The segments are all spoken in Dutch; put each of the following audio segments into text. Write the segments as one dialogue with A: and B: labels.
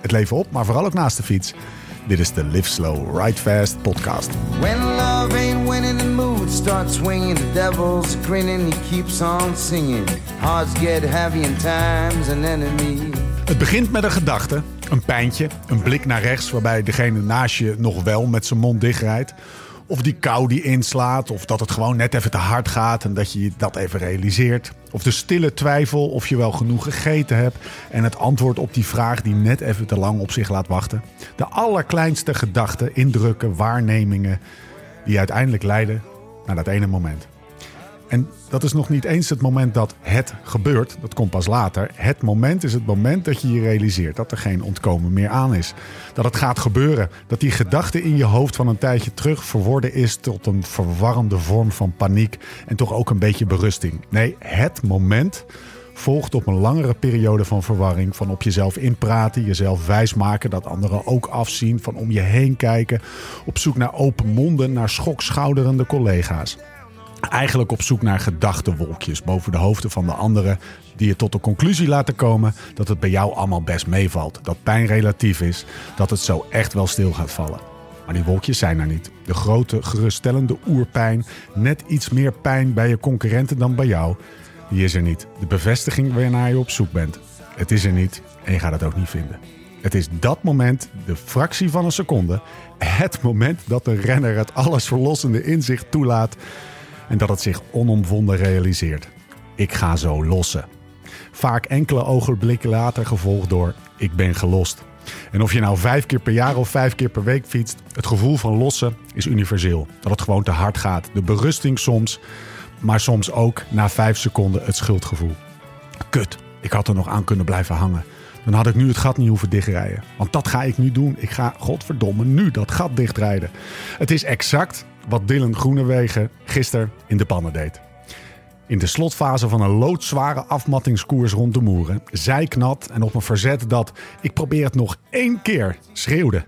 A: Het leven op, maar vooral ook naast de fiets. Dit is de Live Slow, Ride Fast podcast.
B: When love ain't winning, the mood starts swinging. The devil's grinning, he keeps on singing. Hearts get heavy, and time's an enemy.
A: Het begint met een gedachte, een pijntje, een blik naar rechts waarbij degene naast je nog wel met zijn mond dichtrijdt. Of die kou die inslaat, of dat het gewoon net even te hard gaat en dat je je dat even realiseert. Of de stille twijfel of je wel genoeg gegeten hebt en het antwoord op die vraag die net even te lang op zich laat wachten. De allerkleinste gedachten, indrukken, waarnemingen die uiteindelijk leiden naar dat ene moment. En dat is nog niet eens het moment dat het gebeurt. Dat komt pas later. Het moment is het moment dat je je realiseert dat er geen ontkomen meer aan is. Dat het gaat gebeuren. Dat die gedachte in je hoofd van een tijdje terug verworden is tot een verwarrende vorm van paniek. En toch ook een beetje berusting. Nee, het moment volgt op een langere periode van verwarring. Van op jezelf inpraten, jezelf wijsmaken, dat anderen ook afzien. Van om je heen kijken. Op zoek naar open monden, naar schokschouderende collega's. Eigenlijk op zoek naar gedachtenwolkjes boven de hoofden van de anderen. Die je tot de conclusie laten komen dat het bij jou allemaal best meevalt. Dat pijn relatief is. Dat het zo echt wel stil gaat vallen. Maar die wolkjes zijn er niet. De grote, geruststellende oerpijn. Net iets meer pijn bij je concurrenten dan bij jou. Die is er niet. De bevestiging waarnaar je op zoek bent. Het is er niet. En je gaat het ook niet vinden. Het is dat moment, de fractie van een seconde, het moment dat de renner het alles verlossende inzicht toelaat en dat het zich onomwonden realiseert. Ik ga zo lossen. Vaak enkele ogenblikken later gevolgd door ik ben gelost. En of je nou vijf keer per jaar of vijf keer per week fietst, het gevoel van lossen is universeel. Dat het gewoon te hard gaat. De berusting soms, maar soms ook na vijf seconden het schuldgevoel. Kut, ik had er nog aan kunnen blijven hangen. Dan had ik nu het gat niet hoeven dichtrijden. Want dat ga ik nu doen. Ik ga, godverdomme, nu dat gat dichtrijden. Het is exact wat Dylan Groenewegen gisteren in de pannen deed. In de slotfase van een loodzware afmattingskoers rond de Moeren. Zijknat en op een verzet dat ik probeer het nog één keer schreeuwde.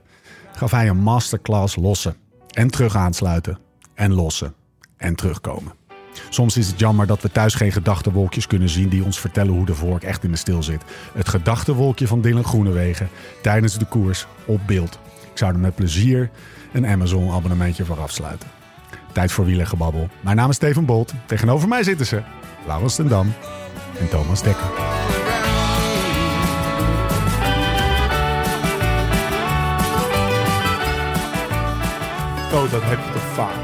A: Gaf hij een masterclass lossen. En terug aansluiten. En lossen. En terugkomen. Soms is het jammer dat we thuis geen gedachtenwolkjes kunnen zien die ons vertellen hoe de vork echt in de stil zit. Het gedachtenwolkje van Dylan Groenewegen tijdens de koers op beeld. Ik zou er met plezier een Amazon abonnementje voor afsluiten. Tijd voor wielergebabbel. Mijn naam is Steven Bolt. Tegenover mij zitten ze Laurens ten Dam en Thomas Dekker.
C: Oh, dat heb je toch vaak.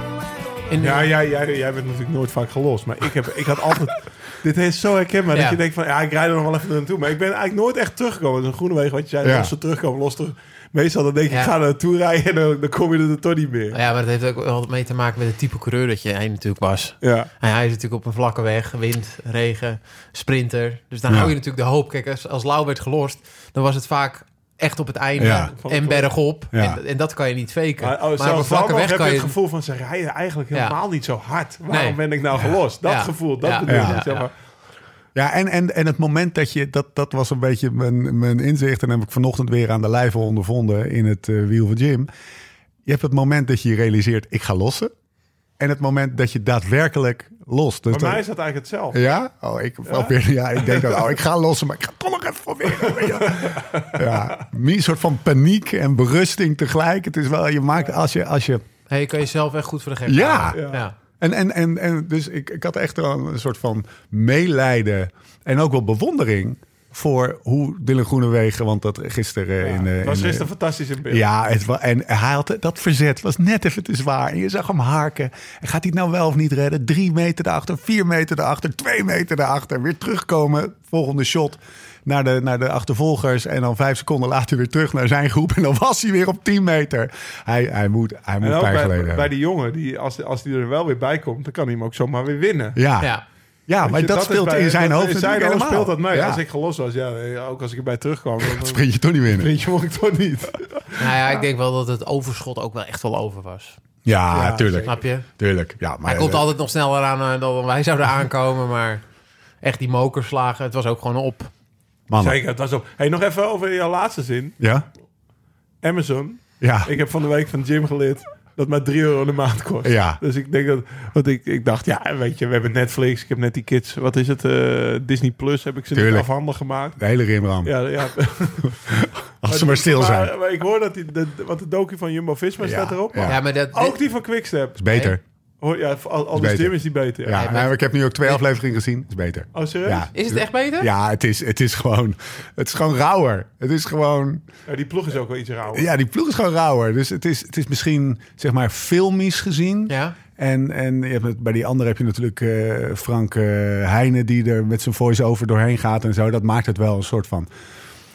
D: In de-
C: Ja, ja, jij, jij bent natuurlijk nooit vaak gelost. Maar ik, heb, ik had altijd... Dit is zo herkenbaar
D: Ja.
C: dat je denkt van... Ja, ik rijd er nog wel even naartoe. Maar ik ben eigenlijk nooit echt teruggekomen. Dat is een groene weg wat je zei.
A: Ja.
C: Als ze terugkomen, los terug. Meestal dan denk ik,
D: Ja.
C: ik ga er naartoe rijden. En dan, dan kom je er toch niet meer.
D: Ja, maar dat heeft ook wel mee te maken met het type coureur dat je hij natuurlijk was.
C: Ja.
D: En hij is natuurlijk op een vlakke weg, wind, regen, sprinter. Dus dan
A: Ja.
D: hou je natuurlijk de hoop. Kijk, als, als Lau werd gelost, dan was het vaak echt op het einde
A: Ja.
D: en bergop.
A: Ja.
D: En, en dat kan je niet faken.
C: Maar, oh,
D: Maar, op een
C: zelfs
D: vlakke
C: dan nog
D: weg
C: heb je
D: kan
C: het
D: je...
C: gevoel van... Ze rijden eigenlijk
D: Ja.
C: helemaal niet zo hard. Waarom
D: Nee.
C: ben ik nou gelost? Dat
D: Ja.
C: gevoel, dat
D: Ja.
C: bedoel
A: Ja.
C: ik. Zeg maar.
A: Ja, en, en, en het moment dat je, dat, dat was een beetje mijn, mijn inzicht. En heb ik vanochtend weer aan de lijve ondervonden in het eh, wiel van Jim. Je hebt het moment dat je je realiseert, ik ga lossen. En het moment dat je daadwerkelijk lost. Dus
C: Bij mij
A: dat-
C: is dat eigenlijk hetzelfde.
A: Ja? Oh, ik, probeer- ja? ik denk dat, oh, ik ga lossen, maar ik ga toch nog even proberen. weet je wel. ja, een soort van paniek en berusting tegelijk. Het is wel, je maakt als je, als je
D: Hey, kan je zelf echt goed voor de gek
A: Ja.
D: houden.
C: Ja.
D: ja.
A: en, en, en, en dus ik, ik had echt wel een soort van meelijden en ook wel bewondering voor hoe Dylan Groenewegen, want dat gisteren
C: Ja.
A: in... eh,
C: Het was
A: in,
C: gisteren fantastisch in beeld.
A: ja, het wa- en hij had dat verzet was net even te zwaar. En je zag hem harken. En gaat hij het nou wel of niet redden? Drie meter daarachter, vier meter daarachter, twee meter daarachter. Weer terugkomen, volgende shot naar de, naar de achtervolgers. En dan vijf seconden later weer terug naar zijn groep. En dan was hij weer op tien meter. Hij, hij moet, hij moet
C: En ook
A: pijn
C: bij,
A: geleden
C: bij
A: hebben.
C: die jongen, die, als, als die er wel weer bij komt... dan kan hij hem ook zomaar weer winnen.
A: Ja.
D: Ja.
A: Ja. Ja, Ah, maar
C: Weet je,
A: dat,
C: is
A: speelt
C: bij-
A: in zijn
C: dat-
A: hoofd
C: In zijn
A: natuurlijk
C: hoofd
A: helemaal.
C: speelt dat mee.
A: Ja.
C: Als ik gelost was, ja, eh, ook als ik erbij terugkwam. dan- dan-
A: Sprint je toch niet winnen.
C: Vriendje vond ik toch niet.
D: Nou ja, ik denk wel dat het overschot ook wel echt wel over was.
A: Ja,
C: Ja,
A: tuurlijk.
D: Snap je?
A: Tuurlijk. Ja, maar,
D: Hij komt
A: eh,
D: altijd nog sneller aan eh, dan wij zouden aankomen, maar echt die mokerslagen, het was ook gewoon op.
A: mannen.
C: Zeker, dat is ook. Hey, nog even over je laatste zin.
A: Ja?
C: Amazon.
A: Ja.
C: Ik heb van de week van Jim geleerd dat maar 3 euro in de maand kost.
A: Ja.
C: Dus ik denk dat. Want ik, ik dacht, ja, weet je, we hebben Netflix. Ik heb net die kids. Wat is het? eh, Disney Plus heb ik ze niet
A: Tuurlijk.
C: afhandig gemaakt.
A: De hele rimram.
C: Ja, ja.
A: Als ze maar stil zijn.
C: Maar, maar ik hoor dat die. De, want de docu van Jumbo Visma
A: Ja,
C: staat erop.
A: ja.
D: Ja, maar dat,
C: Ook die van Quickstep.
A: Is beter.
C: Hoor, ja, al, al
A: Is
C: die
A: beter.
C: Jim is die beter.
A: Ja,
D: maar-
A: maar ik heb nu ook twee afleveringen gezien. Is beter.
C: Oh, serieus?
A: Ja.
D: Is het echt beter?
A: Ja, het is, het is gewoon... Het is gewoon rauwer. Het is gewoon...
C: Ja, die ploeg is ook wel iets rauw.
A: Ja, die ploeg is gewoon rauwer. Dus het is, het is misschien, zeg maar, filmisch gezien.
D: Ja.
A: En, en je hebt het- bij die andere heb je natuurlijk eh, Frank eh, Heijnen... die er met zijn voice-over doorheen gaat en zo. Dat maakt het wel een soort van...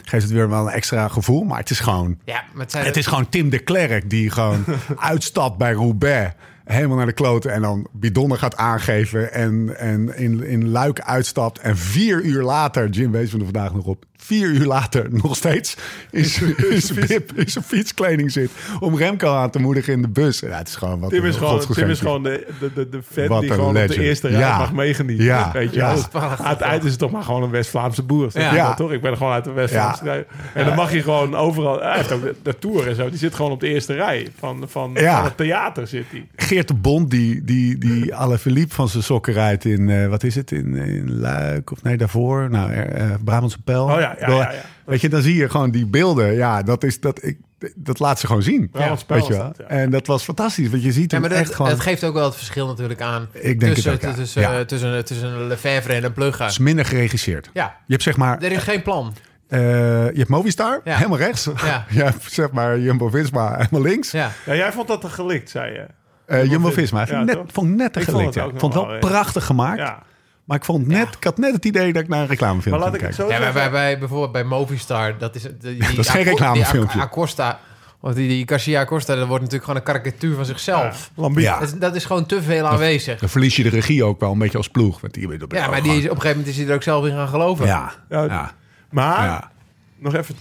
A: Geeft het weer wel een extra gevoel. Maar het is gewoon...
D: Ja, maar het zijn...
A: Het is gewoon Tim de Klerk die gewoon uitstapt bij Roubaix. Helemaal naar de kloten en dan bidonnen gaat aangeven. En, en in, in Luik uitstapt. En vier uur later, Jim wees me er vandaag nog op. Vier uur later nog steeds in zijn- in zijn bib, in zijn fietskleding zit. Om Remco aan te moedigen in de bus. Ja, het is gewoon wat
C: Tim
A: een
C: is gewoon, Tim
A: godsgegeven
C: is gewoon de, de, de, de fan
A: Wat
C: die
A: een
C: gewoon op
A: legend.
C: de eerste rij
A: Ja.
C: mag meegenieten.
A: Ja.
C: Weet je
A: Ja.
C: wel.
D: Prachtig.
C: Aan het eind is het toch maar gewoon een West-Vlaamse boer.
D: Ja.
C: Ja.
A: Ja.
C: toch? Ik ben gewoon uit de West-Vlaamse
A: Ja.
C: rij. En dan mag je gewoon overal... Hij heeft ook de, de Tour en zo. Die zit gewoon op de eerste rij. Van, van,
A: Ja.
C: van het theater zit hij.
A: Geert de Bond, die, die, die Alaphilippe van zijn sokken rijdt in, eh, wat is het, in, in Luik of nee, daarvoor? Nou, er- eh Brabantse Pijl.
C: Oh ja, ja,
A: Door-
C: ja, ja.
A: Weet je, dan zie je gewoon die beelden. Ja, dat, is, dat, ik, dat laat ze gewoon zien.
C: Brabantse Pijl
A: weet je
C: is
A: wel.
C: dat, ja.
A: En dat was fantastisch, want je ziet
D: Ja,
A: hem
D: maar dat,
A: echt gewoon...
D: dat geeft ook wel het verschil natuurlijk aan
A: denk het
D: tussen,
A: ook, ja.
D: tussen, eh,
A: Ja.
D: tussen, tussen een Lefebvre en een Plugger.
A: Het is minder geregisseerd.
D: Ja,
A: Je hebt zeg maar,
D: er is geen plan.
A: eh, je hebt Movistar,
D: Ja.
A: helemaal rechts.
D: Ja.
A: je hebt zeg maar Jumbo-Visma, helemaal links.
D: Ja.
C: Ja, jij vond dat er gelikt, zei je.
A: Eh, Jumbo-Visma,
C: Ja,
A: vond ik
C: toch?
A: net, vond ik net te
C: Ik vond
A: gelikt.
C: het
A: ja.
C: ook nog
A: vond het wel
C: wel, ja.
A: prachtig gemaakt,
C: Ja.
A: maar ik, vond net, ik had net het idee dat ik naar een reclamefilm
C: Maar laat
A: ging
C: ik het
A: kijken.
C: zo
D: Ja, maar
C: zeggen.
D: bij, bij, bijvoorbeeld bij Movistar, dat is... de- Die,
A: Dat is geen
D: Aco-
A: reclamefilmpje.
D: Die Ac- Acosta, want die, die Garcia Acosta, dat wordt natuurlijk gewoon een karikatuur van zichzelf.
C: Lambiek.
A: Ja.
D: Dat, is, dat is gewoon te veel aanwezig.
A: Dan verlies je de regie ook wel een beetje als ploeg. Want die, dat ben
D: Ja,
A: ik
D: maar
A: ook
D: die is, op
A: gewoon-
D: een gegeven moment is hij er ook zelf in gaan geloven.
A: Ja,
C: Ja, Ah.
A: ja,
C: Maar
A: ja.
C: nog even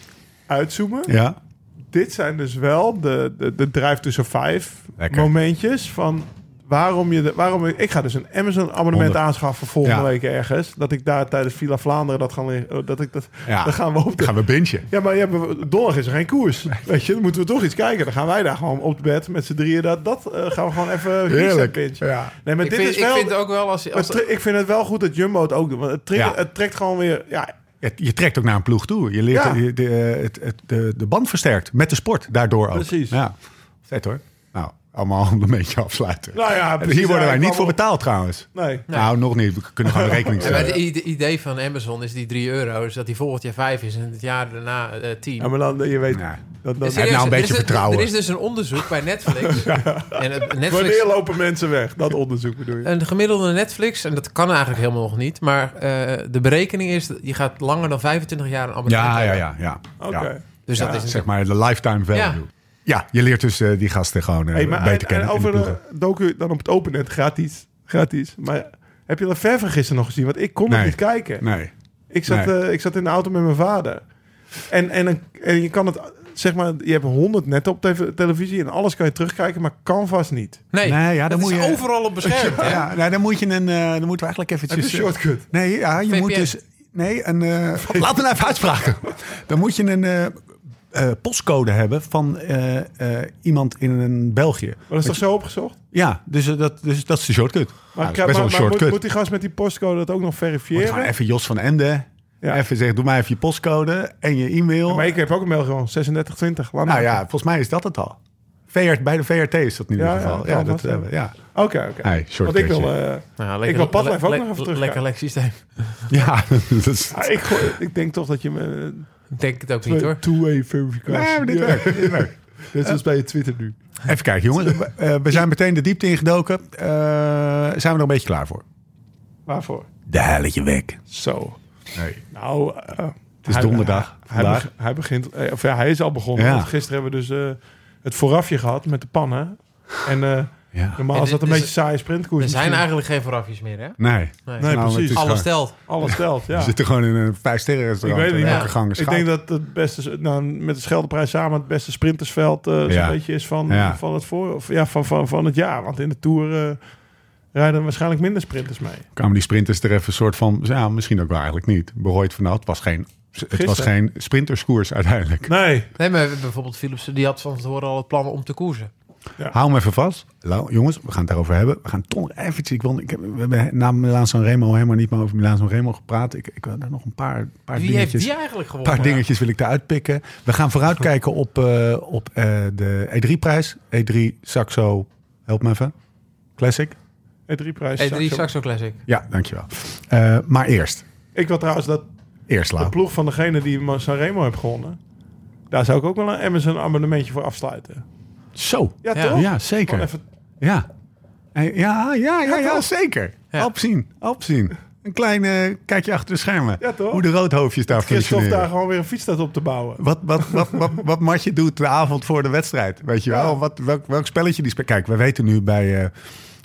C: uitzoomen.
A: ja.
C: dit zijn dus wel de, de, de drive tussen vijf
A: Lekker.
C: momentjes van waarom je de, waarom ik, ik ga dus een Amazon abonnement
A: Honderd.
C: aanschaffen volgende
A: Ja.
C: week ergens dat ik daar tijdens Villa Vlaanderen dat gaan liggen, oh, dat ik dat
A: Ja.
C: dan gaan we op de,
A: Gaan we bintje.
C: ja maar ja, maar donderdag is er geen koers weet je dan moeten we toch iets kijken dan gaan wij daar gewoon op bed met z'n drieën dat dat eh, gaan we gewoon even
A: Heerlijk.
C: reset pitchen.
A: Ja.
C: nee maar
D: Ik,
C: dit
D: vind,
C: is wel
D: ik vind ook wel als... als
C: het tri- ik vind het wel goed dat Jumbo het ook doet want het, trekt
A: Ja.
C: het trekt gewoon weer ja
A: Ja, Je trekt ook naar een ploeg toe. Je leert
C: Ja.
A: je- de, eh, het, het- de, de band versterkt met de sport daardoor ook.
C: Precies.
A: Ja, vet hoor. Nou, allemaal om een beetje afsluiten.
C: Nou ja,
A: En
C: precies,
A: Hier worden
C: ja,
A: wij
C: ik
A: niet
C: kwam
A: voor
C: op-
A: betaald trouwens.
C: nee
A: Nou, nog niet. We kunnen gewoon de rekening
D: Ja, maar het
A: stellen.
D: i- idee van Amazon is die 3 euro, is dat die volgend jaar 5 is en het jaar daarna eh, 10.
C: ja, maar dan je weet
A: Ja.
C: dat, dat,
D: Serieus,
A: heb nou een
D: er is
A: beetje
D: dus-
A: vertrouwen.
D: Er is dus een onderzoek bij Netflix. en het- Netflix
C: wanneer lopen mensen weg dat onderzoek bedoel je
D: een gemiddelde Netflix, en dat kan eigenlijk helemaal nog niet, maar eh, de berekening is, dat je gaat langer dan 25 jaar een abonnement
A: Ja, ja,
D: hebben.
A: ja. ja.
C: Oké.
A: Ja.
D: Dus dat is
A: Zeg
D: natuurlijk...
A: maar de lifetime value.
D: Ja.
A: Ja, je leert dus eh, die gasten gewoon eh,
C: Hey, maar
A: beter
C: en,
A: kennen.
C: en
A: in de
C: over de
A: ploegen.
C: docu dan op het opennet, gratis. gratis. Maar heb je Lefebvre gisteren nog gezien? Want ik kon het
A: Nee.
C: niet kijken.
A: Nee.
C: Ik, zat,
A: Nee.
C: eh, ik zat in de auto met mijn vader. En, en, een- en je kan het, zeg maar, je hebt honderd netten op tv- televisie en alles kan je terugkijken, maar Canvas niet.
D: Nee,
A: Nee, ja, dan
D: dat
A: moet
D: is
A: je-
D: overal op beschermd. hè?
A: Ja, nou, dan moet je een. eh, dan moeten we eigenlijk eventjes.
C: Heb je een
A: eh,
C: shortcut?
A: Nee, ja, je
D: VPN.
A: moet dus. Nee, een. eh, laat me nou even uitspraken. Dan moet je een eh, eh, postcode hebben van eh, eh, iemand in een België.
C: Maar dat is toch zo opgezocht?
A: Ja, dus, eh, dat, dus dat is de shortcut. Ja, dat
C: Maar, maar-
A: is best wel
C: maar
A: een shortcut.
C: moet, moet
A: moet,
C: die gast met die postcode dat ook nog
A: je
C: verifiëren?
A: gewoon even Jos van Ende.
C: Ja.
A: Even zeggen, doe mij even je postcode en je e-mail.
C: Maar ik heb ook een mail gewoon 3620. Laat
A: nou
C: maar.
A: ja, volgens mij is dat het al. VR, bij de VRT is dat nu
C: Ja,
A: het geval.
C: ja,
A: Ja,
C: kan
A: dat
C: vast
A: hebben we. Ja.
C: Oké, oké.
A: Hey,
C: Want ik
A: shortcutje.
C: wil, eh,
D: Nou,
C: ik wil Padlijf ook
D: le-
C: nog even
D: le-
C: terugkijken.
D: Lekker lek systeem.
A: ja, dat is.
C: ah, ik, gooi- ik denk toch dat je me
D: Ik denk het ook niet
C: twee-
D: hoor.
C: two-way
A: Nee,
C: verificatie.
A: maar dit
C: Ja.
A: werkt. Dit werkt.
C: Net zoals bij je Twitter nu.
A: Even kijken, jongens. We, eh, we zijn meteen de diepte ingedoken. Eh, zijn we er een beetje klaar voor?
C: Waarvoor?
A: De helletje weg.
C: Zo.
A: Nee.
C: Nou, eh,
A: is donderdag,
C: Hij,
A: vandaag.
C: beg- hij begint, eh, of ja, hij is al begonnen.
A: Ja.
C: want gisteren hebben we dus eh, het voorafje gehad met de pannen. En eh,
A: Ja.
C: Normaal
D: Ja,
C: is
D: dit
C: dat een
D: is-
C: beetje een saaie sprintkoers.
D: Er zijn
C: misschien.
D: eigenlijk geen voorafjes meer, hè?
A: Nee.
D: Nee.
C: Nee,
A: Nou,
C: precies.
A: het is-
D: Alles
A: gewoon-
D: telt.
C: Alles telt, ja.
A: We zitten gewoon in een vijfsterren
C: Ik
A: restaurant.
C: weet het niet.
A: en
D: ja.
A: elke gang is
C: Ik denk dat het beste, nou, met de Scheldeprijs samen, het beste sprintersveld eh, zo'n
A: Ja.
C: beetje is van,
A: Ja.
C: van, het voor, of, ja, van, van, van het jaar. Want in de Tour eh, rijden waarschijnlijk minder sprinters mee.
A: kwamen die sprinters er even een soort van... Ja, misschien ook wel eigenlijk niet. Berooid van nou, het was geen, het was
C: Gisteren.
A: geen sprinterskoers uiteindelijk.
C: Nee,
D: Nee, maar bijvoorbeeld Philipsen, die had van tevoren al het plan om te koersen.
A: Hou hem even vast. Lau- jongens, we gaan het daarover hebben. We gaan toch eventjes... Ik wil, ik heb, we hebben na Milaan San Remo helemaal niet meer over Milaan San Remo gepraat. Ik, ik wil daar nog een paar, paar
D: Wie heeft
A: dingetjes...
D: die eigenlijk
A: Een
D: gewonnen?
A: paar dingetjes wil ik eruit pikken. We gaan vooruitkijken op, eh, op eh, de E3-prijs. E3 Saxo, help me even. Classic.
C: E3-prijs.
D: E3 Saxo Classic.
A: Ja, dankjewel. Eh, maar eerst.
C: Ik wil trouwens dat
A: Eerst
C: de
A: Lau.
C: ploeg van degene die Sanremo heeft gewonnen, daar zou ik ook wel een Amazon abonnementje voor afsluiten.
A: Zo.
C: Ja,
D: Ja.
C: toch?
A: Ja,
C: Gewoon
A: zeker.
C: even
A: Ja. Eh, Ja, ja, ja, ja,
C: toch?
A: zeker.
D: Ja.
A: Opzien, opzien. Een klein eh, kijkje achter de schermen.
C: Ja, toch?
A: Hoe de roodhoofdjes daar
C: Christophe daar
A: functioneren.
C: gewoon weer een fietsstad op te bouwen.
A: Wat, wat, wat, wat, wat Martje doet de avond voor de wedstrijd. Weet je wel? Wat, welk, welk spelletje die speelt. Kijk, we weten nu bij, eh,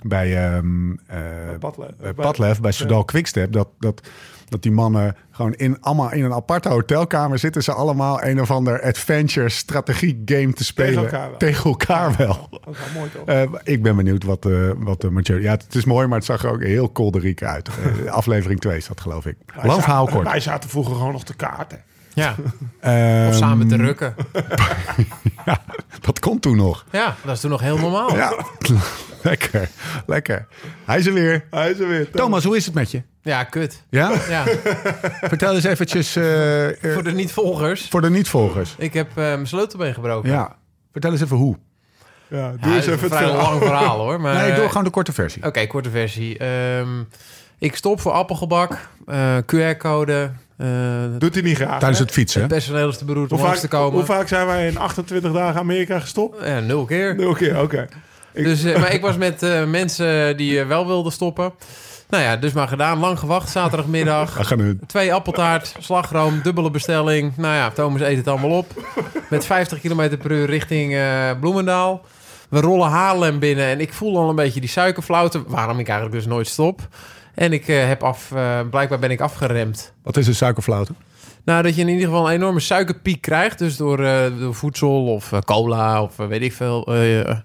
A: bij ehm, eh,
C: Padle-
A: bij
C: bij-
A: Padlef, bij Soudal Quickstep, dat, dat, dat die mannen gewoon in, allemaal in een aparte hotelkamer zitten. Ze allemaal een of ander adventure strategie game te spelen.
C: elkaar wel.
A: Tegen elkaar wel.
C: Dat is wel mooi toch?
A: Eh, ik ben benieuwd wat, eh wat de Mathieu... Ja, het is mooi, maar het zag er ook heel kolderiek uit. Eh, aflevering 2 is dat, geloof ik. Lang verhaal kort.
C: Wij zaten vroeger gewoon nog te kaarten.
D: Ja,
A: Ehm,
D: of samen te rukken.
A: ja, dat komt toen nog.
D: Ja, dat is toen nog heel normaal.
A: Ja, lekker. Lekker. Hij is er weer.
C: Hij is er weer.
A: Thomas, hoe is het met je?
D: Ja, kut.
A: Ja?
D: Ja,
A: Vertel eens eventjes eh, eh,
D: voor de niet-volgers.
A: voor de niet-volgers.
D: Ik heb eh, mijn sleutelbeen gebroken.
A: Ja, vertel eens even hoe.
C: Ja, doe eens
D: Ja, dat is
C: even
D: een
C: het
D: vrij
C: verhaal.
D: lang verhaal hoor. Maar,
A: nee,
D: eh,
A: door gewoon de korte versie.
D: Oké, korte versie. Ehm, ik stop voor appelgebak, eh, QR-code. eh,
C: Doet hij niet graag.
A: Tijdens
C: hè?
A: het fietsen.
D: het personeel is te beroerd
C: hoe,
D: om langs te
C: vaak, hoe
D: komen.
C: vaak zijn wij in 28 dagen Amerika gestopt?
D: Ja, nul keer.
C: Oké, oké. Ik-
D: Dus, eh, maar ik was met eh, mensen die eh, wel wilden stoppen. Nou ja, dus maar gedaan. Lang gewacht, zaterdagmiddag.
A: We gaan nu-
D: Twee appeltaart, slagroom, dubbele bestelling. Nou ja, Thomas eet het allemaal op. Met 50 km per uur richting eh, Bloemendaal. We rollen Haarlem binnen en ik voel al een beetje die suikerflauten. Waarom ik eigenlijk dus nooit stop. En ik eh, heb af, eh, blijkbaar ben ik afgeremd.
A: Wat is een suikerflauten?
D: Nou, dat je in ieder geval een enorme suikerpiek krijgt. Dus door, eh, door voedsel of eh, cola of eh, weet ik veel. eh,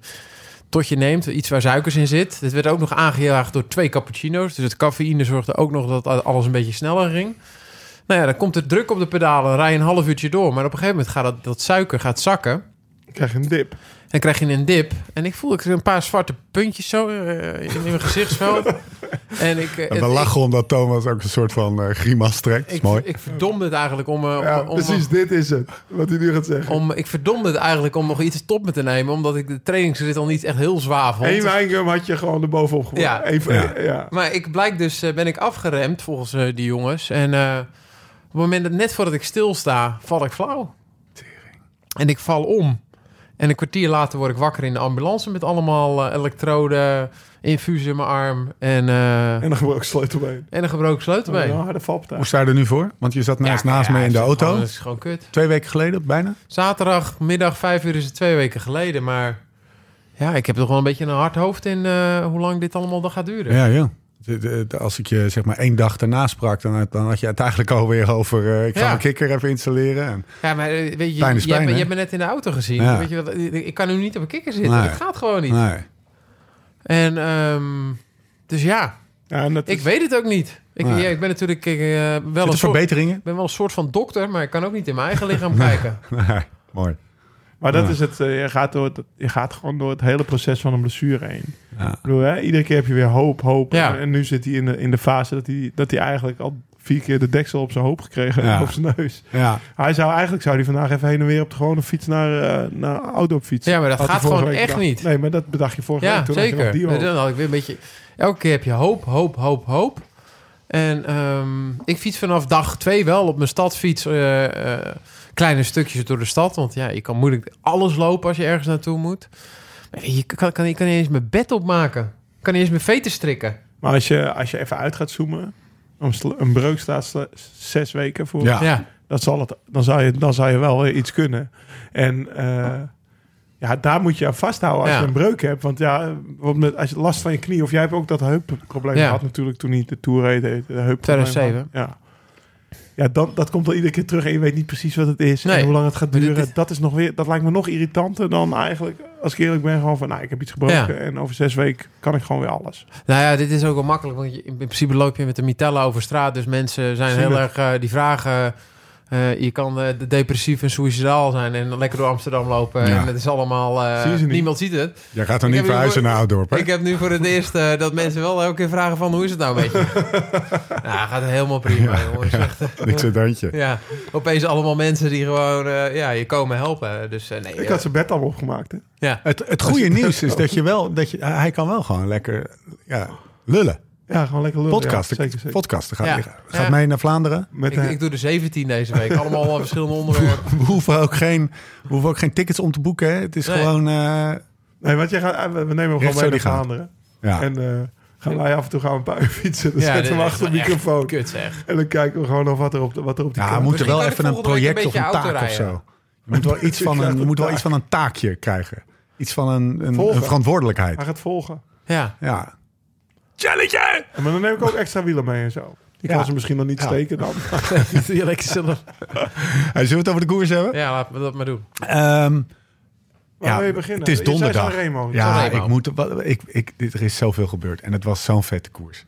D: tot je neemt, iets waar suikers in zit. Dit werd ook nog aangejaagd door twee cappuccino's. Dus het cafeïne zorgde ook nog dat alles een beetje sneller ging. Nou ja, dan komt de druk op de pedalen. Rij je een half uurtje door. Maar op een gegeven moment gaat dat, dat suiker gaat zakken.
C: Ik krijg een dip.
D: En krijg je een dip. En ik voel ik een paar zwarte puntjes zo eh, in mijn gezichtsveld. en ik, eh,
A: En we
D: het-
A: lachen omdat Thomas ook een soort van eh, grimas trekt.
D: Ik,
A: is
D: ik,
A: mooi.
D: ik verdomde het eigenlijk om... eh, om-
C: Ja,
D: om,
C: precies, dit is het. Wat hij nu gaat zeggen.
D: om, ik verdomde het eigenlijk om nog iets top me te nemen. Omdat ik de trainingsrit al niet echt heel zwaar vond.
C: Eén wijngum had je gewoon erbovenop gegooid.
D: Ja.
C: Even,
A: Ja.
C: ja.
D: Maar ik blijk dus, eh, ben ik afgeremd volgens eh, die jongens. En eh, op het moment dat net voordat ik stilsta, val ik flauw. En ik val om. En een kwartier later word ik wakker in de ambulance met allemaal eh, elektroden, infusen in mijn arm en, eh,
C: En dan gebroken sleutelbeen.
D: en een gebroken sleutelbeen.
C: Een harde valpartij.
A: Hoe sta je er nu voor? Want je zat naast,
D: Ja,
A: naast
D: ja,
A: me in de
D: dat is
A: auto.
D: gewoon- Dat is gewoon kut.
A: Twee weken geleden, bijna.
D: Zaterdagmiddag vijf uur is het twee weken geleden, maar ja, ik heb toch wel een beetje een hard hoofd in eh, hoe lang dit allemaal dan gaat duren.
A: Ja, ja. De- de- de- Als ik je zeg maar één dag daarna sprak, dan, had- dan had je het eigenlijk alweer over... eh, ik ga
D: Ja.
A: mijn kikker even installeren. En,
D: Ja, maar eh, weet je,
A: Pijn
D: je,
A: is pijn,
D: hebt, me-
A: hè?
D: je hebt me net in de auto gezien.
A: Ja.
D: Weet je, wat, ik ik kan nu niet op een kikker zitten.
A: Nee.
D: Dat gaat gewoon niet.
A: nee.
D: En ehm, dus ja,
C: Ja, en dat
D: ik
C: is-
D: weet het ook niet. Ik,
A: Nee.
D: ja, ik ben natuurlijk ik, eh, wel,
A: Zit
D: een
A: er
D: soort,
A: verbeteringen?
D: ben wel een soort van dokter, maar ik kan ook niet in mijn eigen lichaam kijken.
A: Nee, mooi.
C: Maar dat
A: Ja.
C: is het. eh, Je gaat, door het. je gaat gewoon door het hele proces van een blessure heen.
A: Ja.
C: Ik bedoel, hè, iedere keer heb je weer hoop, hoop.
D: Ja.
C: En, en nu zit hij in de, in de fase dat hij, dat hij eigenlijk al vier keer de deksel op zijn hoop gekregen heeft,
A: Ja.
C: Op zijn neus.
A: Ja,
C: Hij zou eigenlijk zou hij vandaag even heen en weer op de gewone fiets naar, eh naar auto fietsen.
D: Ja, maar dat
C: Had hij
D: gaat
C: vorige
D: gewoon
C: week
D: echt
C: bedacht.
D: niet.
C: Nee, maar dat bedacht je vorige week.
D: ja,
C: Toen had je nog
D: zeker.
C: die
D: Maar
C: hoop.
D: Dan had ik weer een beetje... Elke keer heb je hoop, hoop, hoop, hoop. En ehm, ik fiets vanaf dag twee wel op mijn stadfiets. eh, eh, kleine stukjes door de stad. Want ja, je kan moeilijk alles lopen als je ergens naartoe moet. Maar je kan, kan, je kan niet eens mijn bed opmaken. Ik kan niet eens mijn veten strikken.
C: Maar als je, als je even uit gaat zoomen... om sl- Een breuk staat sl- zes weken voor.
A: ja.
D: Ja.
C: Dat zal het, dan, zou je, dan zou je wel weer iets kunnen. En eh, ja. Ja, daar moet je aan vasthouden als
D: Ja.
C: je een breuk hebt. Want ja, wat met- als je last van je knie... of jij hebt ook dat heupprobleem
D: Ja.
C: gehad natuurlijk... toen hij de Tour reed, de de heupprobleem
D: 2007.
C: had. Ja, ja dat, dat komt al iedere keer terug... en je weet niet precies wat het is
D: Nee.
C: en hoe lang het gaat
D: Maar dit
C: duren.
D: is-
C: Dat, is nog weer, dat lijkt me nog irritanter dan eigenlijk... als ik eerlijk ben, gewoon van... nou, ik heb iets gebroken
D: Ja.
C: en over zes weken kan ik gewoon weer alles.
D: Nou ja, dit is ook wel makkelijk, want je, in principe loop je met de mitella over straat. Dus mensen zijn
C: Zien
D: heel
C: het.
D: erg, eh, die vragen... eh, je kan eh, de- depressief en suicidaal zijn en lekker door Amsterdam lopen.
A: Ja.
D: En het is allemaal... eh,
C: Zien ze niet.
D: Niemand ziet het.
A: Jij gaat dan
D: Ik
A: niet
D: heb
A: verhuizen
D: hier-
A: naar Ouddorp, hè?
D: Ik heb nu voor het eerst eh, dat mensen wel elke keer vragen van... Hoe is het nou met je? nou, gaat helemaal prima, jongens. Echt, eh,
A: Niks aan het handje.
D: ja, opeens allemaal mensen die gewoon eh, ja, je komen helpen. Dus eh, nee,
C: Ik
D: eh,
C: had zijn bed al opgemaakt, hè.
D: ja.
A: Het, het goede nieuws is dat je wel, dat je, hij kan wel gewoon lekker ja, lullen.
C: Ja, gewoon lekker lullen.
A: Podcasten.
C: Ja, zeker, zeker.
A: Podcasten. Gaat,
D: Ja.
A: gaat
D: Ja.
A: mee naar Vlaanderen.
C: Met
D: Ik,
C: een-
D: ik doe de 17 deze week. Allemaal wel verschillende onderwerpen.
A: We hoeven ook geen, we hoeven ook geen tickets om te boeken. Hè? Het is
D: Nee.
A: gewoon. eh,
C: Nee, want jij gaat, eh, we we nemen hem
A: Recht
C: gewoon
A: zo
C: mee
A: die
C: naar
A: gaan.
C: Vlaanderen.
A: ja.
C: En eh, gaan wij af en toe gaan we een paar uur fietsen. Dan
D: dit
C: zetten we
D: is
C: hem achter de
D: wel echt
C: microfoon.
D: Kut zeg.
C: En dan kijken we gewoon of wat er op, de, wat er op die
A: ja, we
C: kaart-
A: moeten
D: kan
A: wel
D: ik
A: even een
D: volgende week
A: project
D: een
A: of een
D: beetje
A: taak
D: auto
A: of zo.
D: rijden.
A: Je moet wel iets van een,
C: krijgt
A: je
C: een
A: moet wel
C: taak.
A: iets van een taakje krijgen. Iets van een, een,
C: Volgen.
A: een verantwoordelijkheid.
C: Hij gaat volgen.
D: Ja.
A: Ja. Challenge!
C: En Maar dan neem ik ook extra wielen mee en zo. Ik
A: Ja.
C: kan ze misschien nog niet
A: Ja.
C: steken dan.
D: Je lekker zullen.
A: Hey, zullen we het over de koers hebben?
D: Ja, laten we dat maar doen.
A: Ehm,
C: Waar
A: Ja,
C: wil je beginnen?
A: het is
C: Je zei
A: donderdag.
C: Sanremo.
A: Ja,
D: Sanremo.
A: ik moet, wat- ik, ik, dit, er is zoveel gebeurd en het was zo'n vette koers.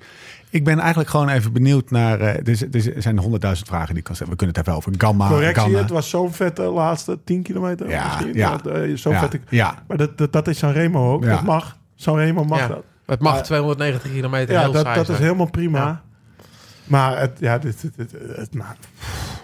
A: Ik ben eigenlijk gewoon even benieuwd naar. eh, er, z- er z- er zijn honderdduizend vragen die ik kan stellen. We kunnen het even over Gamma.
C: Correctie,
A: Ganna.
C: het was zo'n vette laatste 10 kilometer.
A: Ja,
C: misschien.
A: ja.
C: Dat, eh, zo'n
A: ja,
C: vette...
A: ja,
C: Maar dat, dat, dat is Sanremo ook.
A: Ja.
C: Dat mag. Sanremo mag
D: Ja.
C: dat.
D: Het mag
C: Ja.
D: 290 kilometer
C: Ja,
D: heel
C: dat,
D: saai
C: dat is
D: zijn.
C: helemaal prima.
D: Ja.
C: Maar het, ja, dit, dit, dit- het, nou,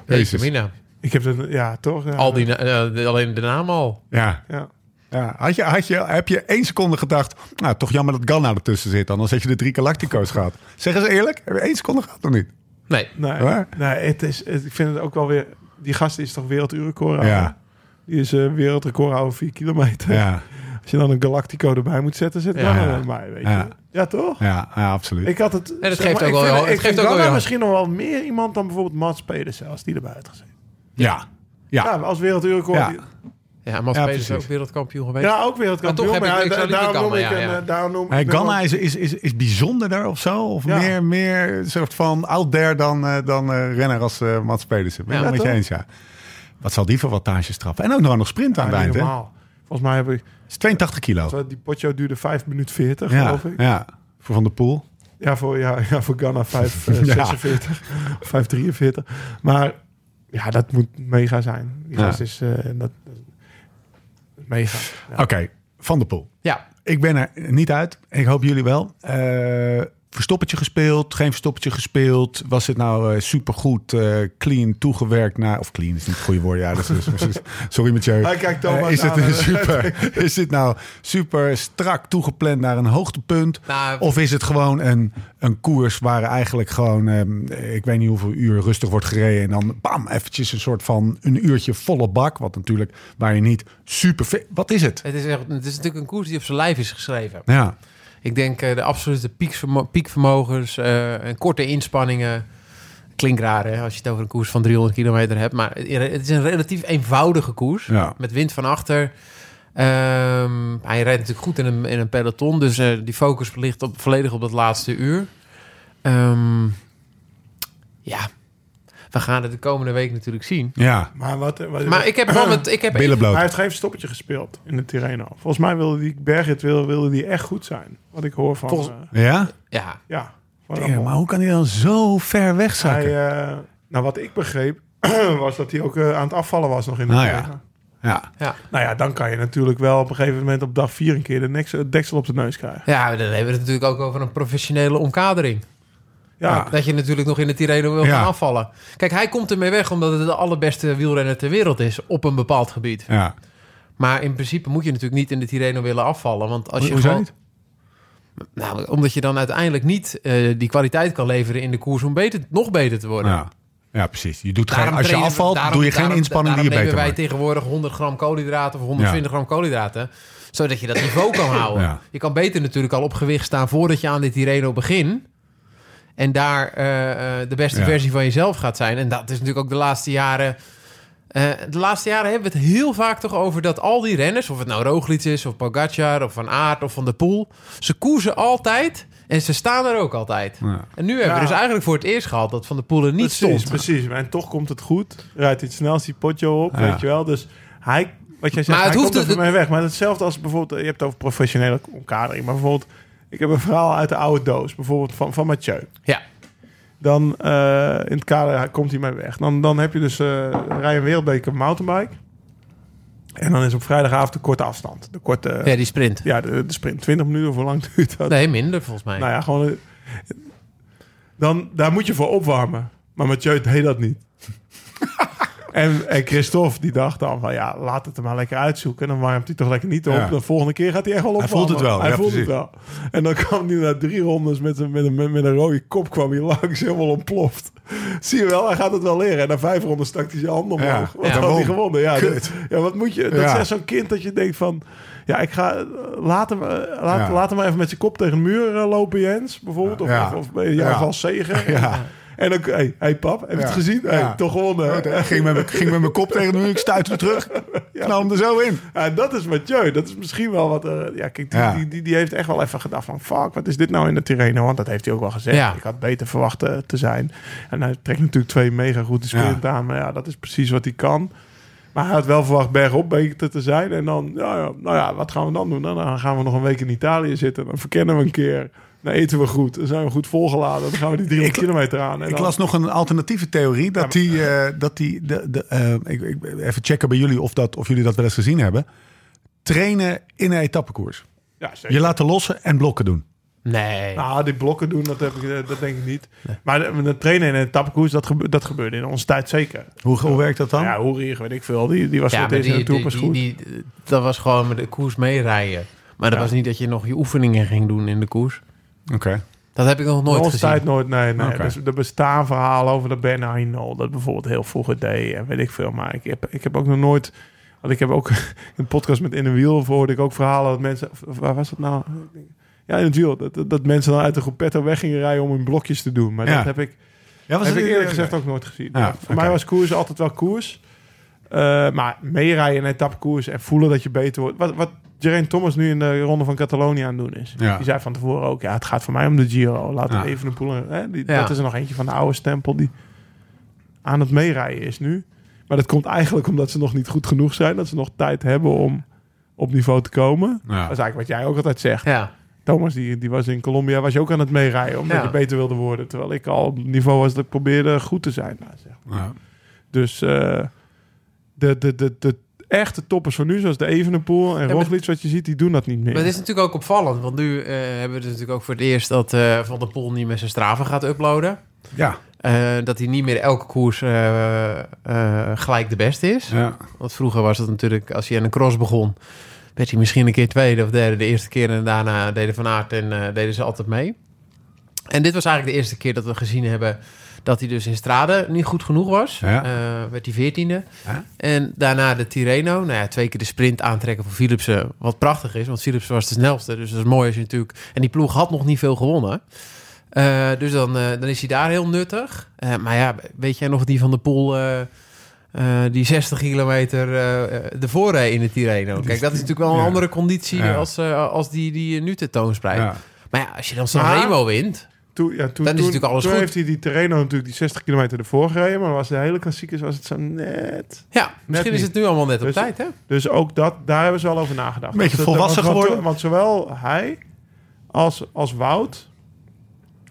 A: Jezus.
D: Jezus. Mina.
C: ik heb het, ja, toch? Ja,
D: Al die, na- eh, de- alleen de naam al.
A: ja.
C: Ja.
A: ja. Had je, had je, heb je één seconde gedacht. Nou, toch jammer dat Ganna ertussen zit. Anders had je de drie Galactico's gehad. Zeg eens eerlijk, heb je één seconde gehad of niet?
D: Nee.
C: Nee,
A: Waar?
C: nee het is, het- ik vind het ook wel weer... Die gast is toch wereldrecordhouder?
A: Ja,
C: Die is eh, wereldrecordhouder 4 kilometer.
A: ja,
C: Als je dan een Galactico erbij moet zetten, zet
D: Ja.
C: ja. dan erbij, weet je.
A: Ja.
C: Ja, toch?
A: ja, ja, absoluut.
C: Ik had het... En
D: geeft ook wel
C: Ik
D: weer-
C: vind,
D: het
C: ik
D: geeft
C: vind
D: ook wel
C: Ganna
D: weer-
C: misschien nog wel meer iemand dan bijvoorbeeld Mats Pedersen, als die erbij had gezeten.
A: ja, ja.
C: Ja, maar als wereldrecord...
A: Ja.
C: Ja.
D: Ja, Mats
A: Ja,
D: Peeters is
A: precies.
D: ook wereldkampioen geweest.
C: ja, ook wereldkampioen.
D: Maar toch heb ik-
C: ja,
D: ik zou
C: da-
D: liever
C: daarom noem
D: Ganna,
C: ik
D: ja,
C: een...
D: ja.
C: eh, daarom noem,
A: Hey,
C: ik
A: Ganna
C: wel-
A: is, is, is, is bijzonderder of zo? Of
C: Ja.
A: meer, meer een soort van out there dan, eh, dan eh, renner als eh, Mats Pedersen? Ben ik
D: Ja,
A: wel met je
C: toch?
A: eens, ja. Wat zal die voor wattages trappen? En ook nog nog sprint aan
C: Ja,
A: het eind,
C: niet
A: hè?
C: normaal. Volgens mij heb ik...
A: is 82 kilo.
C: Die potjo duurde 5 minuten 40,
A: Ja,
C: geloof ik.
A: ja, voor Van der Poel.
C: Ja, voor, ja, ja, voor Ghana eh, 546,
A: Ja.
C: 543. Maar ja, dat moet mega zijn. Die
A: Ja.
C: gast is eh, dat, mega. Ja.
A: Oké, Van der Poel.
D: Ja.
A: Ik ben er niet uit. Ik hoop jullie wel. Eh, verstoppertje gespeeld, geen verstoppertje gespeeld. Was het nou eh, supergoed, eh, clean toegewerkt naar... Of clean is niet het goede woord, ja. Dat is, dus sorry Mathieu.
C: Hij kijkt Thomas
A: Eh, is, het
C: aan,
A: een
C: hè?
A: super, is dit nou super strak toegepland naar een hoogtepunt?
D: Nou,
C: Oh.
A: Of is het gewoon een, een koers waar eigenlijk gewoon... ehm, ik weet niet hoeveel uur rustig wordt gereden... en dan bam, eventjes een soort van een uurtje volle bak. Wat natuurlijk, waar je niet super... fit- Wat is het?
D: Het is, echt, het is natuurlijk een koers die op zijn lijf is geschreven.
A: Ja,
D: Ik denk eh, de absolute piekvermo- piekvermogens eh, en korte inspanningen. Klinkt raar hè, als je het over een koers van 300 kilometer hebt. Maar het is een relatief eenvoudige koers.
A: ja.
D: Met wind van achter. Ehm, hij rijdt natuurlijk goed in een, in een peloton. Dus eh, die focus ligt op, volledig op dat laatste uur. Ehm, ja, we gaan het de komende week natuurlijk zien.
A: ja.
C: Maar, wat, wat,
D: Maar ik heb wel met... Ik heb
A: Billen bloot.
C: hij heeft geen stoppetje gespeeld in de Tirreno. Volgens mij wilde die Bergit wilde, wilde die echt goed zijn. Wat ik hoor van...
D: Volgens-
C: eh,
A: Ja?
D: Ja,
C: ja, van
A: Ja,
C: Ramon.
A: maar hoe kan hij dan zo ver
C: hij,
A: wegzakken?
C: eh, nou, wat ik begreep was dat hij ook eh, aan het afvallen was nog in de
A: Nou ja.
C: Tirreno.
A: ja.
D: ja.
C: Nou ja, dan kan je natuurlijk wel op een gegeven moment op dag vier een keer de nek- het deksel op de neus krijgen.
D: ja, dan hebben we het natuurlijk ook over een professionele omkadering.
A: Ja.
C: Ja,
D: Dat je natuurlijk nog in de Tirreno wil
A: Ja.
D: gaan afvallen. Kijk, hij komt ermee weg omdat het de allerbeste wielrenner ter wereld is op een bepaald gebied.
A: ja.
D: Maar in principe moet je natuurlijk niet in de Tirreno willen afvallen. Want als
A: Ho-
D: je
A: hoezo
D: gewoon-
A: niet?
D: Nou, omdat je dan uiteindelijk niet eh, die kwaliteit kan leveren in de koers om beter, nog beter te worden.
A: Ja. ja, precies. Je doet
D: Daarom
A: geen, als je
D: trainen we-
A: afvalt,
D: daarom-
A: doe je geen
D: daarom-
A: inspanning die
D: daarom
A: je beter
D: nemen
A: maakt.
D: wij tegenwoordig 100 gram koolhydraten of 120 gram koolhydraten. Zodat je dat niveau kan houden.
A: Ja.
D: Je kan beter natuurlijk al op gewicht staan voordat je aan dit Tirreno begint. En daar eh, eh, de beste
A: Ja.
D: versie van jezelf gaat zijn. En dat is natuurlijk ook de laatste jaren... eh, Eh, de laatste jaren hebben we het heel vaak toch over dat al die renners, of het nou Roglic is, of Pogacar, of Van Aert, of Van der Poel, ze koersen altijd en ze staan er ook altijd.
A: Ja.
D: En nu hebben we
C: Ja.
D: dus eigenlijk voor het eerst gehad dat Van der Poel er niet
C: precies,
D: stond.
C: Precies, en toch komt het goed. Rijdt hij het snelst die potjo op,
A: Ja.
C: weet je wel. Dus hij, wat jij zegt,
D: Maar het
C: hij
D: hoeft
C: komt er
D: het-
C: voor mij weg. Maar hetzelfbeeld als bijvoorbeeld, je hebt het over professionele omkadering. Maar bijvoorbeeld, ik heb een verhaal uit de oude doos. Bijvoorbeeld van, van Mathieu.
D: Ja.
C: Dan eh, in het kader hij- komt hij mij weg. Dan, dan heb je dus eh rij een wereldbeker mountainbike. En dan is op vrijdagavond de korte afstand. De korte, ja,
D: ja, die sprint.
C: de, de sprint. 20 minuten, of hoe lang duurt dat?
D: Nee, minder volgens mij.
C: Nou ja, gewoon... eh, Dan, daar moet je voor opwarmen. Maar Mathieu deed dat niet. en, en Christophe, die dacht dan van... Ja, laat het er maar lekker uitzoeken. En dan warmt hij toch lekker niet op.
A: Ja.
C: De volgende keer gaat hij echt wel opwarmen.
A: voelt het wel,
C: Hij
A: ja,
C: voelt
A: precies.
C: het wel. En dan kwam hij na drie rondes met een, met, een, met met een rode kop... kwam hij langs, helemaal ontploft. Zie je wel, hij gaat het wel leren. En na vijf ronden stak hij zijn handen
A: Ja.
C: omhoog. Wat
D: Ja.
C: had hij
A: Waarom?
C: gewonnen? Ja,
A: Kut.
C: dit- ja, wat moet je... Dat
A: Ja.
C: is echt zo'n kind dat je denkt van... Ja, ik ga... eh, Laat hem, eh, laat,
A: Ja.
C: laat hem maar even met zijn kop tegen de muur eh, lopen, Jens. Bijvoorbeeld. Of,
A: Ja.
C: of, of bij jou
A: Ja.
C: van Zegen.
A: Ja.
C: En dan... Hé, hey, hey, pap. Heb je
A: Ja.
C: het gezien? Hey,
A: Ja.
C: Toch gewonnen. hè?
A: Ik ging met, mijn- ging met mijn kop tegen de muur, ik stuitte terug. Knal hem er zo in.
C: Ja, dat is Mathieu. Dat is misschien wel wat... eh, ja, kijk, die,
A: Ja.
C: Die, die, die heeft echt wel even gedacht van... Fuck, wat is dit nou in de Tirreno? Want dat heeft hij ook wel gezegd.
D: Ja.
C: Ik had beter verwacht eh, te zijn. En hij trekt natuurlijk twee mega goede sprint
A: Ja.
C: aan. Maar ja, dat is precies wat hij kan. Maar hij had wel verwacht bergop beter te zijn. En dan, ja, ja, nou ja, wat gaan we dan doen? Nou, dan gaan we nog een week in Italië zitten. Dan verkennen we een keer. Dan eten we goed. Dan zijn we goed volgeladen. Dan gaan we die 300 kilometer aan. En
A: Ik
C: dan-
A: las nog een alternatieve theorie. Dat die, eh, dat die de, de, eh, ik, ik, even checken bij jullie of, dat, of jullie dat wel eens gezien hebben. Trainen in een etappekoers.
C: ja, zeker.
A: Je laten lossen en blokken doen.
D: Nee.
C: Nou, die blokken doen, dat, heb ik, eh, dat denk ik niet. Maar de, de trainen in een etappekoers, dat, gebe- dat gebeurde in onze tijd zeker.
A: Hoe, hoe werkt dat dan?
C: Ja, Hoerig, weet ik veel. Die, die was
D: Oh. ja,
C: voor
D: maar
C: deze in de
D: die,
C: Tour
D: die,
C: pas
D: die,
C: goed.
D: die- dat was gewoon met de koers meerijden. Maar dat
C: Ja.
D: was niet dat je nog je oefeningen ging doen in de koers.
A: Oké.
D: Dat heb ik nog nooit
C: Ons
D: gezien.
C: tijd nooit, nee. nee.
A: Oké.
C: Dus er bestaan verhalen over de Ben Hainol. Dat bijvoorbeeld heel vroeg het deed en weet ik veel. Maar ik heb, ik heb ook nog nooit... Want ik heb ook een podcast met In de Wiel... hoorde ik ook verhalen dat mensen... of Waar was dat nou? Ja, in het wiel. Dat, dat, dat mensen dan uit de groepetto weg gingen rijden om hun blokjes te doen. Maar
A: Ja.
C: dat heb ik,
A: Ja, was
C: heb
A: het
C: ik eerlijk
A: eerder
C: gezegd ook nooit gezien.
A: Ja,
C: Ja, voor
A: oké.
C: mij was koers altijd wel koers. Eh, maar meerijden in etappekoers en voelen dat je beter wordt. Wat, wat Geraint Thomas nu in de Ronde van Catalonië aan het doen is.
A: Ja.
C: Die zei van tevoren ook, ja, het gaat voor mij om de Giro. Laat
A: Ja.
C: het even een poelen. Hè? Die,
D: Ja.
C: Dat is er nog eentje van de oude stempel die aan het meerijden is nu. Maar dat komt eigenlijk omdat ze nog niet goed genoeg zijn. Dat ze nog tijd hebben om op niveau te komen.
A: Ja.
C: Dat is eigenlijk wat jij ook altijd zegt.
D: Ja.
C: Thomas, die, die was in Colombia, was je ook aan het meerijden omdat
D: Ja.
C: je beter wilde worden. Terwijl ik al op het niveau was dat ik probeerde goed te zijn. Nou, zeg.
A: Ja.
C: Dus eh, de, de, de, de echte toppers van nu, zoals de Evenepoel en
D: maar-
C: Roglic, wat je ziet, die doen dat niet meer.
D: Maar het is natuurlijk ook opvallend, want nu eh, hebben we dus natuurlijk ook voor het eerst dat eh, Van der Poel niet meer zijn straven gaat uploaden.
A: Ja.
D: Eh, dat hij niet meer elke koers eh, eh, gelijk de beste is.
A: Ja.
D: Want vroeger was dat natuurlijk, als hij aan een cross begon, werd hij misschien een keer tweede of derde de eerste keer. En daarna deden Van Aert en eh, deden ze altijd mee. En dit was eigenlijk de eerste keer dat we gezien hebben dat hij dus in Strade niet goed genoeg was.
A: Ja.
D: Eh, werd hij veertiende.
A: Ja.
D: En daarna de Tirreno. Nou ja, twee keer de sprint aantrekken voor Philipsen. Wat prachtig is, want Philipsen was de snelste. Dus dat is mooi als je natuurlijk... En die ploeg had nog niet veel gewonnen. Eh, dus dan, eh, dan is hij daar heel nuttig. Eh, maar ja, weet jij nog die van de Poel... eh, eh, die 60 kilometer eh, eh, ervoor reed in de Tirreno. Kijk, dat is natuurlijk wel een
A: Ja.
D: andere conditie
A: Ja.
D: als, eh, als die die je nu tentoonspreidt.
A: Ja.
D: Maar ja, als je dan San
C: Maar-
D: Remo wint...
C: Toen, ja, toen,
D: Dan is
C: toen-
D: natuurlijk alles
C: toen
D: goed.
C: heeft hij die Terreno natuurlijk die 60 kilometer ervoor gereden. Maar was de hele klassiekers was het zo net.
D: Ja, misschien is
C: niet.
D: het nu allemaal net op
C: Dus-
D: tijd, hè?
C: Dus ook dat, daar hebben ze al over nagedacht.
A: Een beetje
C: Dat- dat-
A: volwassen
C: want- want-
A: geworden.
C: Want, zowel hij als, als Wout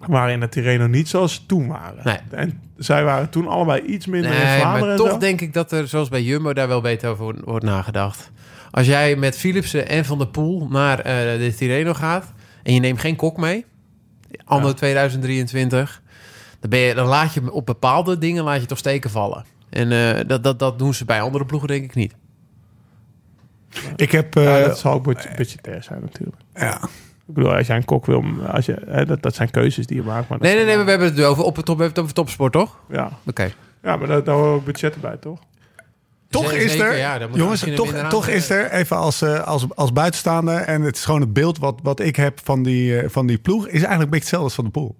C: waren in de Tirreno niet zoals ze toen waren.
D: Nee.
C: En zij waren toen allebei iets minder in
D: Nee,
C: Vlaanderen.
D: maar
C: en
D: toch
C: zo.
D: denk ik dat er, zoals bij Jumbo, daar wel beter over wordt- wordt nagedacht. Als jij met Philipsen en Van der Poel naar eh, de Tirreno gaat... en je neemt geen kok mee, anno 2023... Dan, ben je, dan laat je op bepaalde dingen laat je toch steken vallen. En eh, dat, dat, dat doen ze bij andere ploegen denk ik niet.
A: Ik heb...
C: Ja,
A: eh,
C: dat zal ook budget- budgetair zijn natuurlijk.
A: ja.
C: Ik bedoel, als jij een kok wil, als je, hè, dat, dat zijn keuzes die je maakt. Maar dat-
D: Nee, nee, nee, maar we hebben het nu over, op het, top, we hebben het over topsport, toch?
C: Ja,
D: Oké.
C: ja maar daar, daar horen ook budgetten bij, toch?
A: Toch
D: Zeker,
A: is er,
D: ja, dan moet je
A: jongens,
D: misschien
A: toch,
D: minder aan-
A: toch is er, even als, eh, als, als buitenstaander, en het is gewoon het beeld wat, wat ik heb van die, eh, van die ploeg, is eigenlijk een beetje hetzelfde als van de pool.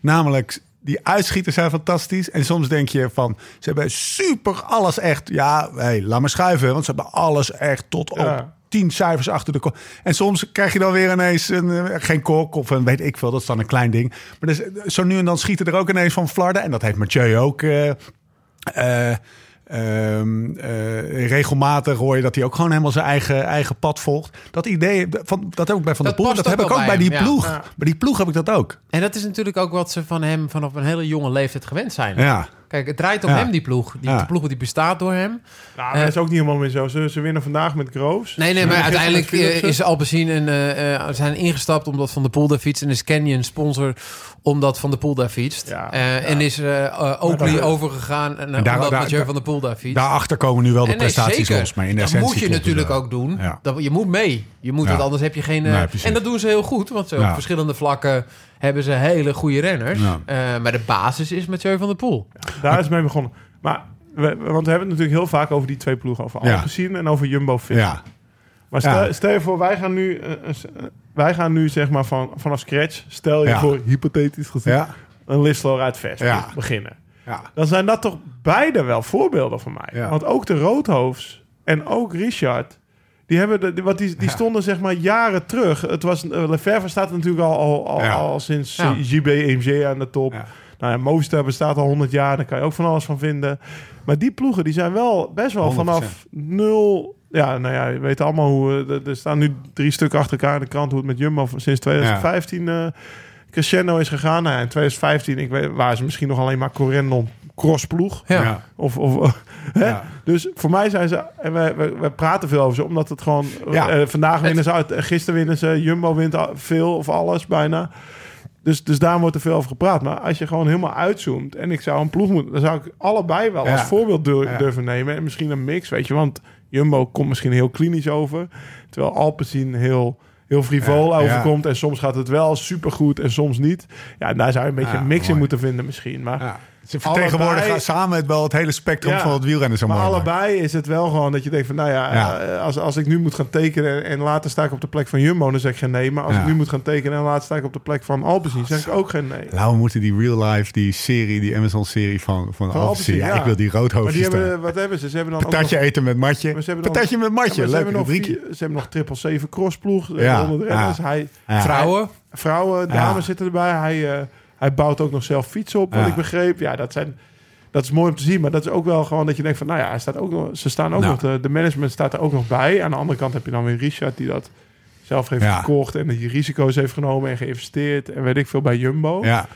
A: Namelijk, Die uitschieters zijn fantastisch. En soms denk je van, ze hebben super alles echt. Ja, hey, laat maar schuiven, want ze hebben alles echt tot
C: Ja.
A: op tien cijfers achter de kop. En soms krijg je dan weer ineens een, eh, geen kok of een weet ik veel. Dat is dan een klein ding. Maar dus, eh, zo nu en dan schieten er ook ineens van flarden. En dat heeft Mathieu ook. eh, eh, ehm, eh, regelmatig hoor je dat hij ook gewoon helemaal zijn eigen, eigen pad volgt. Dat idee, van, dat heb ik bij Van der
D: Dat
A: Poel.
D: past
A: Dat
D: ook
A: heb ik
D: wel
A: ook bij
D: bij
A: die
D: hem, ja.
A: ploeg.
C: Ja.
A: Bij die ploeg heb ik dat ook.
D: En dat is natuurlijk ook wat ze van hem vanaf een hele jonge leeftijd gewend zijn.
A: Ja.
D: Kijk, het draait om
A: Ja.
D: hem, die ploeg. Die
A: Ja.
D: de ploeg die bestaat door hem.
C: Nou, dat is ook niet helemaal meer zo. Ze, ze winnen vandaag met Groves.
D: Eh. Nee, nee, maar
C: Ze winnen
D: uiteindelijk
C: gisteren met
D: eh,
C: Philipsen.
D: is Alpecin en, eh, eh, zijn ingestapt omdat Van der Poel daar fietst. En is Canyon sponsor omdat Van der Poel daar fietst.
C: Ja,
D: Eh, En is eh eh, Oakley
A: daar-
D: overgegaan en, eh,
A: daar-
D: omdat
A: daar-
D: Mathieu
A: daar-
D: Van der Poel daar fietst.
A: Daarachter komen nu wel de
D: En nee,
A: prestaties
D: zeker.
A: volgens mij. In de
D: dat
A: essentie
D: moet je
A: klopt het
D: natuurlijk
A: wel.
D: ook doen.
A: Ja.
D: Dat, je moet mee. Je moet,
A: Ja.
D: Want anders heb je geen... eh,
A: Nee, precies.
D: en dat doen ze heel goed. Want ze
A: Ja.
D: op verschillende vlakken hebben ze hele goede renners.
A: Ja.
D: Eh, maar de basis is Mathieu van der Poel.
C: Daar is mee begonnen. Maar, we, want we hebben het natuurlijk heel vaak over die twee ploegen. Over
A: Ja.
C: Alpecin en over Jumbo Visma.
A: Ja,
C: Maar stel,
A: Ja.
C: stel je voor, wij gaan nu, eh, eh, s- eh, wij gaan nu zeg maar van, vanaf scratch, stel je
A: Ja.
C: voor, hypothetisch gezien,
A: ja,
C: een Lislo uit Vest
A: Ja.
C: beginnen.
A: ja.
C: Dan zijn dat toch beide wel voorbeelden van mij.
A: Ja.
C: Want ook de Roodhoofs en ook Richard, die, hebben de, die, wat die, die
A: Ja.
C: stonden zeg maar jaren terug. Het was, eh, Lefebvre staat natuurlijk al, al, al,
A: Ja.
C: al sinds
D: Ja.
C: eh, JBMG aan de top.
A: Ja.
C: Nou ja, Movistar bestaat al 100 jaar, daar kan je ook van alles van vinden. Maar die ploegen die zijn wel best wel
A: 100%.
C: vanaf nul. Ja, nou ja, je weet allemaal hoe. eh, Er er staan nu drie stukken achter elkaar in de krant hoe het met Jumbo sinds 2015 eh crescendo is gegaan. Nou ja, in 2015 ik weet, waren ze misschien nog alleen maar Corendon crossploeg.
D: Ja.
A: Ja.
C: Of, of, hè?
A: Ja.
C: Dus voor mij zijn ze. En wij, wij, wij praten veel over ze, omdat het gewoon.
A: Ja.
C: eh, vandaag winnen ze uit, eh, gisteren winnen ze, Jumbo wint al- veel of alles bijna. Dus, dus daar wordt er veel over gepraat. Maar als je gewoon helemaal uitzoomt en ik zou een ploeg moeten, dan zou ik allebei wel
A: Ja.
C: als voorbeeld dur-
A: Ja.
C: durven nemen. En misschien een mix, weet je. Want Jumbo komt misschien heel klinisch over. Terwijl Alpecin heel, heel frivol
A: Ja, ja.
C: overkomt. En soms gaat het wel supergoed en soms niet. Ja, en daar zou je een beetje
A: Ja,
C: een mix
A: mooi.
C: in moeten vinden misschien. Maar
A: ja. Ze vertegenwoordigen
C: Allebei-
A: samen het wel het hele spectrum
C: Ja.
A: van het wielrennen zo
C: maar
A: mooi. maakt.
C: allebei is het wel gewoon dat je denkt van... nou ja,
A: Ja.
C: eh, als, als ik nu moet gaan tekenen en later sta ik op de plek van Jumbo... dan zeg ik geen nee. Maar als
A: Ja. Ah,
C: ik nu moet gaan tekenen en later sta ik op de plek van Alpecin... zeg ik ook geen nee.
A: Nou, we moeten die real life, die serie, die Amazon-serie van, van,
C: Van
A: Alpecin.
C: Alpecin,
A: Ja,
C: ja.
A: ik wil die
C: Maar
A: roodhoofdjes
C: die
A: daar.
C: hebben, wat hebben ze? Ze hebben dan ook nog-
A: Patatje eten met matje.
C: Maar ze hebben dan-
A: Patatje met
C: Ja,
A: matje,
C: maar ze
A: leuk
C: hebben nog
A: rubriekje.
C: vier- Ze hebben nog triple zeven crossploeg.
A: Ja,
C: Ja. Onder de renners.
A: ja.
C: Hij,
A: Ja.
D: Vrouwen.
C: vrouwen, dames zitten erbij. Hij, eh, hij bouwt ook nog zelf fietsen op, wat
A: Ja.
C: ik begreep. Ja, dat zijn... Dat is mooi om te zien, maar dat is ook wel gewoon dat je denkt van, nou ja, hij staat ook nog, ze staan ook
A: Nou.
C: nog, de, de management staat er ook nog bij. Aan de andere kant heb je dan weer Richard die dat zelf heeft
A: Ja.
C: gekocht en die risico's heeft genomen en geïnvesteerd en weet ik veel bij Jumbo.
A: Ja,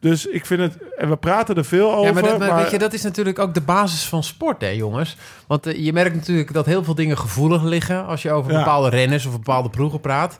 C: Dus ik vind het, en we praten er veel over.
D: Ja, maar, dat, maar
C: maar-
D: weet je, dat is natuurlijk ook de basis van sport, hè, jongens. Want eh, je merkt natuurlijk dat heel veel dingen gevoelig liggen als je over
C: Ja.
D: bepaalde renners of bepaalde ploegen praat.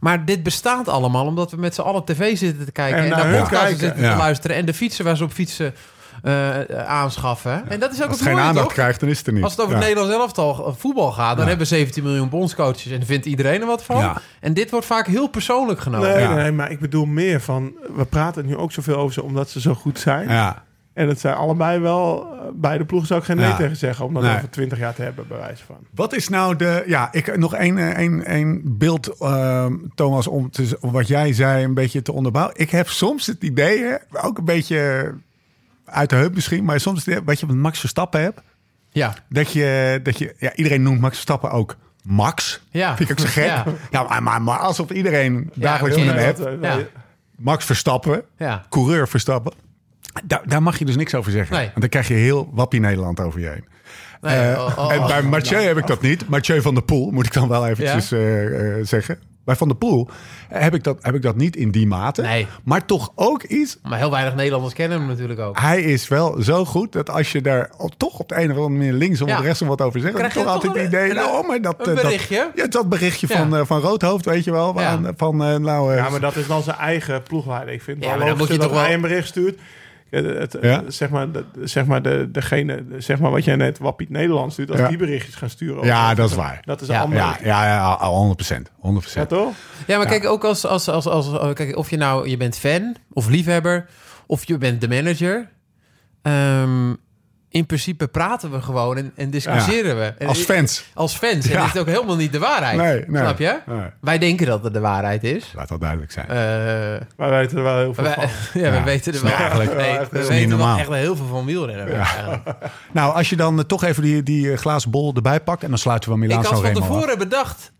D: Maar dit bestaat allemaal omdat we met z'n allen tv zitten te kijken
C: En
D: en,
C: naar
D: naar
C: hun
D: podcasts
C: kijken.
D: zitten
A: Ja.
D: te luisteren en de fietsen waar ze op fietsen eh, eh, aanschaffen. En dat is
A: als
D: ook het
A: het geen
D: mooie,
A: aandacht
D: toch?
A: krijgt, dan is het er niet.
D: Als het over het
A: Ja.
D: Nederlands elftal eh, voetbal gaat, dan
A: Ja.
D: hebben we 17 miljoen bondscoaches en vindt iedereen er wat van.
A: Ja.
D: En dit wordt vaak heel persoonlijk genomen.
C: Nee,
A: Ja.
C: nee, maar ik bedoel meer van... We praten nu ook zoveel over ze omdat ze zo goed zijn.
A: Ja.
C: En het zijn allebei wel... eh, Beide ploegen zou ik geen nee
A: Ja.
C: tegen zeggen... om dat
A: Nee.
C: over twintig jaar te hebben, bij wijze van.
A: Wat is nou de. Ja, ik nog één een, een, beeld, ehm, Thomas, om, te, om wat jij zei een beetje te onderbouwen. Ik heb soms het idee, hè, ook een beetje uit de heup misschien, maar soms het idee, wat je met Max Verstappen hebt.
D: Ja.
A: Dat je, dat je ja, iedereen noemt Max Verstappen ook Max.
D: Ja.
A: Vind ik ook zo gek. Ja,
D: Ja.
A: maar, maar, maar alsof iedereen dagelijks
D: heel
A: met hem
D: erg.
A: hebt.
C: Dat, eh,
D: Ja.
C: wij-
A: Max Verstappen,
D: Ja.
A: coureur Verstappen. Daar, daar mag je dus niks over zeggen.
D: Nee.
A: Want dan krijg je heel wappie Nederland over je heen.
D: Nee,
A: Eh,
D: oh, oh,
A: en
D: oh.
A: bij Mathieu heb ik dat niet. Mathieu van der Poel, moet ik dan wel eventjes
D: Ja.
A: eh, eh, zeggen. Bij Van der Poel heb ik, dat, heb ik dat niet in die mate.
D: Nee.
A: Maar toch ook iets.
D: Maar heel weinig Nederlanders kennen hem natuurlijk ook.
A: Hij is wel zo goed dat als je daar op- toch op de een of andere manier linksom
D: Ja.
A: of rechtsom wat over zegt, dan
D: Krijg je
A: toch
D: toch
A: altijd het
D: een-
A: idee.
D: een-
A: nou, maar dat,
D: een
A: eh, dat-
D: berichtje?
A: ja, dat berichtje van,
D: Ja.
A: eh, van Roodhoofd, weet je wel.
D: Ja.
A: Van, van eh, nou, eh,
C: Ja, maar dat is dan zijn eigen ploegleider. Ik vind het
D: Ja,
C: wel
D: maar dan
C: logisch
D: moet je
C: dat
D: toch
C: hij
D: wel-
C: een bericht stuurt. Ja, het- het-
A: Ja.
C: Zeg maar, de, zeg maar, de, degene, zeg maar wat jij net Wappiet Nederland stuurt... als
A: Ja.
C: die berichtjes gaan sturen... over-
A: ja, dat is waar.
C: Dat is
D: Ja.
C: anders.
A: Ja,
C: Ja,
A: ja, ja, 100%. 100%.
C: toch?
D: Ja, maar kijk, ook als, als, als, als, eh, kijk, of je nou je bent fan of liefhebber of je bent de manager. ehm, in principe praten we gewoon en, en discussiëren we. En-
A: Als fans.
D: Als fans. En
A: Ja.
D: dat is ook helemaal niet de waarheid.
A: Nee, nee.
D: Snap je?
A: Nee.
D: Wij denken dat het de waarheid is.
A: Laat dat duidelijk zijn.
D: Eh
C: Wij weten er wel heel veel
D: wij-
C: van.
D: ja, we
A: Ja,
D: weten er
A: is
D: wel
A: niet eigenlijk-
D: nee,
C: Ja,
D: we
C: echt
D: weten
A: niet
D: wel
A: normaal.
D: echt wel heel veel van wielrennen. eigenlijk.
A: Nou, als je dan eh, toch even die, die eh, glazen bol erbij pakt... en dan sluiten we Milaan
D: Ik had
A: San
D: van
A: Remo af.
D: tevoren bedacht.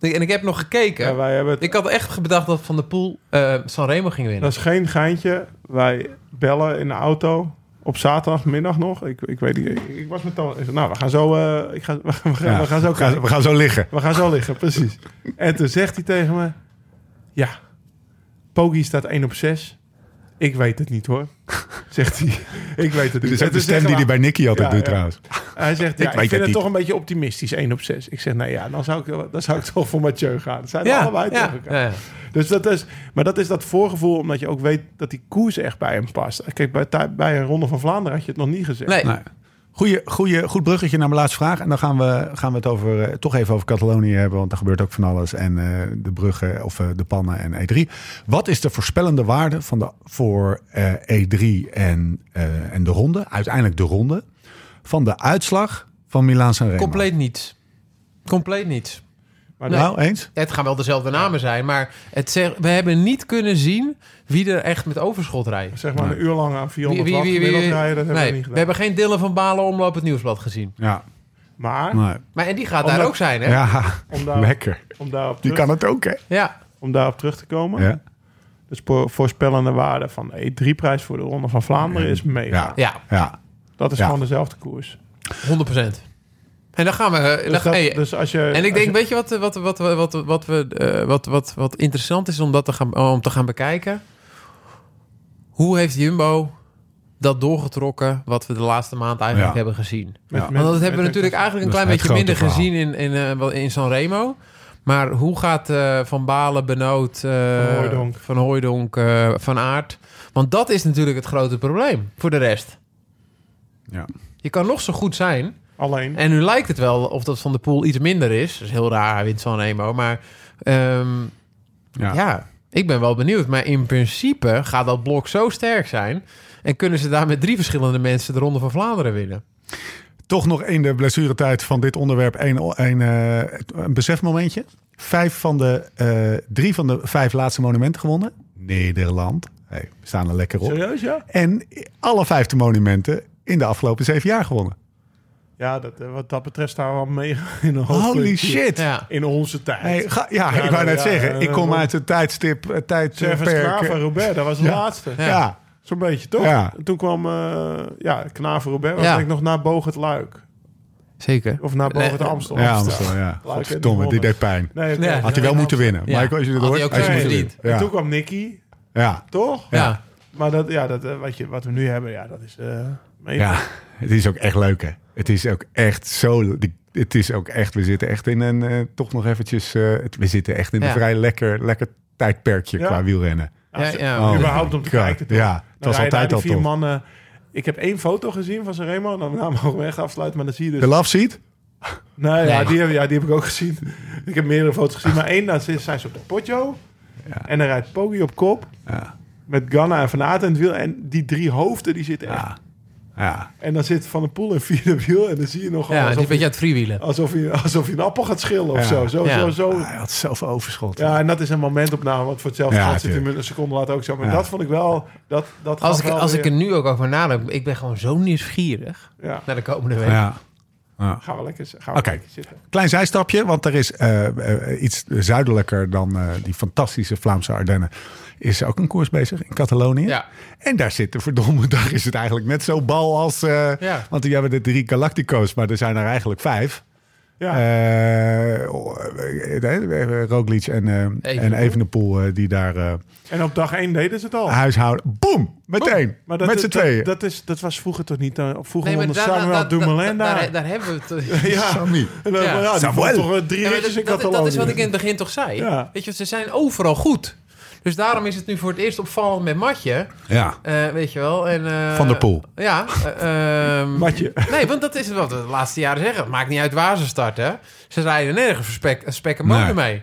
D: En ik heb nog gekeken.
C: Ja, wij hebben het-
D: Ik had echt bedacht dat Van der Poel eh Sanremo ging winnen.
C: Dat is geen geintje. Wij bellen in de auto op zaterdagmiddag nog. Ik, ik weet niet. Ik, ik was met Toon. ik zei, Nou, we gaan zo. eh, ik ga, we, gaan, we gaan-
A: Ja,
C: we gaan zo.
A: we, gaan, we gaan zo liggen.
C: We gaan zo liggen, precies. En toen zegt hij tegen me: Ja, Pogi staat 1 op 6. Ik weet het niet hoor. Zegt hij. Ik weet het
A: Dit
C: niet.
A: is ook
C: En
A: de
C: toen
A: stem
C: zeggen
A: die
C: we-
A: hij bij Nicky altijd
C: Ja,
A: doet
C: ja.
A: trouwens.
C: Hij zegt: ja,
A: weet
C: Ik,
A: het
C: vind het
A: niet.
C: toch een beetje optimistisch, 1 op 6. Ik zeg: Nou ja, dan zou ik, wel- dan zou ik toch voor Mathieu gaan. Dat zijn we allebei tegen elkaar.
D: ja.
C: Dus dat is, maar dat is dat voorgevoel, omdat je ook weet dat die koers echt bij hem past. Kijk, bij, tij- bij een Ronde van Vlaanderen had je het nog niet gezegd.
D: Nee.
A: Nee. Nou, Goeie, goeie, goed bruggetje naar mijn laatste vraag. En dan gaan we, gaan we het over, eh, toch even over Catalonië hebben. Want daar gebeurt ook van alles. En eh, de bruggen of eh, de pannen en E3. Wat is de voorspellende waarde van de, voor eh, E3 en, eh, en de ronde? Uiteindelijk de ronde. Van de uitslag van Milaan Sanremo.
D: Compleet niets. Compleet niets.
C: Maar dat-
A: Nou, eens?
D: Het gaan wel dezelfde namen zijn, maar het zeg, we hebben niet kunnen zien wie er echt met overschot rijdt.
C: zeg maar
A: Nee.
C: een uur lang aan
D: Wie,
C: 400
D: wie,
C: watt
D: wie, wie-
C: gemiddeld rijden, dat hebben
D: nee,
C: we niet gedaan.
D: hebben geen Dillen van Balen omloop het nieuwsblad gezien.
A: Ja.
C: Maar
A: Nee.
D: Maar en die gaat daar
C: Omdat-
D: ook zijn, hè? Ja.
A: Ja,
C: om, daar,
A: lekker.
C: om, daarop
A: Die
C: terug,
A: kan het ook, hè?
C: om daarop terug te komen,
A: Ja.
C: de spoor- Dus voorspellende waarde van de E3-prijs voor de Ronde van Vlaanderen is mega.
A: Ja.
D: Ja,
A: Ja.
C: Dat is
A: Ja.
C: gewoon dezelfde koers.
D: 100%. En dan gaan we. eh,
C: Dus,
D: dan-
C: dat,
D: hey,
C: dus als je...
D: en
C: als
D: ik denk,
C: je-
D: weet je wat, eh, wat, wat, wat, wat, wat, we, eh, wat, wat, wat interessant is om, dat te gaan, om te gaan bekijken? Hoe heeft Jumbo dat doorgetrokken wat we de laatste maand eigenlijk
A: Ja.
D: hebben gezien?
C: met-
A: Ja.
C: met-
D: Want dat hebben we
C: met-
D: natuurlijk eigenlijk een
A: Dat is
D: klein beetje
A: het
D: minder
A: grote
D: gezien in, in, eh, wel in Sanremo. Maar hoe gaat eh, Van Balen, Benoot, eh,
C: Van Hooijdonk.
D: Van, Hooijdonk, eh, Van Aert... Want dat is natuurlijk het grote probleem voor de rest.
A: Ja.
D: Je kan nog zo goed zijn.
C: Alleen,
D: En nu lijkt het wel of dat Van de Poel iets minder is. Dat is heel raar, hij wint Sanremo. Maar ehm, ja.
A: Ja.
D: ik ben wel benieuwd. Maar in principe gaat dat blok zo sterk zijn... en kunnen ze daar met drie verschillende mensen de Ronde van Vlaanderen winnen.
A: Toch nog in de blessuretijd van dit onderwerp één- één, eh, een besefmomentje. Vijf van de, eh, drie van de vijf laatste monumenten gewonnen. Nederland. Hey, we staan er lekker op.
C: serieus ja?
A: En alle vijfde monumenten in de afgelopen zeven jaar gewonnen.
C: Ja, dat, eh, wat dat betreft staan we al mega in een
A: Holy
C: hoogtepuntje.
A: shit.
D: Ja.
C: In onze tijd.
A: Hey, ga- ja,
C: Ja,
A: ik wou
C: nou,
A: net
C: ja,
A: zeggen.
C: eh,
A: Ik kom
C: wat-
A: uit het tijdstip, eh,
C: Service
A: tijdperk.
C: Knaver
A: eh,
C: Robert, dat was de
A: Ja.
C: laatste.
D: Ja.
A: Ja,
C: Zo'n beetje toch?
A: Ja.
C: En Toen kwam eh ja, Knaver Robert, was
D: Ja.
C: denk ik nog naar Bogert Luik.
D: Zeker.
C: Of naar Bogert
D: Nee,
C: Amstel.
A: ja, Amstel, ja. Godverdomme, die deed pijn.
C: Nee, oké.
D: Ja.
A: Had hij wel moeten winnen.
D: Ja.
A: Michael, als je dit
D: Had hij
A: hoort.
D: ook
A: had je
D: kunnen
A: moeten
C: En toen
A: winnen.
C: kwam Nicky,
A: Ja. ja.
C: toch?
D: Ja.
C: Maar dat, ja, dat, eh, wat, je, wat we nu hebben, ja, dat is... eh, mega.
A: Ja, het is ook echt leuk, hè? Het is ook echt zo... die- Het is ook echt... We zitten echt in een... eh, toch nog eventjes... eh, het- we zitten echt in een
D: Ja.
A: vrij lekker, lekker tijdperkje
C: Ja.
A: qua wielrennen.
D: Ja, ja.
A: Oh.
C: Überhaupt om te
A: God.
C: kijken. toch?
A: Ja,
C: Dan
A: het was
C: rij je daar
A: altijd
C: die
A: al
C: vier
A: tof.
C: mannen... Ik heb één foto gezien van Sanremo, en dan namen we ook weg afsluiten, maar dan zie je dus...
A: De love seat?
C: Nee, Ja,
D: Nee.
C: die, heb- ja, die heb ik ook gezien. Ik heb meerdere foto's gezien. Maar één, dan zit- zijn ze op de potjo.
A: Ja.
C: En dan rijdt Poggi op kop.
A: Ja.
C: Met Ganna en Van Aert in het wiel. En die drie hoofden, die zitten echt.
A: Ja. ja.
C: En dan zit Van der Poel in vierde wiel. En dan zie je nog
D: Ja, die
C: alsof,
D: een beetje
C: je,
D: aan het freewheelen.
C: alsof, je, alsof je een appel gaat schillen of
A: Ja.
C: zo. Zo,
D: Ja.
C: zo, zo.
A: Hij had zoveel overschot.
C: Oh. Ja, en dat is een momentopname. Want voor hetzelfde
A: Ja,
C: geld zit hij
A: tuurlijk.
C: een seconde later ook zo. Maar
A: Ja.
C: dat vond ik wel... Dat, dat
D: Als
C: gaf
D: ik,
C: wel
D: als ik er
C: weer-
D: nu ook over nadenk, ik ben gewoon zo nieuwsgierig
C: Ja,
D: naar de komende week.
A: Ja.
C: gaan we lekker, gaan we
A: Oké.
C: lekker zitten.
A: Klein zijstapje, want er is eh, eh, iets zuidelijker dan eh, die fantastische Vlaamse Ardennen. Is ook een koers bezig in Catalonië.
D: Ja.
A: En daar zit de verdomme dag is het eigenlijk net zo bal als... eh,
D: Ja.
A: Want die hebben de drie Galactico's, maar er zijn er eigenlijk vijf.
C: Ja.
A: Eh, oh, eh, eh, Roglic en, eh en Evenepoel eh, die daar eh
C: en op dag één deden ze het al.
A: huishouden. Boom! Meteen!
C: Maar dat,
A: met z'n
C: dat-
A: tweeën.
C: Dat, is, dat was vroeger toch niet? eh, Vroeger onder
D: daar-
C: Samuel
D: daar-
C: Dumoulin
D: daar-
C: daar.
D: daar- daar hebben we het.
C: ja.
A: Sammy.
C: En dan-
D: Ja.
C: ja, die
A: Samuel.
C: vond toch eh, drie
D: Ja, maar
C: ritjes in
D: dat, dat, dat
C: Catalonië.
D: is wat ik in het begin toch zei.
C: Ja.
D: Weet je, ze zijn overal goed. Dus daarom is het nu voor het eerst opvallend met Matje.
A: Ja.
D: eh, weet je wel. En, eh,
A: Van der Poel.
D: Ja. eh, ehm,
C: Matje.
D: nee, want dat is wat we de laatste jaren zeggen. Het maakt niet uit waar ze starten. Ze rijden nergens spek, spekken motor
A: Nee.
D: mee.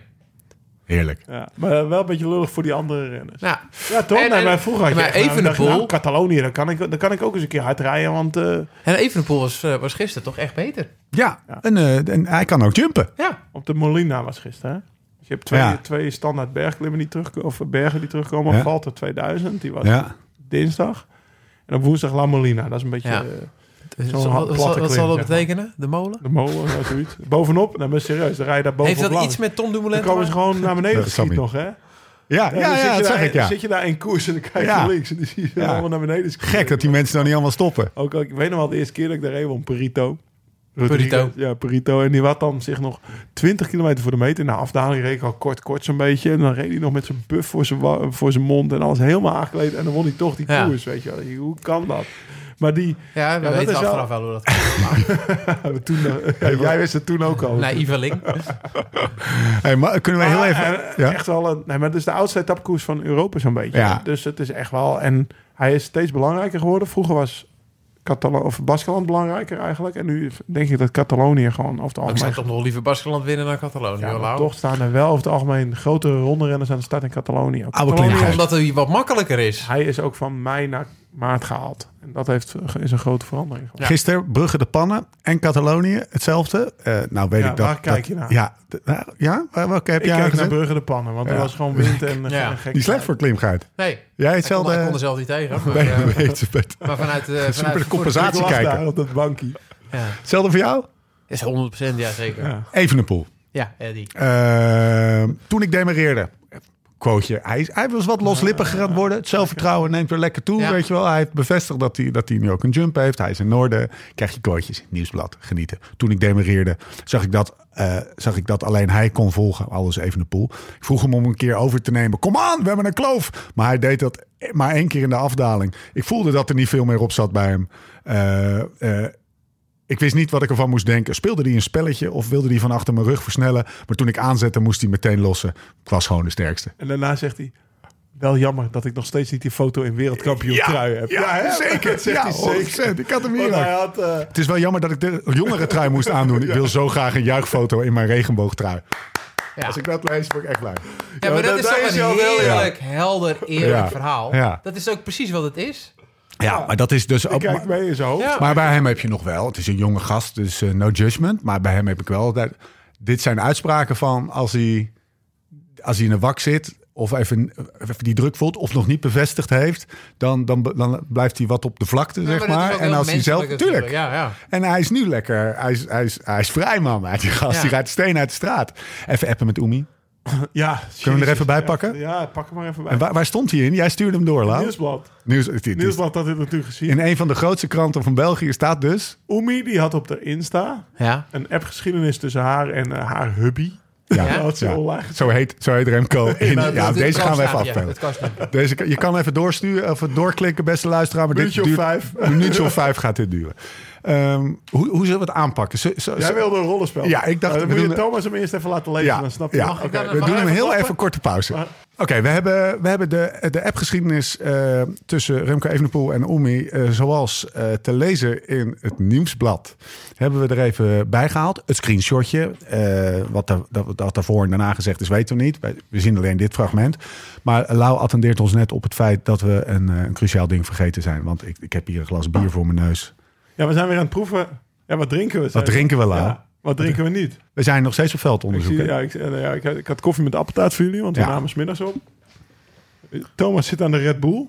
A: Heerlijk.
C: Ja, maar eh, wel een beetje lullig voor die andere renners.
D: Nou,
C: Ja, toch?
D: En-
C: nee,
D: en-
C: maar vroeger had je
D: maar
C: echt, nou, dan
D: even de
C: dacht je, nou,
D: pool.
C: Catalonië, dan kan, ik, dan kan ik ook eens een keer hard rijden, want... eh,
D: en Evenepoel was, eh, was gisteren toch echt beter.
A: Ja,
C: Ja.
A: En, eh, en hij kan ook jumpen.
D: Ja.
C: Op de Molina was gisteren. hè? Dus je hebt twee,
A: Ja.
C: twee standaard bergklimmen die terugkomen, of eh, bergen die terugkomen.
A: Ja.
C: Valt er 2000, die was
A: Ja.
C: dinsdag. En op woensdag La Molina, dat is een beetje
D: Ja.
C: eh,
D: Dus
C: Zo'n
D: wat- wat-
C: platte
D: wat, wat
C: klim,
D: zal dat
C: zeg maar.
D: betekenen? De molen?
C: de molen of zoiets. Bovenop, nou maar serieus, dan rij je daar bovenop
D: Heeft dat
C: langs.
D: iets met Tom
C: Dan
D: Dumoulin te
C: komen ze
D: maken?
C: gewoon naar beneden
A: Dat snap
C: geschiet
A: ik.
C: nog, hè? Ja,
A: Ja, ja,
C: dan
A: ja,
C: zit je
A: dat
C: daar-
A: zeg ik ja.
C: zit je daar in koers en dan kijk je
A: Ja.
C: links en dan zie je ze
A: Ja.
C: allemaal naar beneden schieten.
A: Gek dat die mensen dan niet allemaal stoppen.
C: Ook, ook- ik weet nog wel de eerste keer dat ik daar reed, won Perito.
D: Perito.
C: Ja, Perito. En die had dan zich nog 20 kilometer voor de meter. Na afdaling reed ik al kort, kort zo'n beetje. En dan reed hij nog met zijn buff voor zijn, wa- voor zijn mond en alles helemaal aangekleed. En dan won hij toch die
D: Ja.
C: koers, weet je wel. Hoe kan dat? Maar die...
D: Ja, we
C: dat is
D: weten
C: wel-
D: achteraf wel hoe dat gaat.
C: toen, eh, ja, jij wist het toen ook al.
D: Nee, Iva Link.
A: Hey, maar kunnen we heel
C: Maar,
A: even...
C: eh,
A: ja?
C: Echt wel een, nee, maar het is de oudste etappekoers van Europa zo'n beetje.
A: Ja.
C: Dus het is echt wel... En hij is steeds belangrijker geworden. Vroeger was... Catalan of Baskeland belangrijker eigenlijk. En nu denk ik dat Catalonië gewoon over het
D: Ik
C: algemeen
D: zou toch nog liever Baskeland winnen dan Catalonië.
C: Ja,
D: hoor,
C: maar
D: Lau.
C: toch staan er wel over het algemeen grotere rondrenners aan de start in Catalonië.
A: klimgeit.
C: Catalonië
D: Omdat hij wat makkelijker is.
C: hij is ook van mei naar maart gehaald. En dat heeft, is een grote verandering.
D: Ja.
A: Gisteren Brugge de Pannen en Catalonië hetzelfde. Eh, nou weet
C: Ja,
A: ik dat.
C: waar kijk
A: dat-
C: je naar?
A: Ja, d- nou, ja? Waar- welke heb
C: Ik
A: jij
C: kijk naar
A: gezet?
C: Brugge de Pannen, want er
A: Ja.
C: was gewoon wind en eh,
D: Ja.
C: geen gek.
A: Die is slecht voor klimgeit.
D: Nee,
A: Jij
D: hij kon, hij kon
A: hetzelfde...
D: er zelf niet tegen. Maar,
A: Nee,
D: eh,
A: weet het, weet het.
D: maar vanuit... eh, vanuit
A: Super de
C: Ik
A: compensatie
C: lag
A: kijken.
C: daar op dat bankje.
D: Ja,
A: Hetzelfde voor jou?
D: is 100% ja, zeker. Ja,
C: Ja.
A: Evenepoel.
D: Eddie.
A: Eh, toen ik demareerde. Quoteje. Hij, is- hij was wat loslippiger aan het worden. Het zelfvertrouwen neemt weer lekker toe.
D: Ja.
A: Weet je wel. Hij heeft bevestigd dat hij, dat hij nu ook een jump heeft. Hij is in Noorden. Krijg je quotejes. Nieuwsblad. Genieten. Toen ik demareerde zag ik dat, eh, zag ik dat alleen hij kon volgen. Alles even de poel. Ik vroeg hem om een keer over te nemen. Kom aan, we hebben een kloof. Maar hij deed dat maar één keer in de afdaling. Ik voelde dat er niet veel meer op zat bij hem. Eh, eh, ik wist niet wat ik ervan moest denken. Speelde hij een spelletje of wilde hij van achter mijn rug versnellen? Maar toen ik aanzette, moest hij meteen lossen. Ik was gewoon de sterkste.
C: En daarna zegt hij... Wel jammer dat ik nog steeds niet die foto in wereldkampioen trui heb.
A: ja,
C: hè?
A: zeker.
C: Dat zegt
A: Ja,
C: hij
A: 100%. Ik had hem hier
C: Want
A: ook.
C: hij had, eh,
A: Het is wel jammer dat ik de jongere trui moest aandoen. Ik wil zo graag een juichfoto in mijn regenboogtrui.
D: Ja.
A: Als ik dat lees, word ik echt blij.
D: Ja, maar dat,
C: dat-
D: is
C: dat
D: toch
C: is
D: een
C: wel heel-
D: heerlijk, helder, eerlijk
A: Ja.
D: verhaal.
A: Ja.
D: Dat is ook precies wat het is.
A: Ja, maar dat is dus ook...
C: Kijk mee in zijn hoofd.
D: Ja.
A: Maar bij hem heb je nog wel. Het is een jonge gast, dus eh, no judgment. Maar bij hem heb ik wel altijd. Dit zijn uitspraken van als hij, als hij in een wak zit. Of even, eh, even die druk voelt, of nog niet bevestigd heeft, dan, dan, be- dan blijft hij wat op de vlakte,
D: Ja,
A: zeg
D: dat is
A: maar.
D: ook
A: En
D: heel
A: als hij zelf.
D: menselijk
A: Tuurlijk.
D: natuurlijk. Ja, ja.
A: En hij is nu lekker. Hij is, hij is, hij is vrij, man. Hij, die gast,
D: Ja.
A: die rijdt steen uit de straat. Even appen met Oemi.
C: Ja,
A: Kunnen we er
C: jezus.
A: even bij
C: Ja,
A: pakken?
C: Ja, pak hem maar even bij.
A: En waar, waar stond hij in? Jij stuurde hem door, Lau.
C: Nieuwsblad.
A: Nieuws, het- het is-
C: Nieuwsblad had dit natuurlijk gezien.
A: in een van de grootste kranten van België staat dus.
C: Oemi die had op de Insta
D: Ja.
C: een appgeschiedenis tussen haar en eh, haar hubby.
A: Ja,
D: Ja?
C: Dat ze
A: ja.
C: online gezet.
A: Zo, heet, zo heet Remco. In,
D: Nou,
A: ja,
D: dat-
A: deze
D: dat
A: gaan we
D: kan
A: even
D: snappen, ja,
A: afpellen.
D: dat kan snappen.
A: Deze, kan- je kan even doorsturen of doorklikken, beste luisteraar. Maar
C: Minuutje
A: dit
C: of
A: duurt,
C: vijf.
A: Een minuutje of vijf gaat dit duren. Ehm, hoe, hoe zullen we het aanpakken? Zo- zo- zo-
C: Jij wilde een rollenspel.
A: Ja, ik dacht,
C: Nou,
A: we
C: dan moet je
A: doen-
C: Thomas hem eerst even laten lezen,
A: ja,
C: dan snap je.
A: ja.
C: Mag ik dan-
A: we
D: mag
A: doen
D: ik
A: hem
D: even
A: heel
D: klappen?
A: even korte pauze.
C: Maar-
A: Oké, we, hebben, we hebben de, de appgeschiedenis eh, tussen Remco Evenepoel en Oemi... eh, zoals eh, te lezen in het nieuwsblad, hebben we er even bij gehaald. Het screenshotje, eh, wat, daar, dat, dat daarvoor en daarna gezegd is, weten we niet. Wij- We zien alleen dit fragment. Maar Lau attendeert ons net op het feit dat we een, eh, een cruciaal ding vergeten zijn. Want ik, ik heb hier een glas bier voor mijn neus.
C: Ja, we zijn weer aan het proeven. Ja, wat drinken we?
A: Wat drinken we, Lau?
C: Ja, wat drinken we niet?
A: We zijn nog steeds op
C: Ik,
A: veldonderzoek.
C: zie,
A: hè?
C: ja, ik, eh, ja, ik, ik had koffie met appeltaart voor jullie, want we
A: Ja.
C: namen 's middags op. Thomas zit aan de Red Bull.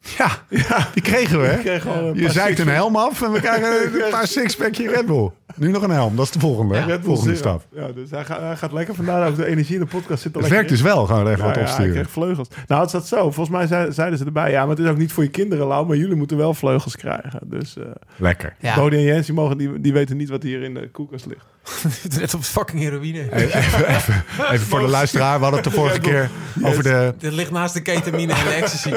A: Ja, die kregen we. hè?
C: Ik kreeg gewoon een
A: Je
C: paar
A: zeikt een
C: sixpacks.
A: helm af en we krijgen een paar sixpackje Red Bull. Nu nog een helm, dat is de volgende. hè?
C: Red Bull
A: volgende
C: Zero.
A: stap.
C: Ja, dus hij gaat, hij gaat lekker. Vandaar ook de energie in de podcast zit al
A: Het
C: lekker
A: werkt
C: in.
A: dus wel, gewoon even wat
C: ja, ja, ik
A: opsturen.
C: kreeg vleugels. Nou, het zat zo. Volgens mij zei- zeiden ze erbij. Ja, maar het is ook niet voor je kinderen, Lau. Maar jullie moeten wel vleugels krijgen. Dus eh
A: Lekker.
D: Ja.
C: Bodie en Jens, die, mogen, die, die weten niet wat hier in de koelkast ligt.
D: Net op fucking heroïne.
A: Even voor de luisteraar, we hadden het de vorige keer over de...
D: Dit ligt naast de ketamine en de ecstasy.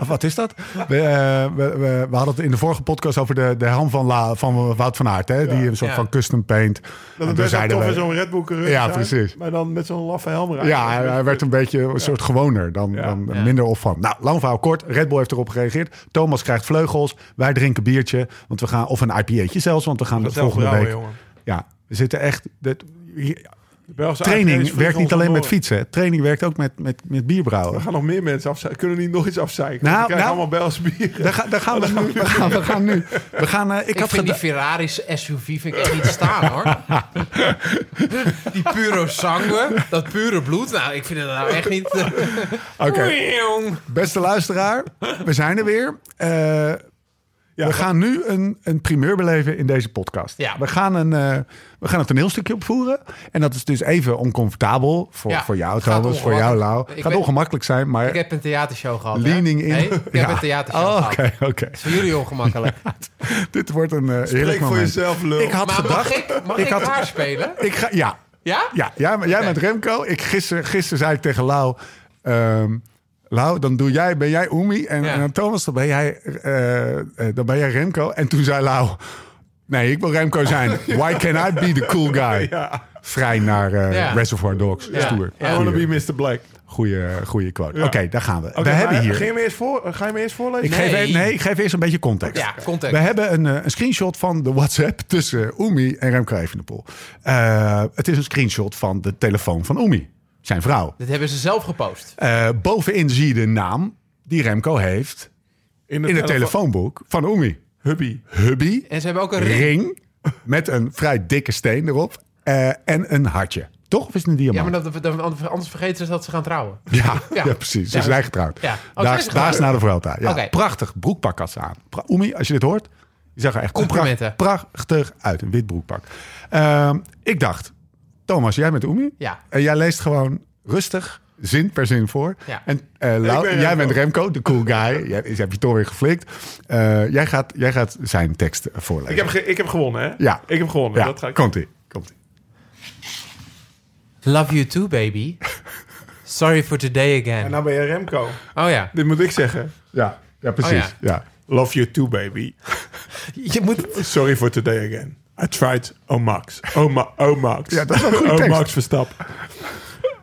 A: Of wat is dat? We, eh, we, we, we hadden het in de vorige podcast over de, de helm van, La, van Wout van Aert. Hè? Die een soort
D: Ja.
A: van custom paint.
C: Dat
A: En
C: het
A: toen
C: best wel
A: zeiden
C: tof
A: we-
C: is zo'n Red Bull coureur te
A: Ja,
C: zijn,
A: precies.
C: Maar dan met zo'n laffe helm rijden.
A: Ja, hij, hij werd een beetje een soort gewoner. Dan,
C: Ja.
A: dan
D: Ja.
A: minder opvang. Nou, lang verhaal kort. Red Bull heeft erop gereageerd. Thomas krijgt vleugels. Wij drinken biertje. Want we gaan, of een IPA'tje zelfs. Want we gaan de
C: zelf
A: volgende
C: brouwen,
A: week...
C: jongen.
A: Ja, we zitten echt... Dat, je-
C: De Belgische
A: Training
C: AK's
A: werkt
C: vliegen
A: niet
C: ons
A: alleen met
C: vandoor.
A: fietsen. hè. Training werkt ook met, met, met
C: Er
A: bierbrouwen.
C: gaan nog meer mensen afzeiken. Kunnen die nog iets afzeiken?
A: Nou,
C: Nou, krijgen
A: nou.
C: allemaal Belgische bieren.
A: Daar, ga- daar gaan we nu. We gaan, we gaan nu. We gaan, eh, ik,
D: Ik,
A: had
D: vind die
A: geda-
D: Ferrari's SUV vind ik echt niet staan, hoor. die puro sangue, dat pure bloed. Nou, ik vind het nou echt niet...
A: Oké, beste luisteraar, we zijn er weer. Eh,
C: Ja,
A: we gaan nu een, een primeur beleven in deze podcast.
D: Ja.
A: We, gaan een, eh, we gaan een toneelstukje opvoeren. En dat is dus even oncomfortabel voor,
D: Ja,
A: voor jou
D: gaat
A: trouwens, voor jou Lau.
D: ongemakkelijk.
A: Het
D: Ik
A: gaat
D: weet-
A: ongemakkelijk zijn, maar...
D: Ik heb een theatershow gehad. hè?
A: Leaning in.
D: Nee, ik heb
A: Ja.
D: een theatershow
A: Oh,
D: gehad.
A: Oké,
D: Het
A: oké.
D: is voor jullie ongemakkelijk.
A: Dit wordt een eh heerlijk
C: Spreek voor
A: moment.
C: jezelf, lul.
A: Ik had
D: maar mag
A: gedacht...
D: ik, mag
A: ik
D: ik,
A: had-
D: haar spelen?
A: Ik ga, ja,
D: Ja?
A: ja, jij, jij
D: Oké.
A: bent Remco. Ik, gisteren, gisteren zei ik tegen Lau... ehm, Lau, dan doe jij, ben jij Oemi. En,
D: Ja.
A: en aan Thomas, dan ben, jij, eh, eh, dan ben jij Remco. En toen zei Lau... Nee, ik wil Remco zijn. Why can I be the cool guy? Vrij naar eh,
D: Ja.
A: Reservoir Dogs.
D: Ja.
A: Stoer.
D: Ja.
C: I wanna
A: Goeie-
C: be Mr. Black.
A: Goeie, goeie quote.
C: Ja.
A: Oké, daar gaan we. we
C: Oké,
A: hebben
C: maar eh,
A: hier...
C: Ga je me eerst, voor, ga je me eerst voorlezen?
A: Ik,
D: Nee.
A: geef even, nee, ik geef eerst een beetje context.
D: Ja, context.
A: We hebben een, eh, een screenshot van de WhatsApp tussen eh, Oemi en Remco Evenepoel. Eh, het is een screenshot van de telefoon van Oemi, zijn vrouw.
D: Dit hebben ze zelf gepost.
A: Eh, bovenin zie je de naam die Remco heeft in het telefoonboek van Oemi.
C: Hubby.
A: Hubby,
D: En ze hebben ook een ring.
A: ring met een vrij dikke steen erop eh, en een hartje. Toch? Of is het een
D: Ja,
A: diamant?
D: maar dat, dat- anders vergeten ze dat ze gaan trouwen.
A: Ja, ja.
D: Ja.
A: precies. Ze
D: Ja.
A: zijn getrouwd.
D: Ja. Oh,
A: daar,
D: zijn ze
A: daar is
D: getrouwd?
A: na de Vuelta. Ja.
D: Oké.
A: Prachtig broekpak had ze aan. Pra- Oemi, als je dit hoort, je zag er echt
D: Complimenten.
A: pracht- prachtig uit. Een wit broekpak. Ehm, ik dacht, Thomas, jij bent Oemi.
D: Ja.
A: En jij leest gewoon rustig, zin per zin voor.
D: Ja.
A: En eh, Lau-
C: ben
A: jij
C: Remco.
A: bent Remco, de cool guy. jij, heb je toch weer geflikt. Eh, jij, gaat, jij gaat zijn tekst voorlezen.
C: Ik heb, ge- ik heb gewonnen, hè?
A: Ja.
C: Ik heb gewonnen.
A: ja,
C: Dat ga ik...
A: komt-ie. Komt-ie.
D: Love you too, baby. Sorry for today
C: En
D: again.
C: nou ben je Remco.
D: Oh ja.
C: Dit moet ik zeggen.
A: Ja, ja, precies.
D: Oh,
A: ja.
C: Love you too, baby.
D: Je moet...
C: Sorry for today again. I tried oh Max. Oh, Ma- oh Max.
A: Ja, dat is wel een goede
C: Oh
A: tekst.
C: Max Verstappen.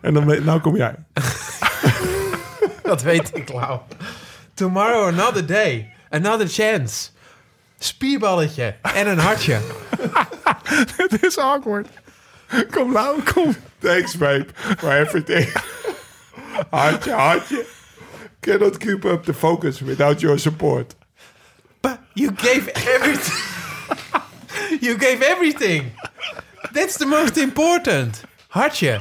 C: En dan weet- nou kom jij.
D: Dat weet ik, Lau. Tomorrow another day. Another chance. Spierballetje. En een hartje.
A: Het is awkward. Kom,
C: nou,
A: Lau, kom.
C: Thanks, babe, for everything. hartje, hartje. Cannot keep up the focus without your support.
D: But you gave everything. you gave everything. That's the most important. Hartje.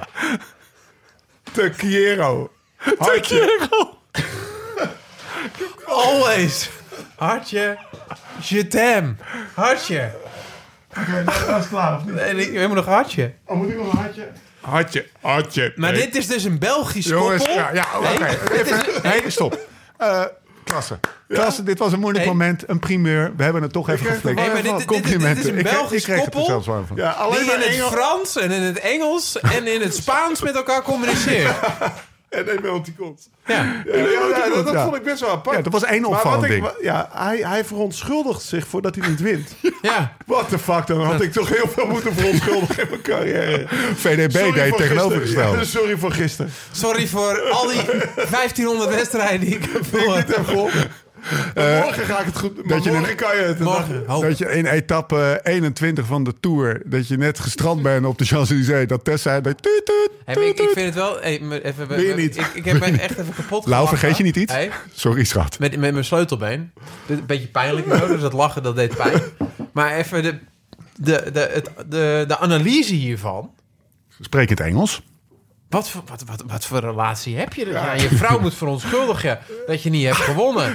C: Te Quiero. Hartje.
D: Always. Hartje. Je t'aime. Hartje.
C: Dat is klaar, of niet?
D: En ik heb nog hartje.
C: Oh, moet ik nog een hartje? Hartje, hartje.
D: Maar
C: babe.
D: dit is dus een Belgisch
A: Jongens,
D: koppel.
A: ja, ja oké. Even, nee, stop. Eh klasse. Klasse, dit was een moeilijk
D: Nee.
A: moment. Een primeur. We hebben het toch even
C: kreeg
A: geflikt.
C: er
D: Nee, maar dit- dit- dit- dit is een
A: Complimenten. Ik kreeg-
D: Belgisch
A: ik kreeg het
D: koppel.
A: er zelfs warm van.
C: Ja, alleen
D: die
C: maar
D: in het
C: Engel
D: Frans en in het Engels en in het Spaans met elkaar communiceert.
C: en emoticons.
D: Ja.
C: Ja, ja, ja, dat, dat
A: Ja.
C: vond ik best wel apart.
A: Ja, dat was één
C: Maar wat
A: opvallend
C: ik-
A: ding.
C: wa- Ja, hij, hij verontschuldigt zich voordat hij niet wint.
D: ja.
C: What the fuck, dan had ik toch heel veel moeten verontschuldigen in mijn carrière.
A: VDB
C: Sorry
A: deed
C: voor
A: tegenovergesteld.
C: gisteren. Ja, dus sorry voor gisteren.
D: Sorry voor al die 1500 wedstrijden die ik heb
C: Ik
D: voor.
C: heb gewonnen. Maar morgen ga ik het goed. Maar
A: dat je
C: morgen
A: een-
C: kan je het.
D: Morgen. Hoop.
A: Dat Eh, je in etappe 21 van de Tour... dat je net gestrand bent op de Champs-Élysées... dat Tess zei... Dat, tuut, tuut,
D: Hey, maar ik, ik
A: tuut,
D: vind het wel. hey, maar even,
C: Wil je niet?
D: Ik, ik heb me echt even kapot
A: Lau,
D: gelachen.
A: vergeet je niet iets?
D: Hey,
A: Sorry, schat.
D: met, met mijn sleutelbeen. Dit is Een beetje pijnlijk. zo, Dus dat lachen dat deed pijn. Maar even de, de, de, het, de, de analyse hiervan.
A: Spreek het Engels.
D: Wat voor, wat, wat, wat voor relatie heb je? er? Ja, je vrouw moet verontschuldigen dat je niet hebt gewonnen.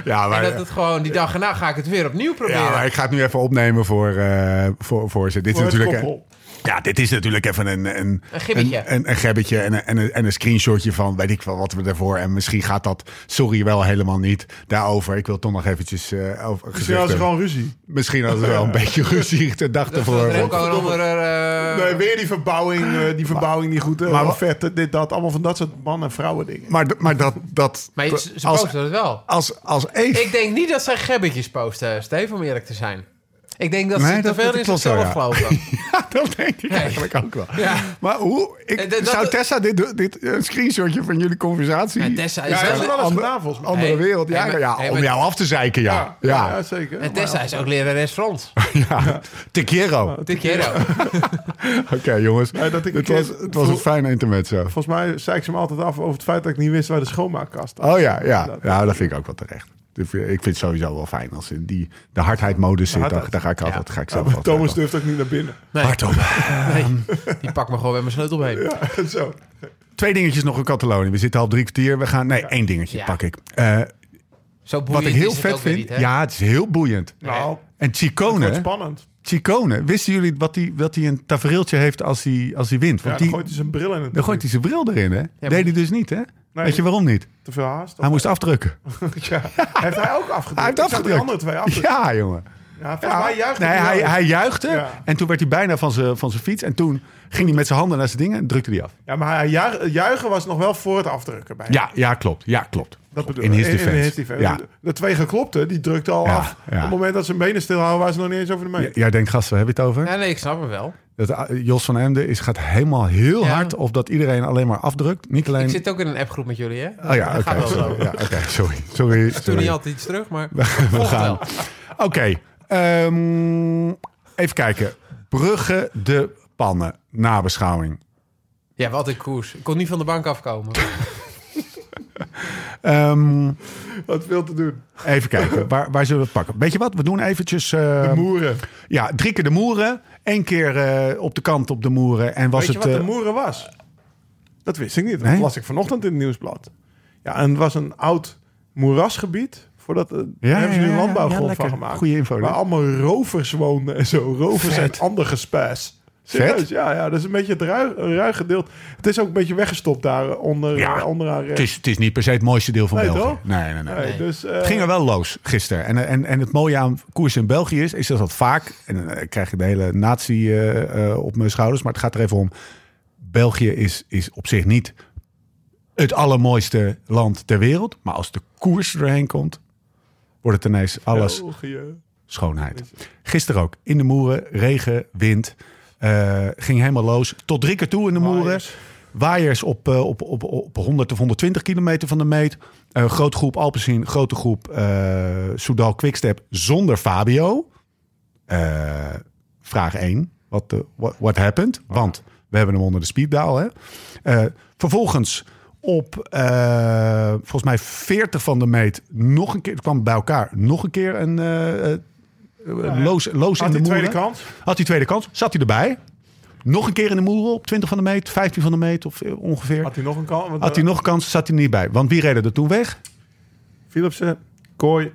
A: Ja, maar-
D: en dat het gewoon die dag erna ga ik het weer opnieuw proberen.
A: Ja, maar ik ga het nu even opnemen voor, eh, voor, voor ze. Dit is
C: Voor het
A: natuurlijk...
C: koppel.
A: Ja, dit is natuurlijk even een... Een,
D: Een gibbetje.
A: Een, een, een gibbetje en, een- en, een- en een screenshotje van weet ik wel wat we daarvoor... En misschien gaat dat, sorry, wel helemaal niet daarover. Ik wil toch nog eventjes... eh over,
C: Misschien
A: gezegd
C: was het
A: hebben.
C: gewoon ruzie.
A: Misschien hadden we wel een beetje ruzie de dag
D: Dat was
A: ervoor.
D: er ook
A: want-
D: al een andere, eh,
C: Nee, weer die verbouwing, eh, die verbouwing niet goed.
A: maar-
C: Maar vet, eh, dit, dat. Allemaal van dat soort man- en vrouwen dingen.
A: Maar, d- maar dat... dat
D: Maar ze, ze
A: als,
D: posten het wel.
A: als, als Eve...
D: Ik denk niet dat zij gebbetjes posten, Steve, om eerlijk te zijn. Ik denk dat
A: Nee,
D: ze te
A: dat-
D: veel
A: dat
D: in
A: klopt wel,
D: zichzelf
A: ja.
D: geloven.
A: Ja, dat denk ik
D: Nee.
A: eigenlijk ook wel.
D: Ja.
A: Maar hoe... Ik,
D: Eh, dat- dat-
A: zou Tessa dit, doen? dit eh, een screenshotje van jullie conversatie...
D: Ja, Tessa
A: Ja,
D: is wel-
A: dat
C: wel eens
A: ander-
C: gedaan volgens mij.
A: Andere
D: Hey,
A: wereld. Ja,
D: hey, maar-
A: ja,
D: hey,
A: om
D: maar-
A: jou af te zeiken, ja. Ja, ja.
C: zeker.
D: En Tessa is ook lerares Frans.
A: Te quiero.
D: Dit keer ook.
A: Oké, jongens.
C: Ja, dat ik
A: het,
C: een
A: was,
C: keer-
A: het was een
C: voel-
A: fijne intermezzo.
C: Volgens mij zei ik ze me altijd af over het feit dat ik niet wist waar de schoonmaakkast was.
A: Oh ja, ja. ja, dat vind ik ook wel terecht. Ik vind ik vind het sowieso wel fijn als in die, de hardheidmodus zit. Daar,
C: hardheid.
A: daar ga ik altijd, ga ik zelf altijd
C: Thomas
A: wel.
C: durft ook niet naar binnen.
D: Nee,
A: Hardop.
D: nee, die pak me gewoon weer mijn sleutel mee.
C: Zo.
A: Twee dingetjes nog in Catalonië. We zitten al drie kwartier. We gaan, nee, één dingetje
D: Ja.
A: pak ik. Eh,
D: Zo boeiend
A: wat ik heel
D: is het
A: vet
D: ook weer
A: vind.
D: niet, hè?
A: ja, het is heel boeiend.
C: Nou,
A: En
C: het wordt
A: Chicone,
C: spannend.
A: Chicone, wisten jullie wat hij wat die een tafereeltje heeft als hij als die wint?
C: Ja,
A: Want
C: dan
A: die,
C: gooit hij zijn bril in het
A: dan gooit hij zijn bril erin, hè?
D: maar-
A: Deed hij dus niet, hè? Weet je waarom niet?
C: te veel haast.
A: Hij moest afdrukken.
C: Ja. Heeft hij ook afgedrukt?
A: Hij heeft
C: Ik zag
A: afgedrukt.
C: De andere twee afgedrukt.
A: Ja, jongen.
C: Ja, volgens mij juicht
A: Nee, hij, hij juichte
C: Ja.
A: en toen werd hij bijna van zijn van zijn fiets. En toen ging hij met zijn handen naar zijn dingen en drukte hij af.
C: Ja, maar hij ju- juichen was nog wel voor het afdrukken bij. hem.
A: Ja, ja klopt. Ja, klopt.
C: Dat bedoel
A: in
C: ik.
A: his defense.
C: his defense.
A: Ja.
C: De, de twee geklopten, die drukte al
A: Ja,
C: af.
A: ja.
C: Op het moment dat ze hun benen stilhouden, waren ze nog niet eens over de
A: J-
C: meet.
A: Jij denkt, gast, waar hebben we het over?
D: Ja, nee, ik snap hem wel.
A: Dat, eh, Jos van Emden is, gaat helemaal heel
D: Ja.
A: hard of dat iedereen alleen maar afdrukt. Niet alleen...
D: Ik zit ook in een appgroep met jullie, hè?
A: Oh ja,
D: Dat
A: oké.
D: gaat wel zo.
A: sorry. Ja, oké, sorry. Sorry.
D: Doe
A: sorry.
D: niet altijd iets terug, maar...
A: We
D: Volgt
A: gaan.
D: wel.
A: Oké. ehm, even kijken. Brugge de pannen. Nabeschouwing.
D: Ja, wat een koers. Ik kon niet van de bank afkomen.
A: Ehm,
C: Wat veel te doen.
A: even kijken. Waar, waar zullen we het pakken? Weet je wat? We doen eventjes... eh,
C: De moeren.
A: Ja, drie keer de moeren. Eén keer eh, op de kant op de moeren. En was
C: Weet je
A: het.
C: wat de
A: eh,
C: moeren was? Dat wist ik niet. Dat
A: Nee?
C: las ik vanochtend in het nieuwsblad. Ja, en het was een oud moerasgebied. Voordat, eh,
A: Ja,
C: daar hebben
A: ja,
C: ze nu
A: ja, ja,
C: landbouwgrond
A: ja, lekker.
C: van gemaakt.
A: Goeie info,
C: Waar
A: dit.
C: allemaal rovers woonden en zo. Rovers en ander gespuis. Serieus, ja, ja. Dat is een beetje het ruig, ruig gedeelte. Het is ook een beetje weggestopt daar onder,
A: Ja,
C: onderaan
A: het,
C: rechts.
A: is, het is niet per se het mooiste deel van
C: Nee,
A: België.
C: toch?
A: Nee, nee, nee.
C: Nee, dus, eh,
A: Het ging er wel los gisteren. En, en, en het mooie aan koers in België is, is dat dat vaak... en dan eh, krijg ik de hele natie eh, eh, op mijn schouders... maar het gaat er even om... België is, is op zich niet het allermooiste land ter wereld... maar als de koers er doorheen komt, wordt het ineens alles
C: België.
A: schoonheid. Gisteren ook. In de moeren, regen, wind. Eh, ging helemaal los. Tot drie keer toe
C: Oh,
A: in de moeren.
C: Waaiers.
A: Waaiers op, eh, op, op, op 100 of 120 kilometer van de meet. Een grote groep Alpecin, grote groep eh Soudal Quickstep zonder Fabio. Eh, vraag 1. Wat de- what- what happened?
C: Oh.
A: Want we hebben hem onder de speeddaal. Hè? Eh, vervolgens op eh, volgens mij 40 van de meet nog een keer. Het kwam bij elkaar nog een keer een eh, eh, loos, loos in
C: Had
A: de
C: die
A: moeren.
C: tweede kans?
A: Had hij tweede kans. Zat hij erbij. Nog een keer in de moeren op 20 van de meet, 15 van de meet of eh, ongeveer.
C: Had hij nog een kans? Want,
A: Had hij
C: eh,
A: nog een kans, zat hij er niet bij. Want wie reden er toen weg?
C: Philipsen, Kooi,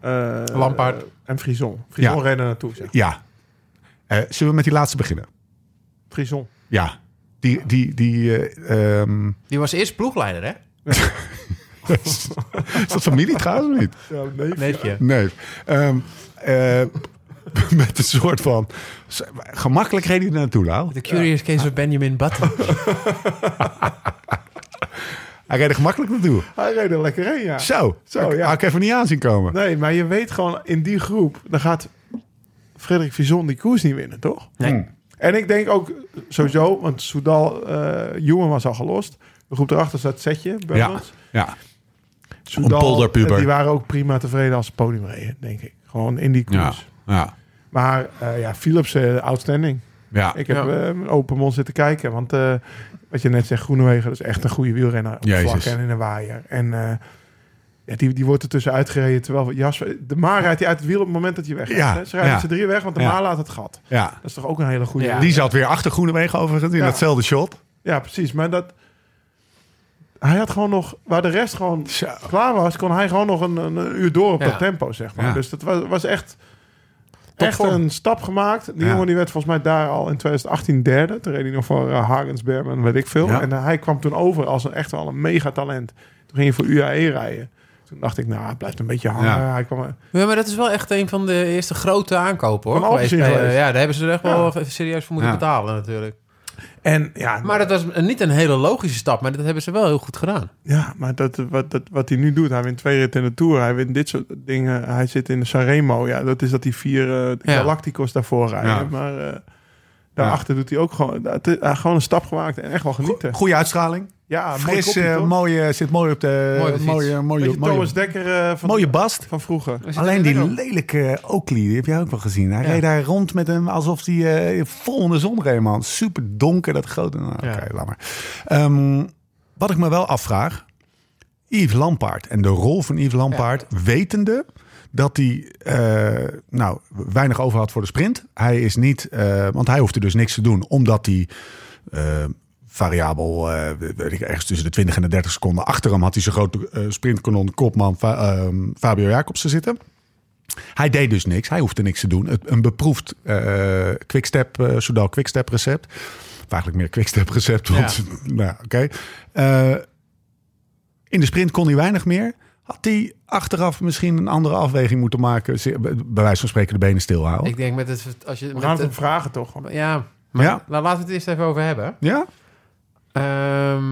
C: eh,
D: Lampaard.
C: eh, en Frison. Frison
A: Ja.
C: rennen naartoe. Zeg.
A: Ja. Eh, zullen we met die laatste beginnen?
C: Frison.
A: Ja. Die, die, die, eh, ehm,
D: Die was eerst ploegleider, hè?
A: is dat familie trouwens of niet?
C: Ja, nee,
D: Neefje.
A: Nee. Ehm, eh, met een soort van... Gemakkelijk reden hij er naartoe, Lau.
D: The Curious Case of Benjamin Button.
A: Hij reed er gemakkelijk naartoe.
C: Hij reed er lekker heen, ja.
A: Zo.
C: Zo, ja.
A: Had ik even niet aan zien komen.
C: Nee, maar je weet gewoon, in die groep, dan gaat Frederik Vizon die koers niet winnen, toch?
D: Nee.
C: En ik denk ook sowieso, want Soudal, eh Jongen was al gelost. De groep erachter staat Setje,
A: Ja.
C: Bernards.
A: ja.
C: Soudal,
A: Een polderpuber.
C: eh, Die waren ook prima tevreden als ze podium reden, denk ik. Gewoon in die
A: Ja.
C: koers.
A: Ja.
C: Maar eh, ja, Philips, eh, outstanding.
A: Ja.
C: Ik heb
D: Ja.
C: eh, met open mond zitten kijken. Want eh, wat je net zegt, Groenewegen dat is echt een goede wielrenner. Op
A: Jezus.
C: vlak en in een waaier. En eh, ja, die, die wordt er tussen uitgereden. Terwijl Jasper, de Maar rijdt hij uit het wiel op het moment dat je weg gaat.
A: Ja,
C: hè. Ze rijden
A: ja.
C: ze drie weg, want de
A: Ja.
C: Maar laat het gat.
A: ja.
C: Dat is toch ook een hele goede...
D: Ja.
C: Ja,
A: Die zat weer achter Groenewegen overigens in
C: Ja.
A: datzelfde shot.
C: precies. Maar dat... Hij had gewoon nog... Waar de rest gewoon klaar was, kon hij gewoon nog een, een, een uur door op
D: Ja.
C: dat tempo, zeg maar.
A: Ja.
C: Dus dat was, was echt... Echt
D: Topvorm.
C: een stap gemaakt. Die
A: Ja.
C: jongen die werd volgens mij daar al in 2018 derde. Toen reed hij nog voor eh, Hargens Berman, weet ik veel.
A: Ja.
C: En eh, hij kwam toen over als een, echt wel een megatalent. Toen ging hij voor UAE rijden. Toen dacht ik, nou, hij blijft een beetje hangen.
A: Ja.
C: Hij kwam,
D: Ja, maar dat is wel echt een van de eerste grote aankopen, hoor.
C: Van Alpecin
D: Bij, eh,
C: geweest.
D: Ja, daar hebben ze er echt
C: Ja.
D: wel even serieus voor moeten
A: Ja.
D: betalen, natuurlijk.
C: En ja,
D: Maar dat was niet een hele logische stap, maar dat hebben ze wel heel goed gedaan.
C: ja, maar dat, wat, dat, wat hij nu doet, hij wint twee ritten in de Tour. Hij wint dit soort dingen. Hij zit in de Sanremo. Ja, dat is dat die vier eh,
D: Ja.
C: Galacticos daarvoor rijden.
A: Ja.
C: Maar eh, daarachter doet hij ook gewoon, dat, is- hij gewoon een stap gemaakt en echt wel genieten.
A: Goede uitstraling.
C: ja, mooi
A: Fris,
C: kopje,
A: eh,
C: toch?
A: mooie, zit mooi op de...
D: Mooi op de fiets.
A: mooie, mooie,
C: Beetje
A: mooie,
C: Thomas Dekker eh, van,
A: mooie bast.
C: van vroeger.
A: Alleen die lelijke Oakley, die heb jij ook wel gezien. Hij
D: Ja.
A: reed daar rond met hem alsof hij eh, vol onder zon reed, man. Super donker, dat grote... Nou, Oké,
D: Ja.
A: laat maar. Ehm, wat ik me wel afvraag... Yves Lampaard en de rol van Yves Lampaard, wetende dat hij eh, nou, weinig over had voor de sprint. Hij is niet, eh, want hij hoefde dus niks te doen, omdat hij eh, variabel, eh, weet ik, ergens tussen de 20 en de 30 seconden achter hem had hij zijn grote eh, sprintkanon kopman Fa- ehm, Fabio Jacobsen zitten. Hij deed dus niks. Hij hoefde niks te doen. Het- Een beproefd eh quickstep, eh Soudal quickstep recept. Of eigenlijk meer quickstep recept. Want, nou ja, oké. Eh, in de sprint kon hij weinig meer. Had hij achteraf misschien een andere afweging moeten maken? Ze- Bij wijze van spreken de benen stilhouden.
D: Ik denk met het... Als je,
C: We
D: met
C: gaan het hem
D: het-
C: vragen toch?
D: ja, maar
A: Ja.
D: nou, laten we het eerst even over hebben.
A: Ja?
D: Ehm,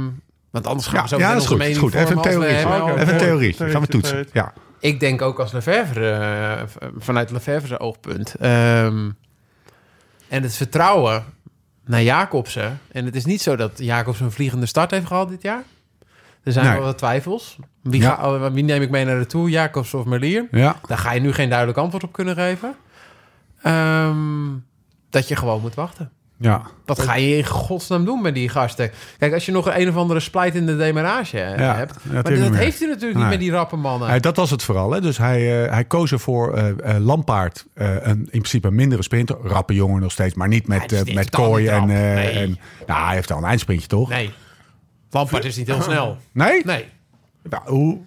D: want anders gaan
A: Ja,
D: we zo
A: ja,
D: meteen
A: dat is
D: onze
A: goed. is
D: mening
A: goed. Even een
D: vormen als we
A: theorie.
D: hebben
C: Oké.
D: over-
A: Even een theorie.
C: Theorie,
A: Gaan we toetsen.
C: theorie.
A: Ja.
D: Ik denk ook als Lefevre, eh, v- vanuit Lefevre zijn oogpunt. Ehm, en het vertrouwen naar Jacobsen. En het is niet zo dat Jacobsen een vliegende start heeft gehad dit jaar. Er zijn
A: Nee.
D: wel wat twijfels. Wie,
A: Ja.
D: ga- oh, wie neem ik mee naar de Tour, Jacobsen of Merlier?
A: Ja.
D: Daar ga je nu geen duidelijk antwoord op kunnen geven. Ehm, dat je gewoon moet wachten.
A: Ja.
D: Wat ga je in godsnaam doen met die gasten? Kijk, als je nog een of andere splijt in de demarage eh,
A: Ja,
D: hebt.
A: dat
D: Maar
A: heb je niet
D: dat
A: meer.
D: heeft hij natuurlijk
A: Nee.
D: niet met die rappe mannen.
A: Hij- dat was het vooral. Hè? Dus hij, eh, hij koos ervoor eh eh, Lampaard. eh, een, in principe een mindere sprinter. Rappe jongen nog steeds. Maar niet met,
D: Hij is
A: eh,
D: niet-
A: met
D: totaal
A: kooi
D: niet
A: en,
D: rap.
A: eh,
D: Nee.
A: en... Nou, hij heeft al een eindsprintje, toch?
D: Nee. Lampard is niet heel snel.
A: Nee?
D: Nee.
A: Nou, hoe?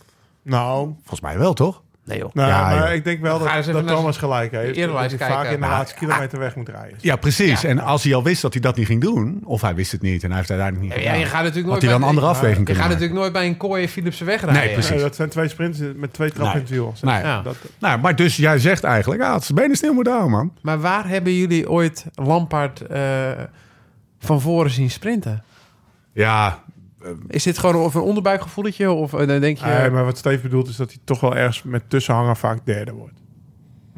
C: Nou,
A: Volgens mij wel, toch?
D: Nee joh.
C: nou
A: Ja,
C: maar
A: joh.
C: ik denk wel
D: Ga
C: dat,
D: eens even
C: dat
D: naar
C: Thomas gelijk heeft. Dat
D: eerlijst
C: hij
D: kijken.
C: vaak in de
D: Nou,
C: laatste kilometer weg moet rijden.
A: Ja, precies. En als hij al wist dat hij dat niet ging doen, of hij wist het niet en hij heeft het uiteindelijk niet
D: Ja,
A: gedaan,
D: je gaat natuurlijk
A: had
D: nooit
A: hij dan een
D: bij-
A: andere afweging
D: Je
A: kunnen
D: gaat
A: maken.
D: natuurlijk nooit bij een kooi en Philipsen wegrijden.
A: Nee, precies.
C: Nee, dat zijn twee sprints met twee trappen in het wiel.
A: Nee.
C: Ja.
D: Ja.
C: Dat,
A: Nou, maar dus jij zegt eigenlijk, ah, het is benen stil moet houden, man.
D: Maar waar hebben jullie ooit Lampard eh, van voren zien sprinten?
A: Ja,
D: Is dit gewoon of een onderbuikgevoeletje? Of eh, dan denk je...
C: Eh, maar wat Steve bedoelt is dat hij toch wel ergens met tussenhanger vaak derde wordt.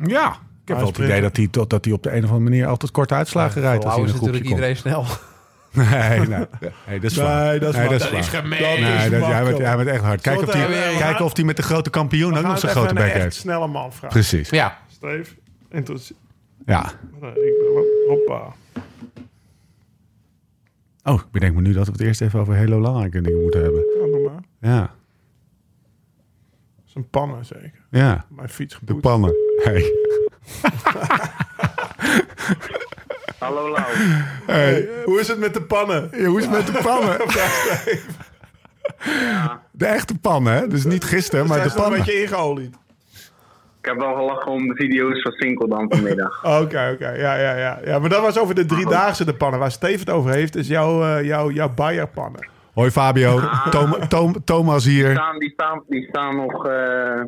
A: ja. Ik heb
C: hij
A: wel het
C: sprint-
A: idee dat hij, tot, dat hij op de een of andere manier altijd korte uitslagen rijdt. Als hij
D: Lauw
A: in
D: is
A: een groepje
D: natuurlijk
A: komt.
D: iedereen snel.
A: Nee, nee. nee, dat is waar.
C: Nee, dat is waar.
A: waar.
D: gemeen.
A: Nee, dat, hij, wordt, hij wordt echt hard. Kijk
C: Zo
A: of, die,
D: daar weer-
A: kijk of die met de grote kampioen ook nog
C: Gaan
A: zo'n
C: we
A: grote
C: even een
A: bek
C: echt
A: heeft.
C: snelle man vragen.
A: Precies.
D: Ja.
C: Steve, interesseert...
A: Ja.
C: Nee, ik ben- Hoppa.
A: Oh, ik bedenk me nu dat we het eerst even over hele belangrijke dingen moeten hebben.
C: Ja, doe maar.
A: Ja.
C: Zijn pannen zeker.
A: Ja.
C: Mijn fiets
A: De
C: geboet.
A: pannen. Hey.
E: Hallo Lau.
C: Hey, hoe is het met de pannen?
A: Ja, hoe is het met de pannen? De echte pannen, hè? Dus niet gisteren, maar
C: Zijn
A: de
C: ze nog een
A: pannen.
C: beetje ingeolied?
E: Ik heb wel gelachen om de video's van Sinkeldam vanmiddag.
C: Oké, oké. Ja, ja, ja, ja. Maar dat was over de driedaagse de pannen. Waar Steve het over heeft, is jouw, eh jouw, jouw Bayer pannen.
A: Hoi Fabio, Tom- Tom- Thomas
E: Die
A: hier.
E: staan, die staan, die staan nog, eh,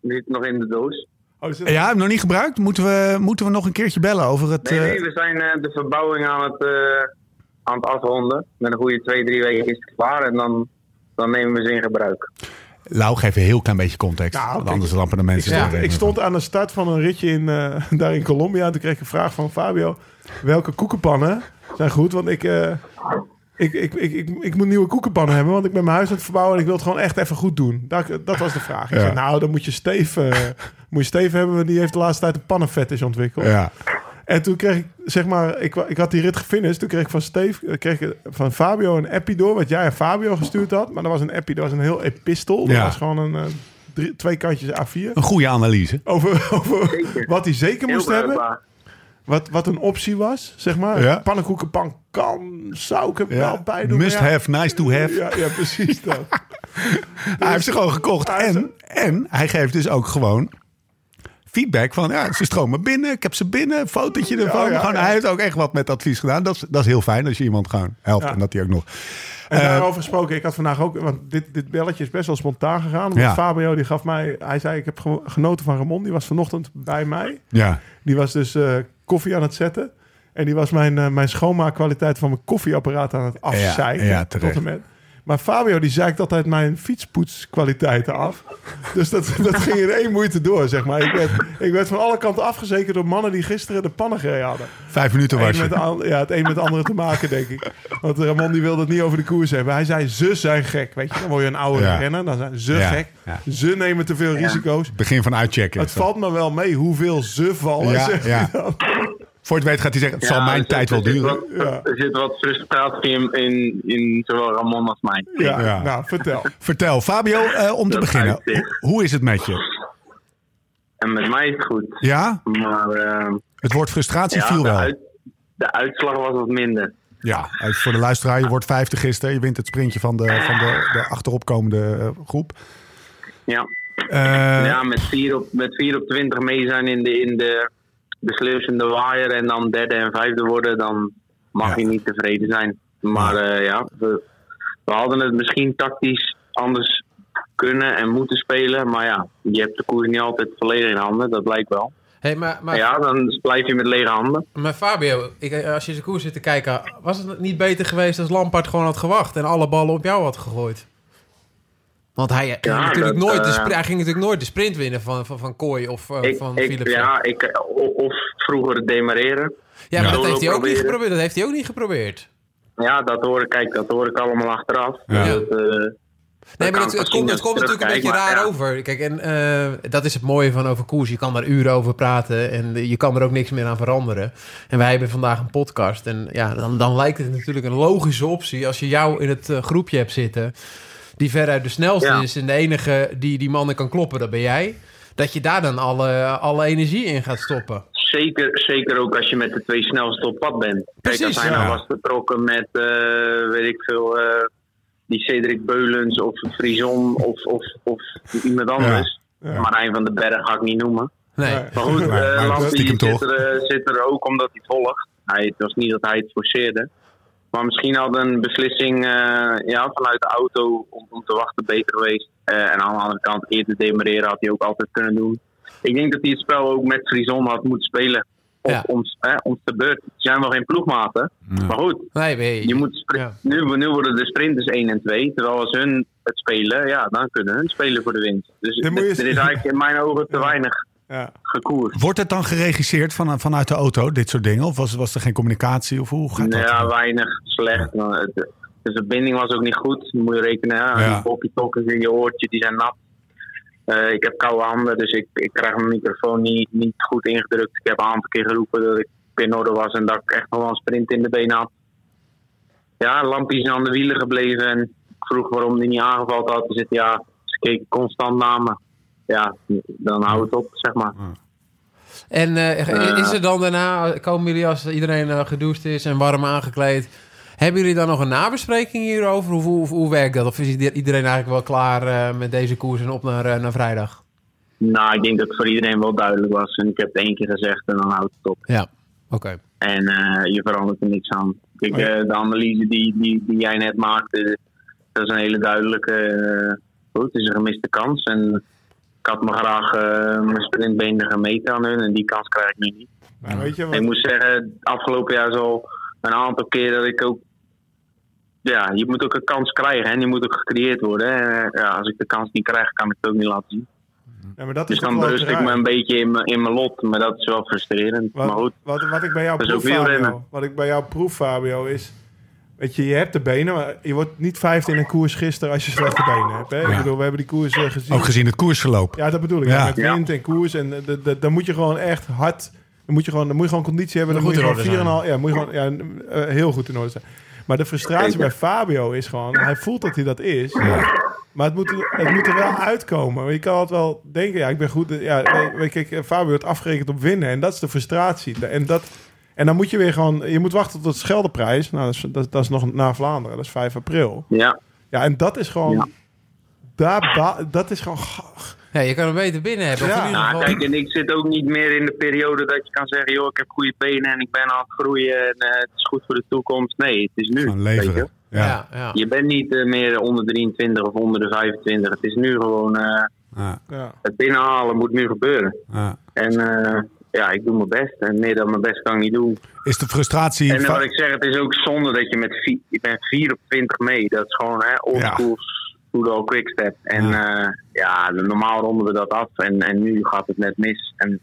E: die zitten nog in de doos.
C: Oh, is het-
A: Ja, hem nog niet gebruikt. Moeten we, moeten we nog een keertje bellen over het...
E: Nee,
A: eh,
E: nee, we zijn eh, de verbouwing aan het, eh, aan het afronden. Met een goede twee, drie weken is het klaar en dan, dan nemen we ze in gebruik.
A: Lau, geef een heel klein beetje context.
C: Nou,
A: want
C: kijk,
A: anders lampen de mensen. eh,
D: ik
A: er
D: stond-
A: even
C: Ik
A: van.
C: stond aan de start van een ritje in, eh, daar in Colombia. En toen kreeg ik een vraag van Fabio. Welke koekenpannen zijn goed? Want ik, eh, ik, ik, ik, ik, ik moet nieuwe koekenpannen hebben. Want ik ben mijn huis aan het verbouwen. En ik wil het gewoon echt even goed doen. Dat, dat was de vraag. Ik
A: Ja.
C: zei, nou, dan moet je Steve, eh, moet je Steve hebben. Want die heeft de laatste tijd een pannenfetish ontwikkeld.
A: Ja,
C: En toen kreeg ik, zeg maar, ik, wa- ik had die rit gefinished. Toen kreeg ik van Steve, eh, kreeg ik van Fabio een appie door. Wat jij aan Fabio gestuurd had. Maar dat was een appie, dat was een heel epistel. Dat
A: Ja.
C: was gewoon een... eh, drie- twee kantjes A4.
A: een goede analyse.
C: Over, over
E: Zeker.
C: wat hij zeker
E: Heel
C: moest hebben.
E: bruikbaar.
C: Wat, wat een optie was, zeg maar.
A: Ja.
C: Pannenkoekenpan kan, zou ik er wel
A: Ja.
C: bij doen.
A: Must
C: Nou, maar ja.
A: have, nice to have.
C: Ja, ja, precies dat.
A: Hij heeft ze gewoon gekocht.
C: Hij heeft
A: En, en hij geeft dus ook gewoon feedback van... Ja, ze stromen binnen, ik heb ze binnen, fotootje ervan.
C: ja,
A: gewoon,
C: ja.
A: Hij heeft ook echt wat met advies gedaan. Dat is, dat is heel fijn als je iemand gewoon helpt.
C: Ja.
A: En dat hij ook nog... Eh,
C: En daarover gesproken, ik had vandaag ook... Want dit, dit belletje is best wel spontaan gegaan. Want
A: Ja.
C: Fabio die gaf mij... Hij zei, ik heb ge- genoten van Ramon. Die was vanochtend bij mij.
A: Ja,
C: Die was dus eh, koffie aan het zetten. En die was mijn, eh, mijn schoonmaakkwaliteit van mijn koffieapparaat aan het afzeiken.
A: Ja, ja,
C: tot
A: terecht.
C: en met. Maar Fabio die zeikt altijd mijn fietspoetskwaliteiten af. Dus dat, dat ging in één moeite door, zeg maar. Ik werd, ik werd van alle kanten afgezekerd door mannen die gisteren de pannen gereden hadden.
A: Vijf minuten
C: Eén
A: was
C: met de
A: je.
C: an- ja, het een met het andere te maken, denk ik. Want eh, Ramon die wilde het niet over de koers hebben. Hij zei, ze zijn gek. Weet je, dan word je een oude
A: Ja.
C: renner. Dan zijn ze
A: Ja,
C: gek.
A: ja.
C: Ze nemen te veel risico's.
A: Begin van uitchecken.
C: Het valt me wel mee hoeveel ze vallen,
A: Ja,
C: zegt hij
A: ja.
C: dan.
A: Voor je het weet gaat hij zeggen, het zal mijn tijd wel duren.
C: Ja.
E: Er zit wat frustratie in, in, in zowel Ramon als mij.
C: Ja,
A: Ja.
C: nou, vertel.
A: Vertel, Fabio, eh, om te
E: Dat
A: beginnen.
E: uitzicht.
A: Ho- Hoe is het met je?
E: En met mij is het goed.
A: Ja?
E: Maar eh,
A: Het woord frustratie
E: ja,
A: viel
E: de,
A: wel.
E: uit- de uitslag was wat minder.
A: Ja, even voor de luisteraar. Je wordt vijfde gisteren. Je wint het sprintje van de, van de, de achteropkomende eh, groep.
E: Ja,
A: Eh,
E: ja met, 4 op, met 4 op 20 mee zijn in de, in de beslissende waaier en dan derde en vijfde worden, dan mag
A: Ja.
E: je niet tevreden zijn. Maar eh, ja, we, we hadden het misschien tactisch anders kunnen en moeten spelen. Maar ja, je hebt de koers niet altijd volledig in handen, dat blijkt wel.
D: Hey, maar, maar,
E: Ja, dan blijf je met lege handen.
D: maar Fabio, ik, eh, als je de koers zit te kijken, was het niet beter geweest als Lampard gewoon had gewacht en alle ballen op jou had gegooid? Want hij, eh,
E: Ja,
D: ging natuurlijk
E: dat,
D: nooit de, spr-
E: eh,
D: hij ging natuurlijk nooit de sprint winnen van, van, van Kooi of eh,
E: Ik,
D: van
E: ik,
D: Philips.
E: ja, ik, o- of vroeger demareren.
D: Ja, maar dat
E: Solo
D: heeft, hij ook niet
E: proberen.
D: geprobeerd, dat heeft hij ook niet geprobeerd.
E: Ja, dat hoor ik, kijk, dat hoor ik allemaal achteraf.
A: Ja.
E: Dus dat, eh,
D: Nee, maar
E: kan
D: het, het
E: misschien
D: komt, het
E: dat
D: komt
E: ik
D: natuurlijk een beetje
E: terugkijk,
D: raar
E: maar ja.
D: over. Kijk, en eh, dat is het mooie van over koers. Je kan daar uren over praten en eh, je kan er ook niks meer aan veranderen. En wij hebben vandaag een podcast. En ja, dan, dan lijkt het natuurlijk een logische optie als je jou in het eh, groepje hebt zitten. Die veruit de snelste
E: Ja.
D: is en de enige die die mannen kan kloppen, dat ben jij. Dat je daar dan alle, alle energie in gaat stoppen.
E: Zeker, zeker ook als je met de twee snelste op pad bent.
D: Precies,
E: Kijk, als hij
A: ja.
E: nou was vertrokken met, eh, weet ik veel, eh, die Cedric Beulens of Frison of, of, of iemand anders. Maar hij van den Berg ga ik niet noemen.
D: Nee.
C: Nee.
E: Maar goed,
A: Maar-
E: eh
A: maar
E: Lampie
A: stiekem toch.
E: zit, er, eh, zit er ook omdat hij volgt. Hij, het was niet dat hij het forceerde. Maar misschien had een beslissing eh, ja, vanuit de auto om, om te wachten beter geweest. Eh, en aan de andere kant eerder demareren had hij ook altijd kunnen doen. Ik denk dat hij het spel ook met Frison had moeten spelen. Of
D: Ja.
E: ons, eh, ons te beurt. Ze zijn wel geen ploegmaten. Maar goed,
D: Nee, nee.
E: je moet spri-
D: Ja.
E: nu, nu worden de sprinters 1 en 2. Terwijl als hun het spelen, ja, dan kunnen hun spelen voor de winst. Dus
C: Dan moet
E: er
C: je
E: er
C: eens-
E: is eigenlijk in mijn ogen te weinig
C: Ja.
E: gekoerd.
A: Wordt het dan geregisseerd van, vanuit de auto, dit soort dingen? Of was, was er geen communicatie? Of hoe gaat dat?
E: Ja, weinig slecht. Maar het- dus De verbinding was ook niet goed. Dan moet je rekenen. Ja.
A: Ja.
E: Die walkie-talkies in je oortje, die zijn nat. Eh, ik heb koude handen, dus ik, ik krijg mijn microfoon niet, niet goed ingedrukt. Ik heb een aantal keer geroepen dat ik in orde was en dat ik echt nog wel een sprint in de benen had. Ja, lampjes aan de wielen gebleven en ik vroeg waarom die niet aangevallen had. Ze zitten ja, ze keken constant naar me. Ja, dan houdt het op, zeg maar.
D: En eh, is er dan daarna, komen jullie als iedereen eh, gedoucht is en warm aangekleed... Hebben jullie dan nog een nabespreking hierover? Hoe, hoe, hoe werkt dat? Of is ieder- iedereen eigenlijk wel klaar eh, met deze koers en op naar, eh, naar vrijdag?
E: Nou, ik denk dat het voor iedereen wel duidelijk was. En ik heb het één keer gezegd en dan houdt het op.
D: Ja, oké.
E: En eh, je verandert er niks aan. Kijk,
C: Oh ja.
E: eh, de analyse die, die, die jij net maakte, dat is een hele duidelijke. eh, goed, het is een gemiste kans. En ik had me graag eh, mijn sprintbeen gemeten aan hun. En die kans krijg ik nu niet.
C: Maar Nou, weet je,
E: Ik
C: wat,
E: moet zeggen, afgelopen jaar zo een aantal keer dat ik ook. Ja, je moet ook een kans krijgen en je moet ook gecreëerd worden. hè. En, eh, ja, als ik de kans niet krijg, kan ik het ook niet laten zien.
C: ja, maar dat
E: Dus
C: is toch
E: dan
C: wel
E: berust ik
C: raar.
E: me een beetje in mijn in mijn lot. Maar dat is wel frustrerend.
C: Wat,
E: Maar goed.
C: Wat, wat ik bij jou
E: Dat is
C: proef,
E: ook wielrennen.
C: Fabio, wat ik bij jou proef, Fabio, is... Weet je, je hebt de benen, maar je wordt niet vijfde in een koers gisteren als je slechte benen hebt. Hè? Ik
A: Ja.
C: bedoel, we hebben die koers eh, gezien.
A: Ook gezien het koersverloop.
C: Ja, dat bedoel ik.
A: Ja.
C: Ja, met
E: Ja.
C: wind en koers. En eh, dat- dat- dan moet je gewoon echt hard... Dan moet je gewoon, dan moet je gewoon conditie hebben. Dan,
D: Dan
C: moet je
D: goed
C: gewoon
D: in
C: 4,5...
D: orde
C: Ja, moet je gewoon ja, eh, heel goed in orde zijn. Maar de frustratie bij Fabio is gewoon... Hij voelt dat hij dat is. Maar het moet, er- het moet er wel uitkomen. Want Je kan altijd wel denken, ja, ik ben goed. Ja, nee, weet je, kijk, eh, Fabio wordt afgerekend op winnen. En dat is de frustratie. En, dat, en dan moet je weer gewoon... Je moet wachten tot de Scheldeprijs. Nou, dat is, dat, dat is nog na Vlaanderen. Dat is 5 april.
E: Ja.
C: Ja, en dat is gewoon...
E: Ja.
C: Daar, ba- dat is gewoon... ga-
D: Ja, je kan hem beter binnen hebben. Of
C: Ja.
D: in ieder
E: Nou,
D: geval...
E: kijk, en ik zit ook niet meer in de periode dat je kan zeggen: joh, ik heb goede benen en ik ben aan het groeien en eh, het is goed voor de toekomst. Nee, het is nu.
A: Van
E: weet
A: leveren.
E: je.
A: Ja.
D: ja, ja.
E: Je bent niet eh, meer onder 23 of onder de 25. Het is nu gewoon: eh,
A: Ja.
C: Ja.
E: het binnenhalen moet nu gebeuren.
A: Ja.
E: En eh, ja, ik doe mijn best. En meer dan mijn best kan ik niet doen.
A: Is de frustratie...
E: En
A: va-
E: wat ik zeg, het is ook zonde dat je met, vi- je bent 24 mee. Dat is gewoon hè, old
A: Ja.
E: school judo quickstep. En ja. ja, normaal ronden we dat af. En, en nu gaat het net mis. En dat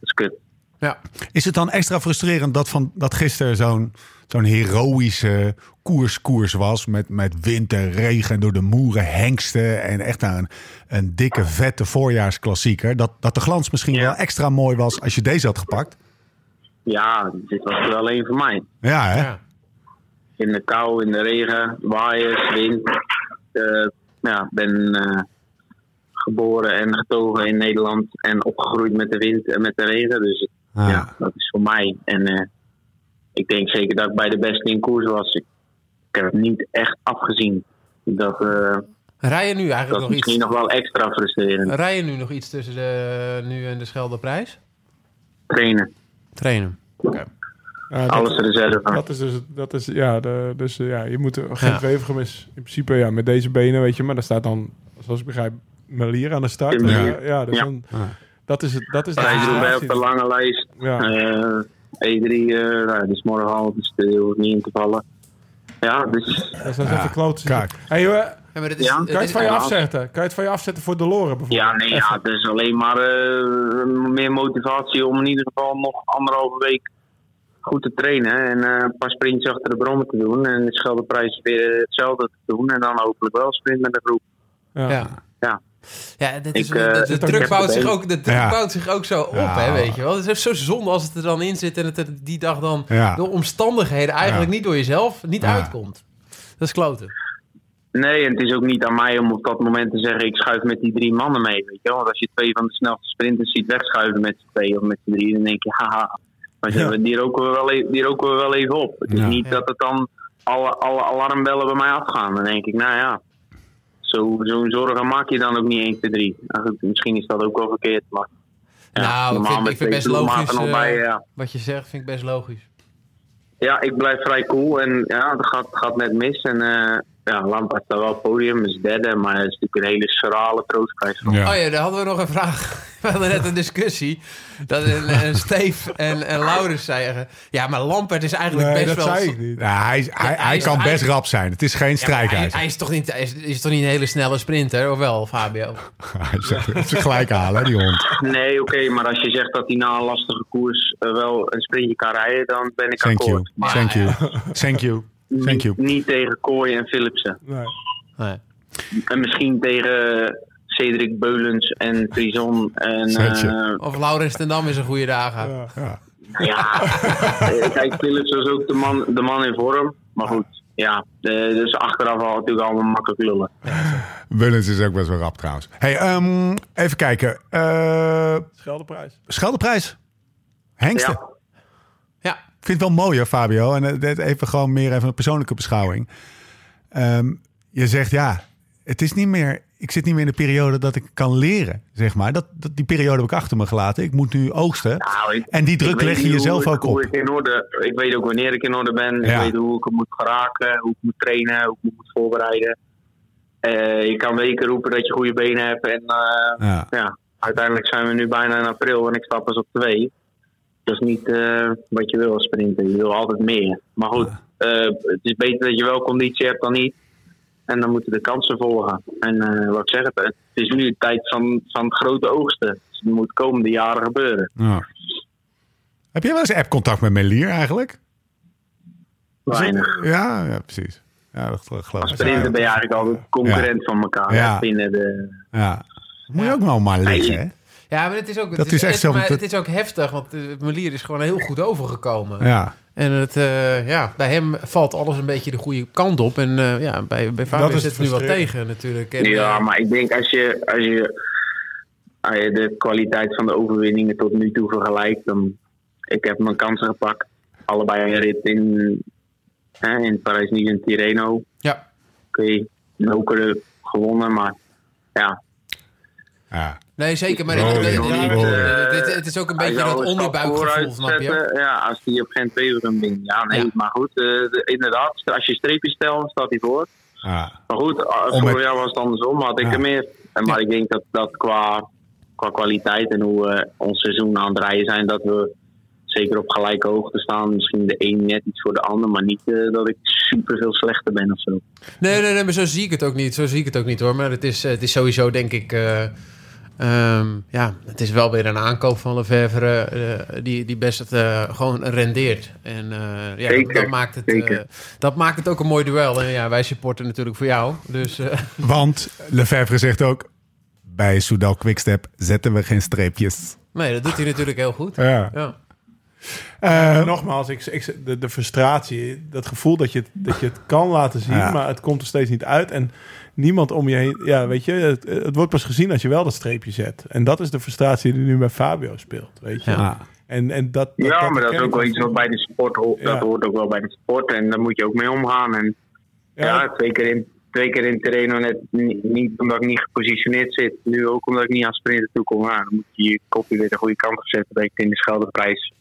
E: is kut.
D: Ja.
A: Is het dan extra frustrerend dat, van, dat gisteren zo'n zo'n heroïsche koerskoers was? Met, met wind en regen en door de moeren hengsten. En echt nou een, een dikke, vette voorjaarsklassieker. Dat, dat de glans misschien
E: Ja.
A: wel extra mooi was als je deze had gepakt.
E: Ja, dit was er alleen voor mij.
A: Ja, hè?
D: ja.
E: In de kou, in de regen, waaiers, wind. Eh, ja, ik ben eh, geboren en getogen in Nederland. En opgegroeid met de wind en met de regen. Dus
A: Ah.
E: ja, dat is voor mij. En eh, ik denk zeker dat ik bij de beste in koers was. Ik, ik heb het niet echt afgezien. Dat, eh,
D: Rij je nu
E: dat
D: eigenlijk
E: is
D: nog
E: misschien
D: iets? Eh,
E: nog wel extra frustrerend.
D: Rij je nu nog iets tussen de nu en de Scheldeprijs?
E: Trainen,
D: Trainen.
C: Ja, Eh, dat-
E: alles reserve.
C: Dat is dus, dat is, ja, de, dus eh, ja, je moet er- geen Wevergem is in principe ja, met deze benen, weet je, maar daar staat dan, zoals ik begrijp, Melier aan de start.
E: Tim
C: Ja,
E: Melier.
C: ja, dus
E: Ja.
C: dan, dat is het. Dat is de
E: Parijs-Roubaix op
C: situatie.
E: de lange lijst.
C: Ja.
E: Eh, E3, eh, nou, dus morgen al, dus eh, je hoeft niet in te vallen. Ja, dus
C: Dat is dat is even kloot.
A: kijk.
C: Hey, joh, kan
D: Ja, maar dit is,
E: Ja.
D: dit
C: je het
D: is-
C: van je
E: Ja.
C: afzetten? Kan je het van je afzetten voor de Loren bijvoorbeeld?
E: Ja, nee, ja, het is alleen maar eh, meer motivatie om in ieder geval nog anderhalve week goed te trainen. En eh, een paar sprints achter de brommen te doen. En de Scheldeprijs weer hetzelfde te doen. En dan hopelijk wel sprint met de groep.
C: Ja.
D: Ja.
E: Ja.
D: Ja, dat is,
E: Ik,
D: de-
E: eh,
D: de,
E: ik heb
D: druk
E: het
D: bouwt zich
E: even.
D: ook, de druk
A: Ja.
D: bouwt zich ook zo op,
A: Ja.
D: hè, weet je wel. Het is echt zo zonde als het er dan in zit en het er die dag dan
A: Ja.
D: door omstandigheden eigenlijk
A: Ja.
D: niet door jezelf niet
A: Ja.
D: uitkomt. Dat is kloten.
E: Nee, en het is ook niet aan mij om op dat moment te zeggen: ik schuif met die drie mannen mee. Weet je? wel. Want als je twee van de snelste sprinters ziet wegschuiven met z'n twee of met z'n drie, dan denk je: haha. Maar
A: Ja.
E: die, roken we wel even, die roken we wel even op. Het is
A: Ja.
E: niet
D: Ja.
E: dat het dan alle, alle alarmbellen bij mij afgaan. Dan denk ik: nou ja, zo- zo'n zorgen maak je dan ook niet 1, 2, 3. Nou goed, misschien is dat ook wel verkeerd. Maar, ja,
D: nou, ik
E: normaal
D: vind,
E: met
D: ik vind
E: twee
D: best logisch
E: ploegmaten nog
D: eh,
E: bij, ja.
D: wat je zegt, vind ik best logisch.
E: Ja, ik blijf vrij cool en ja, het gaat, gaat net mis. En eh ja, Lampard staat wel op het podium, is derde, maar het is natuurlijk een hele schrale troostprijs.
A: Ja.
D: Oh ja, daar hadden we nog een vraag. We hadden net een discussie. Dat een, een Steef en, en Laurens zeiden... Ja, maar Lampert is eigenlijk
C: Nee,
D: best
C: dat
D: wel...
C: zei ik niet.
A: Ja, hij, hij, hij
D: Ja, hij is-
A: kan
D: hij-
A: best rap zijn. Het is geen
D: Ja, maar hij-
A: strijkijzer.
D: hij is toch niet, hij is, is toch niet een hele snelle sprinter, of wel, Fabio?
A: Hij zegt ze gelijk halen, hè, die hond.
E: Nee, oké, maar als je zegt dat hij na een lastige koers eh, wel een sprintje kan rijden, dan ben ik
A: Thank you.
E: akkoord. Maar
A: Thank you. Thank you. Thank you.
E: Niet, niet tegen Kooi en Philipsen.
C: Nee.
D: Nee.
E: En misschien tegen Cedric Beulens en Frison. En,
A: Zet je.
E: eh,
D: Of Laurens ten Dam is een goede dagen.
C: Ja.
A: Ja.
E: Ja, Eh, kijk, Philips was ook de man, de man in vorm. Maar goed, ja, eh, dus achteraf al natuurlijk allemaal makkelijk lullen.
A: Willens is ook best wel rap trouwens. Hey, ehm, even kijken. Eh,
C: Scheldeprijs.
A: Scheldeprijs. Hengsten.
E: Ja.
D: Ja.
A: Ik vind het wel mooi, hè, Fabio. En eh, dit even gewoon meer even een persoonlijke beschouwing. Ehm, je zegt ja, het is niet meer. Ik zit niet meer in de periode dat ik kan leren, zeg maar. Dat, dat, die periode heb ik achter me gelaten. Ik moet nu oogsten.
E: Nou, ik-
A: en die
E: ik
A: druk
E: weet
A: leg je
E: niet hoe
A: jezelf
E: ik-
A: ook
E: hoe
A: op.
E: Ik, in orde, ik weet ook wanneer ik in orde ben.
A: Ja.
E: Ik weet hoe ik hem moet geraken, hoe ik moet trainen, hoe ik me moet voorbereiden. Eh, je kan weken roepen dat je goede benen hebt. En eh,
A: Ja.
E: ja, uiteindelijk zijn we nu bijna in april en ik sta pas op twee. Dat is niet eh, wat je wil als sprinter. Je wil altijd meer. Maar goed, eh, het is beter dat je wel conditie hebt dan niet. En dan moeten de kansen volgen. En eh, wat ik zeg, het het is nu de tijd van, van het grote oogsten. Dus het moet komende jaren gebeuren.
A: Ja. Heb jij wel eens app-contact met Melier eigenlijk?
E: Weinig.
A: Ja, ja, precies. Ja, dat geloof ik.
E: Sprinten ben je eigenlijk altijd concurrent van elkaar.
A: Ja.
E: Binnen de...
A: Ja. Moet je ook wel maar liggen, hè?
D: Ja, maar het is ook, het
A: Dat is echt
D: het-
A: zo,
D: maar
A: dat-
D: het is ook heftig, want eh, Melier is gewoon heel goed overgekomen.
A: Ja.
D: En het, eh, ja, bij hem valt alles een beetje de goede kant op. En eh, ja, bij, bij Fabio
C: Dat is
D: zit het nu wat
C: frustrerend.
D: tegen natuurlijk. En,
E: Ja,
D: eh,
E: maar ik denk als je, als, je, als je de kwaliteit van de overwinningen tot nu toe vergelijkt. Dan, ik heb mijn kansen gepakt. Allebei een rit in, hè, in Parijs, niet in Tireno. Oké,
D: ja.
E: Nokere gewonnen, maar ja.
A: ja.
D: Nee, zeker. Maar
A: Oh,
D: dit- dit-
A: joh,
D: dit-
A: joh.
D: dit- dit- het is ook een
E: Hij
D: beetje
E: zou
D: dat
E: een stap
D: onderbuikgevoel,
E: vooruit
D: snap je?
E: zetten. Ja, als hij op Gent Beveren wint. Ja, nee,
D: Ja.
E: maar goed. eh, de- inderdaad, als je streepjes stelt, staat hij voor.
A: ja.
E: Maar goed, eh,
A: Om
E: vorig
A: het-
E: jaar was het andersom, had ik
A: Ja.
E: er meer. En Maar ik denk dat dat qua qua kwaliteit en hoe we ons seizoen aan het rijden zijn, dat we zeker op gelijke hoogte staan. Misschien de een net iets voor de ander, maar niet eh, dat ik super veel slechter ben of zo.
D: Nee, nee, nee, maar zo zie ik het ook niet. Zo zie ik het ook niet hoor. Maar het is, eh, het is sowieso, denk ik. eh, ehm, ja, het is wel weer een aankoop van Lefevre eh die, die best eh, gewoon rendeert. En eh, ja,
E: Zeker,
D: dat, maakt het, eh,
E: zeker.
D: dat maakt het ook een mooi duel. En ja, wij supporten natuurlijk voor jou. Dus eh,
A: Want Lefebvre zegt ook... Bij Soudal Quickstep zetten we geen streepjes.
D: nee, dat doet hij natuurlijk heel goed.
A: Ja.
D: Ja.
A: Eh,
C: Nogmaals, ik, ik, de, de frustratie, dat gevoel dat je, het- dat je het kan laten zien,
A: Ja.
C: maar het komt er steeds niet uit. En niemand om je heen, ja, weet je, het, het wordt pas gezien als je wel dat streepje zet. En dat is de frustratie die nu bij Fabio speelt, weet je.
A: ah.
C: En, en dat,
E: Ja, maar dat is
C: herken
E: ook
C: ik
E: wel iets wat bij de sport hoort.
C: Ja.
E: Dat hoort ook wel bij de sport en daar moet je ook mee omgaan. En ja, twee keer in, twee keer in terreno net ni- niet omdat ik niet gepositioneerd zit. Nu ook omdat ik niet aan sprinten toe kom. Ja, dan moet je je kopje weer de goede kant op zetten. Dat ik het in de scheldeprijs.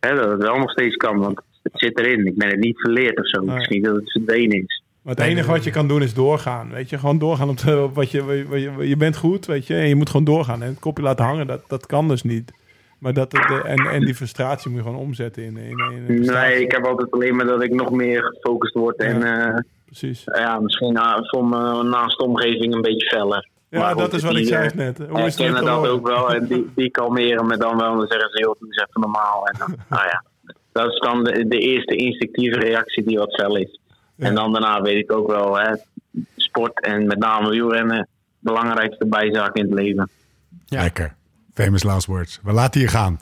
E: Hè, dat het wel nog steeds kan, want het zit erin. Ik ben het niet verleerd of zo.
C: Nee.
E: Misschien dat het verdwenen is.
C: Maar het enige wat je kan doen is doorgaan. Weet je, gewoon doorgaan op, de- op wat je, wat je- wat je. Je bent goed, weet je, en je moet gewoon doorgaan. En het kopje laten hangen, dat, dat kan dus niet. Maar dat, de- en, en die frustratie moet je gewoon omzetten in. in, in, in
E: Nee,
C: prestatie.
E: ik heb altijd alleen maar dat ik nog meer gefocust word. En eh,
C: Precies.
E: ja, misschien na, voor mijn naast de omgeving een beetje feller.
C: Ja,
E: Maar
C: dat
E: goed,
C: is wat
E: die,
C: ik zei
E: eh,
C: net. Hoe is het met
E: herkennen
C: de
E: dat
C: oren?
E: ook wel. En die, die kalmeren me dan wel. En dan zeggen ze, joh, doe eens even normaal. En dan, nou ja, dat is dan de, de eerste instinctieve reactie die wat fel is. En dan daarna weet ik ook wel, hè, sport en met name wielrennen, belangrijkste bijzaak in het leven.
A: Lekker. Famous last words. We laten hier gaan.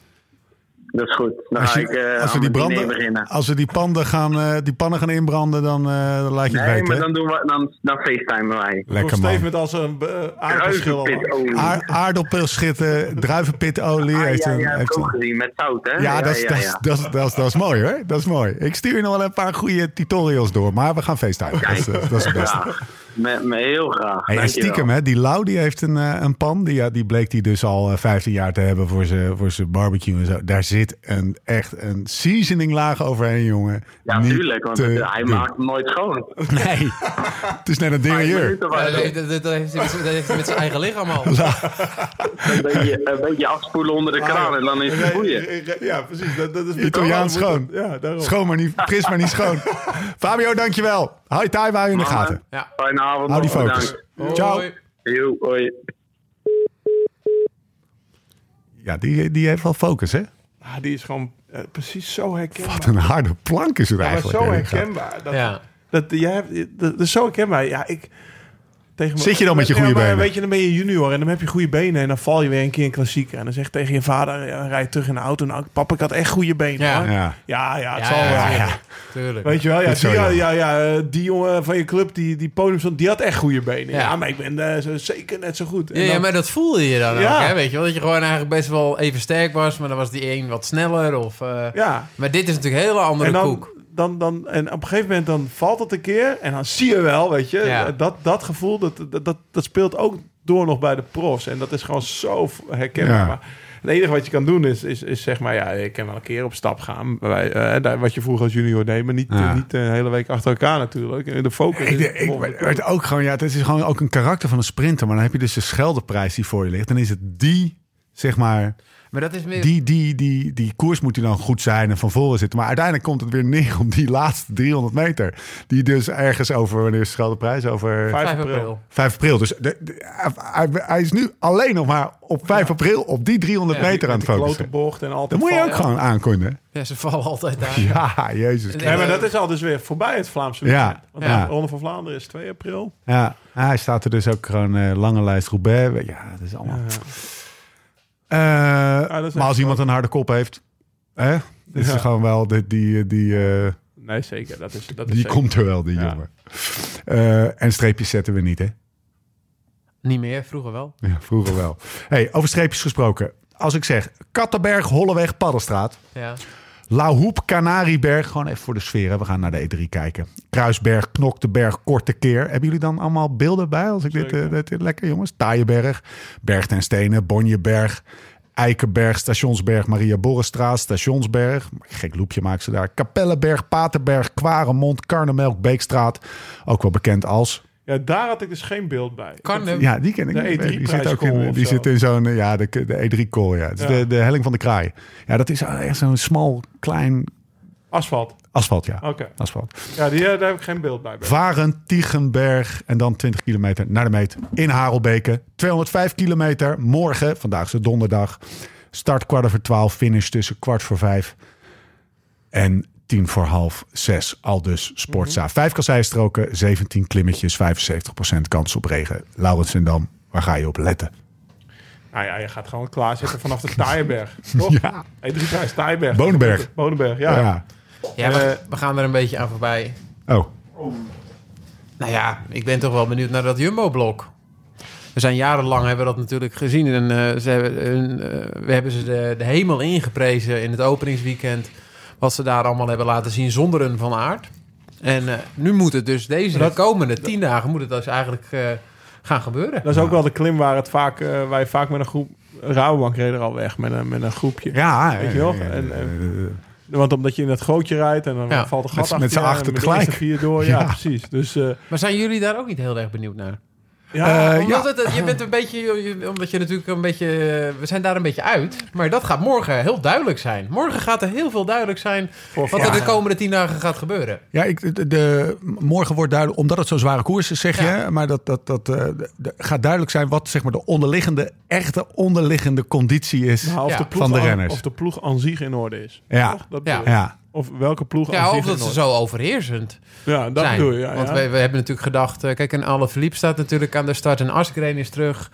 E: Dat is goed. Dan
A: Als,
E: ga
A: je-
E: ik eh,
A: als we die,
E: aan mijn diner
A: branden,
E: beginnen.
A: als we die, panden gaan, eh, die pannen gaan inbranden, dan, eh, dan laat je het
E: Nee,
A: weten.
E: maar
A: hè?
E: dan, doen we, dan, dan facetimen wij.
A: Lekker
C: Komt Steve
A: man.
C: met als een eh, aardappelschil. al.
E: Ruizenpitolie.
A: Aar, aardappelschitten, druivenpitolie.
E: Ah,
A: heeft
E: ja,
A: een,
E: ja, heb
A: heeft
E: ik ook
A: een-
E: gezien met zout, hè?
A: Ja, dat is- dat is- dat is- dat is- dat is mooi hoor. Dat is mooi. Ik stuur je nog wel een paar goede tutorials door, maar we gaan feestuigen. Dat, is, eh, dat is het beste.
E: Ja, me, me heel graag.
A: Hey, en
E: Dankjewel.
A: stiekem, hè, die Lau die heeft een, eh, een pan. Die, ja, die bleek hij dus al eh, 15 jaar te hebben voor zijn voor zijn barbecue en zo. Daar zit een, echt een seasoning laag overheen, jongen.
E: Ja,
A: Niet
E: tuurlijk, want
A: te
E: hij
A: doen.
E: maakt hem nooit schoon.
A: Nee, het is net een dingeur.
E: Minuten
D: Ja,
E: was
D: dat,
E: het.
D: heeft- dat- dat heeft hij met z'n- dat heeft hij met zijn eigen lichaam al.
E: Een beetje, een beetje afspoelen onder de kraan en dan is het boeien.
C: Ja, precies. Dat, dat is
A: Italiaans
C: dat
A: schoon.
C: moet- Ja, daarom.
A: Schoon, maar niet fris, maar niet schoon. Fabio, dankjewel. Hou je taai bij in de gaten.
D: Ja.
E: Fijne avond.
A: Hou die
E: nog,
A: focus.
E: bedankt.
A: Ciao.
D: Hoi.
E: Joe, hoi.
A: Ja, die, die heeft wel focus, hè?
C: Ah, die is gewoon eh, precies zo herkenbaar.
A: Wat een harde plank is het
C: Ja, maar
A: eigenlijk.
C: zo
A: hè, dit gaat.
C: herkenbaar. Dat,
D: Ja.
C: dat, jij hebt, dat, dat is zo herkenbaar. Ja, ik... Tegen me-
A: Zit je dan met je goede
C: ja, maar
A: benen?
C: Weet je, dan ben je junior en dan heb je goede benen. En dan val je weer een keer in klassieker. En dan zeg je tegen je vader, ja, dan rij je terug in de auto. Nou, papa, ik had echt goede benen.
D: Ja.
C: hoor.
A: Ja.
C: ja, ja, het
D: Ja,
C: zal wel.
D: ja, ja. Tuurlijk.
C: Weet je wel, ja,
A: Dat is
C: die,
A: zo
C: ja,
A: jammer.
C: ja, ja, eh, die jongen van je club, die, die podiumstand, die had echt goede benen. Ja,
D: Ja.
C: maar ik ben eh, zo, zeker net zo goed. En
D: Ja, ja,
C: dan-
D: maar dat voelde je dan
C: Ja.
D: ook, hè? weet je wel? Dat je gewoon eigenlijk best wel even sterk was, maar dan was die een wat sneller. Of, eh,
C: ja.
D: Maar dit is natuurlijk een hele andere
C: En dan,
D: koek.
C: dan, dan, en op een gegeven moment dan valt het een keer en dan zie je wel, weet je,
D: Ja.
C: dat, dat gevoel, dat, dat, dat, dat speelt ook door nog bij de profs. En dat is gewoon zo v- herkenbaar.
A: Ja.
C: Maar het enige wat je kan doen is, is, is zeg maar, ja, ik kan wel een keer op stap gaan. Bij, eh, daar- wat je vroeger als junior deed, maar niet,
A: Ja.
C: eh, niet de hele week achter elkaar natuurlijk. De focus
A: Ik,
C: is
A: ik,
C: op de
A: ik werd ook gewoon, ja, het is gewoon ook een karakter van een sprinter. Maar dan heb je dus de Scheldeprijs die voor je ligt. Dan is het die, zeg maar,
D: Maar dat is meer...
A: die, die, die, die koers moet hij dan goed zijn en van voren zitten. Maar uiteindelijk komt het weer neer op die laatste 300 meter. Die dus ergens over, wanneer is de Scheldeprijs? Over
C: 5
D: 5
C: april.
D: april.
A: 5 april. Dus de- de- hij, hij is nu alleen nog maar op 5 april op die 300 meter aan het
C: Met de klote
A: focussen.
C: bocht en altijd
A: Dat moet je
C: vallen.
A: ook gewoon aankondigen.
D: Ja, ze vallen altijd daar.
A: Ja, jezus.
C: Nee, maar dat is al dus weer voorbij het Vlaamse
A: Ja.
C: weekend. Want de
A: Ja.
C: Ronde van Vlaanderen is 2 april.
A: Ja, hij staat er dus ook gewoon eh, lange lijst Roubaix. Ja, dat is allemaal. Eh,
C: dat is
A: maar als
C: echt
A: iemand een harde kop heeft, hè, is
C: Ja.
A: er gewoon wel die, die, die, eh,
C: Nee, zeker. Dat is, dat is
A: die
C: zeker.
A: komt er wel, die
C: Ja.
A: jongen. Eh, en streepjes zetten we niet, hè?
D: Niet meer, vroeger wel.
A: Ja, vroeger wel. Hey, over streepjes gesproken. Als ik zeg Kattenberg, Holleweg, Paddenstraat.
D: Ja.
A: Lauhoep, Canarieberg. Gewoon even voor de sfeer. Hè? We gaan naar de E3 kijken. Kruisberg, Knokteberg, Korte Keer. Hebben jullie dan allemaal beelden bij? Als ik dit,
C: Zeker.
A: eh, dit- dit- Lekker jongens. Taaienberg, Berg ten Stenen, Bonjeberg, Eikenberg, Stationsberg, Maria Borrestraat, Stationsberg. Gek loepje maken ze daar. Kapellenberg, Paterberg, Kwaremond, Karnemelk, Beekstraat. Ook wel bekend als...
C: Ja, daar had ik dus geen beeld bij.
D: Kan hem.
A: Ja, die ken ik.
C: De
A: niet.
C: E3
A: die zit ook
C: prijskool
A: in,
C: of
A: die
C: zo.
A: zit in zo'n, eh, ja, de, de E3-kool, ja. Het is
C: Ja.
A: De, de helling van de kraai. Ja, dat is eh, echt zo'n smal, klein
C: Asfalt.
A: asfalt, ja.
C: Oké.
A: Asfalt.
C: Ja, die, eh, daar heb ik geen beeld bij. bij.
A: Varen, Tigenberg en dan 20 kilometer naar de meet in Harelbeke. 205 kilometer morgen, vandaag is het donderdag. Start kwart over twaalf, finish tussen kwart voor vijf en tien voor half zes. Al dus Sportza.
C: Mhm.
A: Vijf kasseistroken, 17 klimmetjes, 75% kans op regen. Laurens en Dam, waar ga je op letten?
C: Nou ja, je gaat gewoon klaarzitten vanaf de Taaienberg. Toch?
A: Ja.
C: E3 prijs Taaienberg.
A: Bonenberg.
C: Bonenberg, ja.
A: Ja.
D: Ja, we,
C: Eh,
D: we gaan er een beetje aan voorbij.
A: Oh,
D: Nou ja, ik ben toch wel benieuwd naar dat Jumbo-blok. We zijn jarenlang hebben we dat natuurlijk gezien. En, eh, ze hebben, hun, eh, we hebben ze de, de hemel ingeprezen in het openingsweekend. Wat ze daar allemaal hebben laten zien zonder een van aard. En eh, nu moet het dus deze de komende tien dagen moet het dus eigenlijk eh, gaan gebeuren.
C: Dat is ook wel de klim waar, het vaak, eh, wij vaak met een groep... Rabobank reed er al weg met een, met een groepje.
A: ja.
C: Weet je wel?
A: eh,
C: En, eh,
A: eh,
C: Want omdat je in dat gootje rijdt en dan
D: Ja,
C: valt een gat
A: met z'n-
C: achter
A: met z'n
C: je en
A: achten
C: met de
A: tegelijk.
C: eerste vier door. Ja,
A: Ja.
C: precies. Dus eh,
D: Maar zijn jullie daar ook niet heel erg benieuwd naar?
C: ja,
A: Eh,
D: Omdat het, je bent een beetje, je- omdat je natuurlijk een beetje, eh, we zijn daar een beetje uit. Maar dat gaat morgen heel duidelijk zijn. Morgen gaat er heel veel duidelijk zijn
C: voor
D: wat er de
C: vandaag.
D: komende tien dagen gaat gebeuren.
A: Ja, ik, de, de- morgen wordt duidelijk, omdat het zo'n zware koers is, zeg
D: Ja.
A: je. Maar dat, dat, dat eh, de- de- gaat duidelijk zijn wat zeg maar, de onderliggende, echte onderliggende conditie is.
C: Nou, of,
D: Ja.
C: de ploeg
A: Van de
C: aan-
A: renners.
C: of de ploeg aan zich in orde is.
A: Ja.
C: Toch? Dat
D: Ja.
C: bedoel je.
A: Ja,
C: Of welke ploeg aan
D: Ja,
C: zich
D: of
C: in
D: dat ze
C: orde-
D: zo overheersend
C: Ja, dat
D: zijn.
C: bedoel je. Ja,
D: Want
C: ja.
D: We, we hebben natuurlijk gedacht, eh, kijk, en alle Philippe staat natuurlijk aan de start en Asgreen is terug,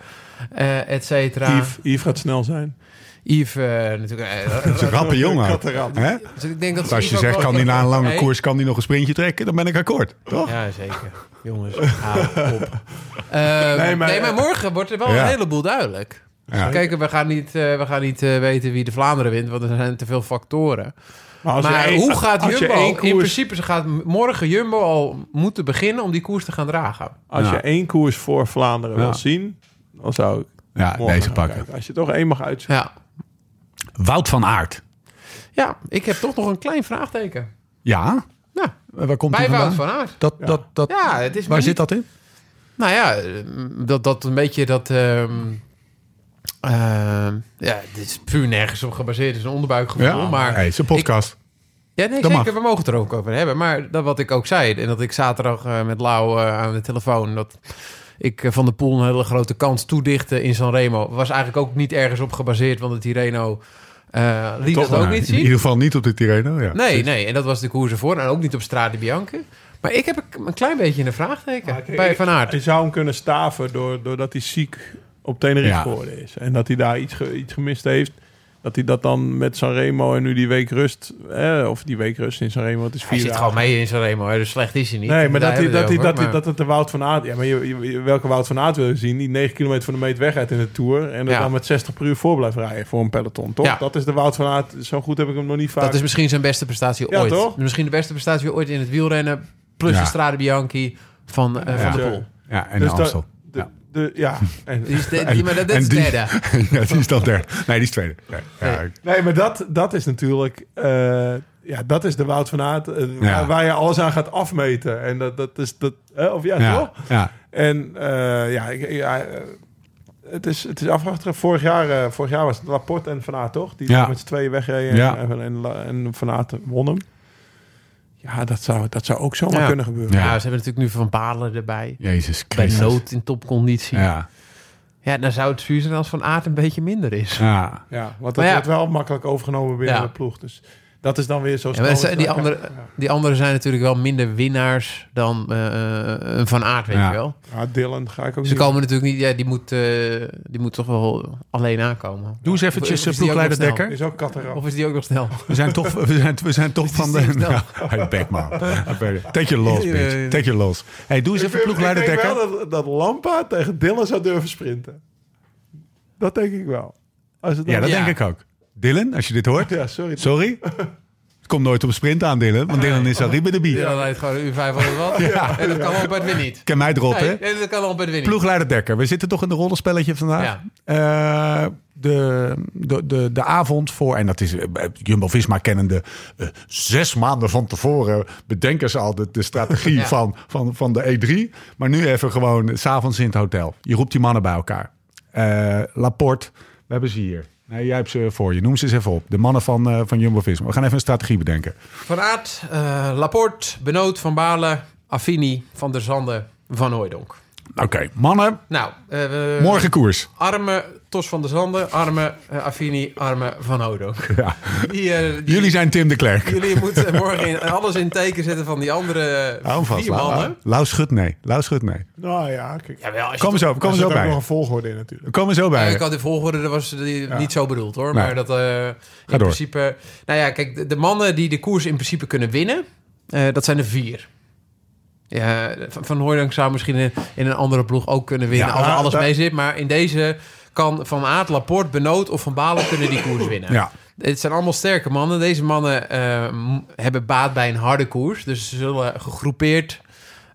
D: eh et cetera.
C: Yves, Yves gaat snel zijn.
D: Yves, eh, natuurlijk. eh,
A: dat is een rappe jongen.
C: Kattenrad.
A: Hè?
D: dus ik denk dat
A: Dus als
D: Yves
A: je
D: ook
A: zegt,
D: wel-
A: kan hij na een lange
D: Nee.
A: koers kan die nog een sprintje trekken, dan ben ik akkoord. Toch?
D: Ja, zeker. Jongens, hou op. Eh, nee,
C: Nee,
D: maar,
C: maar-
D: morgen wordt er wel
A: Ja.
D: een heleboel duidelijk.
A: Ja.
D: Kijk, we gaan niet, eh, we gaan niet eh, weten wie de Vlaanderen wint, want er zijn te veel factoren.
C: Maar, als je
D: maar
C: één-
D: hoe gaat
C: als je
D: Jumbo?
C: één
D: In
C: koers,
D: principe ze gaat m- morgen Jumbo al moeten beginnen om die koers te gaan dragen.
C: als je
A: Ja.
C: één koers voor Vlaanderen
A: Ja.
C: wil zien, dan zou ik
A: Ja,
C: morgen
A: deze
C: gaan
A: pakken.
C: kijken. Als je toch één mag uitzoeken.
D: Ja.
A: Wout van Aert.
D: ja, ik heb toch nog een klein vraagteken.
A: Ja? Eh,
D: Nou,
A: Waar komt hij
D: bij Wout
A: vandaan?
D: van Aert.
A: Dat, dat, dat,
D: Ja, het is maar
A: waar zit
D: niet-
A: dat in?
D: Nou ja, eh, dat, dat een beetje dat... ehm, ehm, ja, dit is puur nergens op gebaseerd. Het is een onderbuikgevoel, maar...
A: hey, zijn podcast.
D: Ja, nee,
A: Dat
D: zeker.
A: mag.
D: We mogen het er ook over hebben. Maar dat wat ik ook zei, en dat ik zaterdag eh, met Lau eh, aan de telefoon... dat ik eh, Van de Poel een hele grote kans toedichtte in Sanremo... was eigenlijk ook niet ergens op gebaseerd... want de Tirreno eh liet
C: Toch
D: dat ook
A: Nou,
D: niet
A: in ieder
D: zien.
A: geval niet op de Tirreno. Ja.
D: Nee, nee. En dat was de koers ervoor. En ook niet op Strade Bianca. Maar ik heb een- een klein beetje een vraagteken
C: Maar ik-
D: bij
C: ik-
D: Van Aert.
C: Je zou hem kunnen staven door, doordat hij ziek op Tenerife
A: Ja.
C: geworden is. En dat hij daar iets, ge- iets gemist heeft. Dat hij dat dan met Sanremo en nu die week rust... Eh, of die week rust in Sanremo, het is vier
D: Hij zit
C: dagen.
D: gewoon mee in Sanremo, hè, dus slecht is hij niet.
C: Nee, maar dat,
D: Daar
C: hij,
D: hebben
C: dat, hij,
D: we het
C: dat, hij,
D: over,
C: dat het de Wout van Aert... Ja, maar je, je- je- welke Wout van Aert wil je zien? Die 9 kilometer van de meet wegrijdt in de Tour... en er
D: Ja.
C: dan met 60 per uur voor blijft rijden voor een peloton, toch?
D: Ja.
C: Dat is de Wout van Aert. Zo goed heb ik hem nog niet vaak...
D: maar dat is misschien zijn beste prestatie
C: Ja,
D: ooit.
C: toch?
D: Misschien de beste prestatie ooit in het wielrennen. Plus
A: Ja.
D: de Strade Bianchi van, eh,
C: Ja.
D: van de
C: Ja.
D: Poel.
A: Ja, en
C: Dus
A: de
C: dat-
A: Amstel.
C: de-
A: Ja.
C: de- ja. En-
D: Die is de-
A: En-
D: die- maar dat, dat
A: en
D: is
A: die-
D: derde.
A: ja, die is dan derde. Nee, die is tweede. Nee, ja,
D: Nee.
C: Nee, maar dat, dat is natuurlijk... eh, ja, dat is de Wout van Aert eh,
A: Ja.
C: waar, waar je alles aan gaat afmeten. En dat, dat is... Dat, eh, of ja, toch?
A: ja, ja.
C: En eh, ja, ik, ja eh, het, is, het is afwachten. Vorig jaar, eh, vorig jaar was het Laporte en Van Aert, toch? Die
A: Ja.
C: met z'n tweeën wegreden en,
A: Ja.
C: en, en, en Van Aert won hem. Ja, dat zou, dat zou ook zomaar
D: Ja.
C: kunnen gebeuren.
D: Ja.
A: Ja.
D: ze hebben natuurlijk nu Van Balen erbij.
A: Jezus
D: Bij
A: Christus.
D: nood in topconditie. Ja.
A: Ja,
D: dan zou het zuur zijn als Van Aert een beetje minder is.
A: ja.
C: Ja, want
D: Maar
C: dat
D: ja.
C: wordt wel makkelijk overgenomen binnen
D: Ja.
C: de ploeg. Dus dat is dan weer zo
D: Ja, maar
C: snel.
D: zijn die
C: Ja,
D: andere-
C: ja.
D: Die anderen zijn natuurlijk wel minder winnaars dan eh, een Van Aert, weet
A: Ja.
D: je wel.
C: Ja, Dylan ga ik ook
D: Ze
C: niet...
D: komen natuurlijk niet... Ja, die moet, eh, die moet toch wel alleen aankomen.
A: Doe eens
D: eventjes,
A: eventjes
D: eh, ploegleider
A: ploegleider
D: Dekker.
A: Dekker.
C: Is ook kattenrap.
D: Of is die ook nog snel?
A: We zijn toch, we zijn, we zijn toch van de...
D: die snel?
C: nou.
A: Ja, hey, back man. Take your loss, bitch. Take your loss. Hey, doe eens even ploegleider
C: ik denk
A: Dekker.
C: wel dat, dat Lampa tegen Dylan zou durven sprinten. Dat denk ik wel. Als het dan-
A: Ja, dat
D: Ja.
A: denk ik ook. Dylan, als je dit hoort.
C: ja, sorry.
A: Sorry. komt nooit op sprint aan, Dylan. Want Dylan is al bij de bier.
D: Ja, dan rijdt gewoon een uur 500 watt.
A: Ja.
D: En dat kan Robert weer niet.
A: Ken mij erop, hè?
D: Nee, nee, dat kan Robert weer niet.
A: Ploegleider Dekker, we zitten toch in de rollenspelletje vandaag.
D: Ja.
A: Eh, de, de, de, de avond voor, en dat is eh, Jumbo-Visma kennende, eh, zes maanden van tevoren bedenken ze al de, de strategie
D: Ja.
A: van, van, van de E3. Maar nu even gewoon eh, s'avonds in het hotel. Je roept die mannen bij elkaar. Eh Laporte, we hebben ze hier. Nee, jij hebt ze voor je. Noem ze eens even op. De mannen van, eh, van Jumbo-Visma. We gaan even een strategie bedenken.
D: Van Aert, eh, Laporte, Benoot, Van Baarle, Affini, Van der Zanden, Van Hooijdonk.
A: Oké, mannen,
D: Nou, eh, we-
A: morgen koers.
D: Arme Tos van der Zanden, arme eh, Affini, arme Van Hooijdonk.
A: Ja.
D: Die, eh, die-
A: Jullie zijn Tim de Klerk.
D: jullie moeten morgen in- alles in teken zetten van die andere
A: Hou hem Oh, vast.
D: vier
A: Lau.
D: mannen.
A: Lau schud nee. Lau schud nee.
C: Nou ja, kijk.
D: Jawel, als je
A: Kom
D: toch-
A: zo, kom
C: er zit
A: zo
C: ook nog
A: bij.
C: een volgorde in natuurlijk.
A: Kom zo
D: Ja,
A: bij.
D: ik had de volgorde, dat was die niet zo bedoeld hoor.
A: Nee.
D: Maar dat eh, in
A: door.
D: principe. Nou ja, kijk, de, de mannen die de koers in principe kunnen winnen, eh, dat zijn er vier. Ja, van van Hooijdonk zou misschien in, in een andere ploeg ook kunnen winnen
A: Ja, nou,
D: als er
A: maar
D: alles
A: daar-
D: mee zit. Maar in deze kan Van Aert, Laporte, Benoot of Van Balen kunnen die koers winnen.
A: Ja.
D: Het zijn allemaal sterke mannen. Deze mannen eh, m- hebben baat bij een harde koers. Dus ze zullen gegroepeerd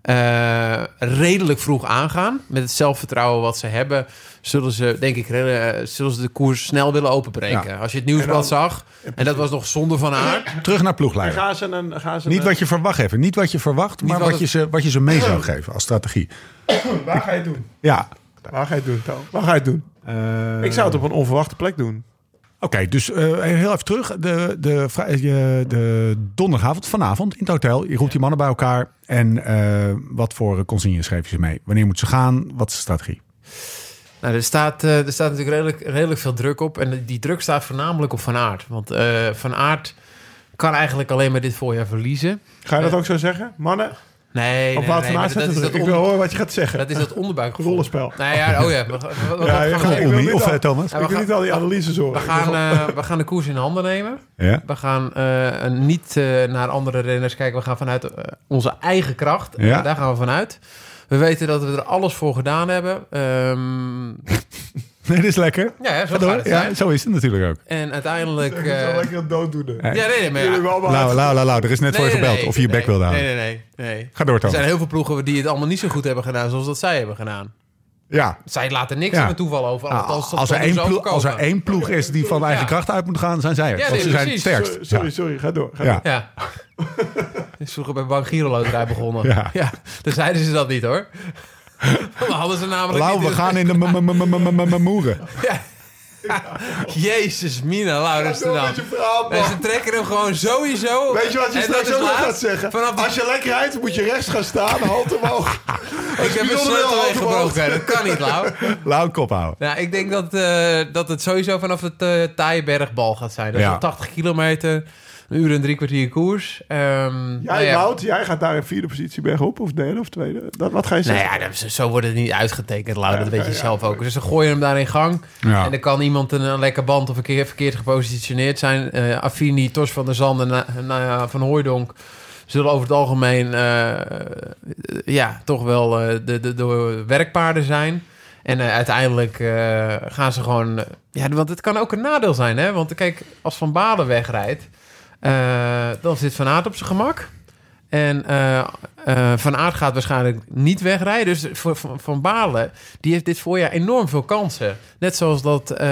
D: eh, redelijk vroeg aangaan. Met het zelfvertrouwen wat ze hebben, zullen ze, denk ik, re- eh, zullen ze de koers snel willen openbreken. Als je het nieuwsblad zag, en dat was nog zonder van aard.
A: Terug naar
C: En
A: ploegleider.
C: gaan ze een... Gaan ze
A: Niet
C: een-
A: wat je verwacht even. Niet wat je verwacht, maar
D: wat
A: wat je,
D: het-
A: ze, wat je ze mee zou geven als strategie.
C: Waar ga je het doen?
A: Ja. eh,
C: Waar ga je het doen, Toon? Waar ga je het doen?
D: Eh,
C: Ik zou het op een onverwachte plek doen.
A: Oké, dus eh, heel even terug. De, de, vri- eh, de donderdagavond, vanavond in het hotel. Je roept die mannen bij elkaar. En eh, wat voor consignes geef je ze mee? Wanneer moeten ze gaan? Wat is de strategie?
D: Nou, er staat, eh, er staat natuurlijk redelijk, redelijk veel druk op. En die druk staat voornamelijk op Van Aert. Want eh, Van Aert kan eigenlijk alleen maar dit voorjaar verliezen.
C: Ga je dat ook zo zeggen? Mannen,
D: Eh, Nee,
C: op
D: nee,
C: Wout
D: nee,
C: van Aert
D: maar
C: zet het
D: dat, is
C: druk.
D: dat,
C: Ik wil
D: onder,
C: horen wat je gaat zeggen.
D: dat is dat onderbuikgevoel.
C: Rollenspel.
D: Nou ja, oh ja. we- we- we- we-
C: Ja, ja,
D: gaan we-
C: ik
A: Omi
C: wil
A: of
C: dit
A: eh,
C: al.
A: Thomas?
D: Ja, we
C: ik wil
D: gaan-
C: niet al die analyses horen.
D: We gaan, eh, we gaan de koers in handen nemen.
A: Ja.
D: We gaan eh, niet eh, naar andere renners kijken. We gaan vanuit eh, onze eigen kracht. Eh,
A: Ja.
D: Daar gaan we vanuit. We weten dat we er alles voor gedaan hebben. Ehm,
A: Nee, dit is lekker.
D: ja, ja, zo
A: Ga
D: gaat
A: door.
D: het
A: Ja,
D: zijn.
A: zo is het natuurlijk ook.
D: En uiteindelijk...
C: Ik zal
D: eh,
C: lekker een dooddoener.
A: Eh,
D: ja, nee, nee, maar ja.
C: Jullie hebben allemaal
A: Lau, Lau, Lau, Lau, er is net voor je
D: Nee, nee,
A: gebeld
D: nee,
A: of je je bek
D: nee,
A: wilde houden.
D: Nee, nee, nee. nee.
A: Ga door,
D: Er zijn
A: Thomas.
D: heel veel ploegen die het allemaal niet zo goed hebben gedaan... zoals dat zij hebben gedaan.
A: Ja,
D: Zij laten niks
A: Ja.
D: aan het toeval over.
A: Ah,
D: althans, dat
A: als, er
D: kan
A: één
D: zo
A: ploeg, als er
D: overkomen.
A: één ploeg is die van eigen
D: Ja.
A: kracht uit moet gaan, zijn zij het.
D: Ja,
A: Want
D: nee,
A: ze zijn het
D: precies.
A: sterkst.
C: Sorry, sorry,
A: Ja.
C: sorry, ga door. Ga
A: Ja.
C: door.
D: Ja. is vroeger bij Bank Giro loterij begonnen.
A: Ja.
D: Ja. dan zeiden ze dat niet hoor. Dan hadden ze namelijk
A: Lau,
D: niet
A: we gaan in de m- m- m- m- m- m- moeren.
D: Jezus, Mina, Laurens
C: Door
D: de Dam.
C: met je verhaal, man.
D: En ze trekken hem gewoon sowieso.
C: Weet je wat je
D: En dat
C: straks
D: is
C: ook nog
D: laat.
C: gaat zeggen?
D: Vanaf
C: Als je lekker rijdt, moet je rechts gaan staan, hand omhoog.
D: ik heb een
C: bijzonder
D: sleutel
C: wel
D: gebroken. Dat kan niet, Lau.
A: Lau, kop houden.
D: Nou, ik denk dat, eh, dat het sowieso vanaf het eh Taaienbergbal gaat zijn. Dat is
A: Ja.
D: een 80 kilometer, een uur en drie kwartier koers. Ehm, nou
C: Jij, Wout, jij gaat daar in vierde positie bergop, of derde of tweede. Dat, wat ga je
D: Nou
C: zeggen?
D: ja, dat- zo wordt het niet uitgetekend, Lau. Dat weet je
C: ja,
D: zelf ook. Dus dan gooi je hem daar in gang.
A: Ja.
D: En dan kan iemand een, een lekker band of een keer verkeerd gepositioneerd zijn. Eh Affini, Tos van der Zanden, na, na- Van Hooijdonk... zullen over het algemeen eh, eh, ja, toch wel eh, de, de, de werkpaarden zijn. En eh, uiteindelijk eh, gaan ze gewoon... eh, ja, want het kan ook een nadeel zijn, hè? Want kijk, als Van Baden wegrijdt... eh, dan zit Van Aert op zijn gemak... En eh, eh, Van Aert gaat waarschijnlijk niet wegrijden. Dus voor- van, van Balen, die heeft dit voorjaar enorm veel kansen. Net zoals dat eh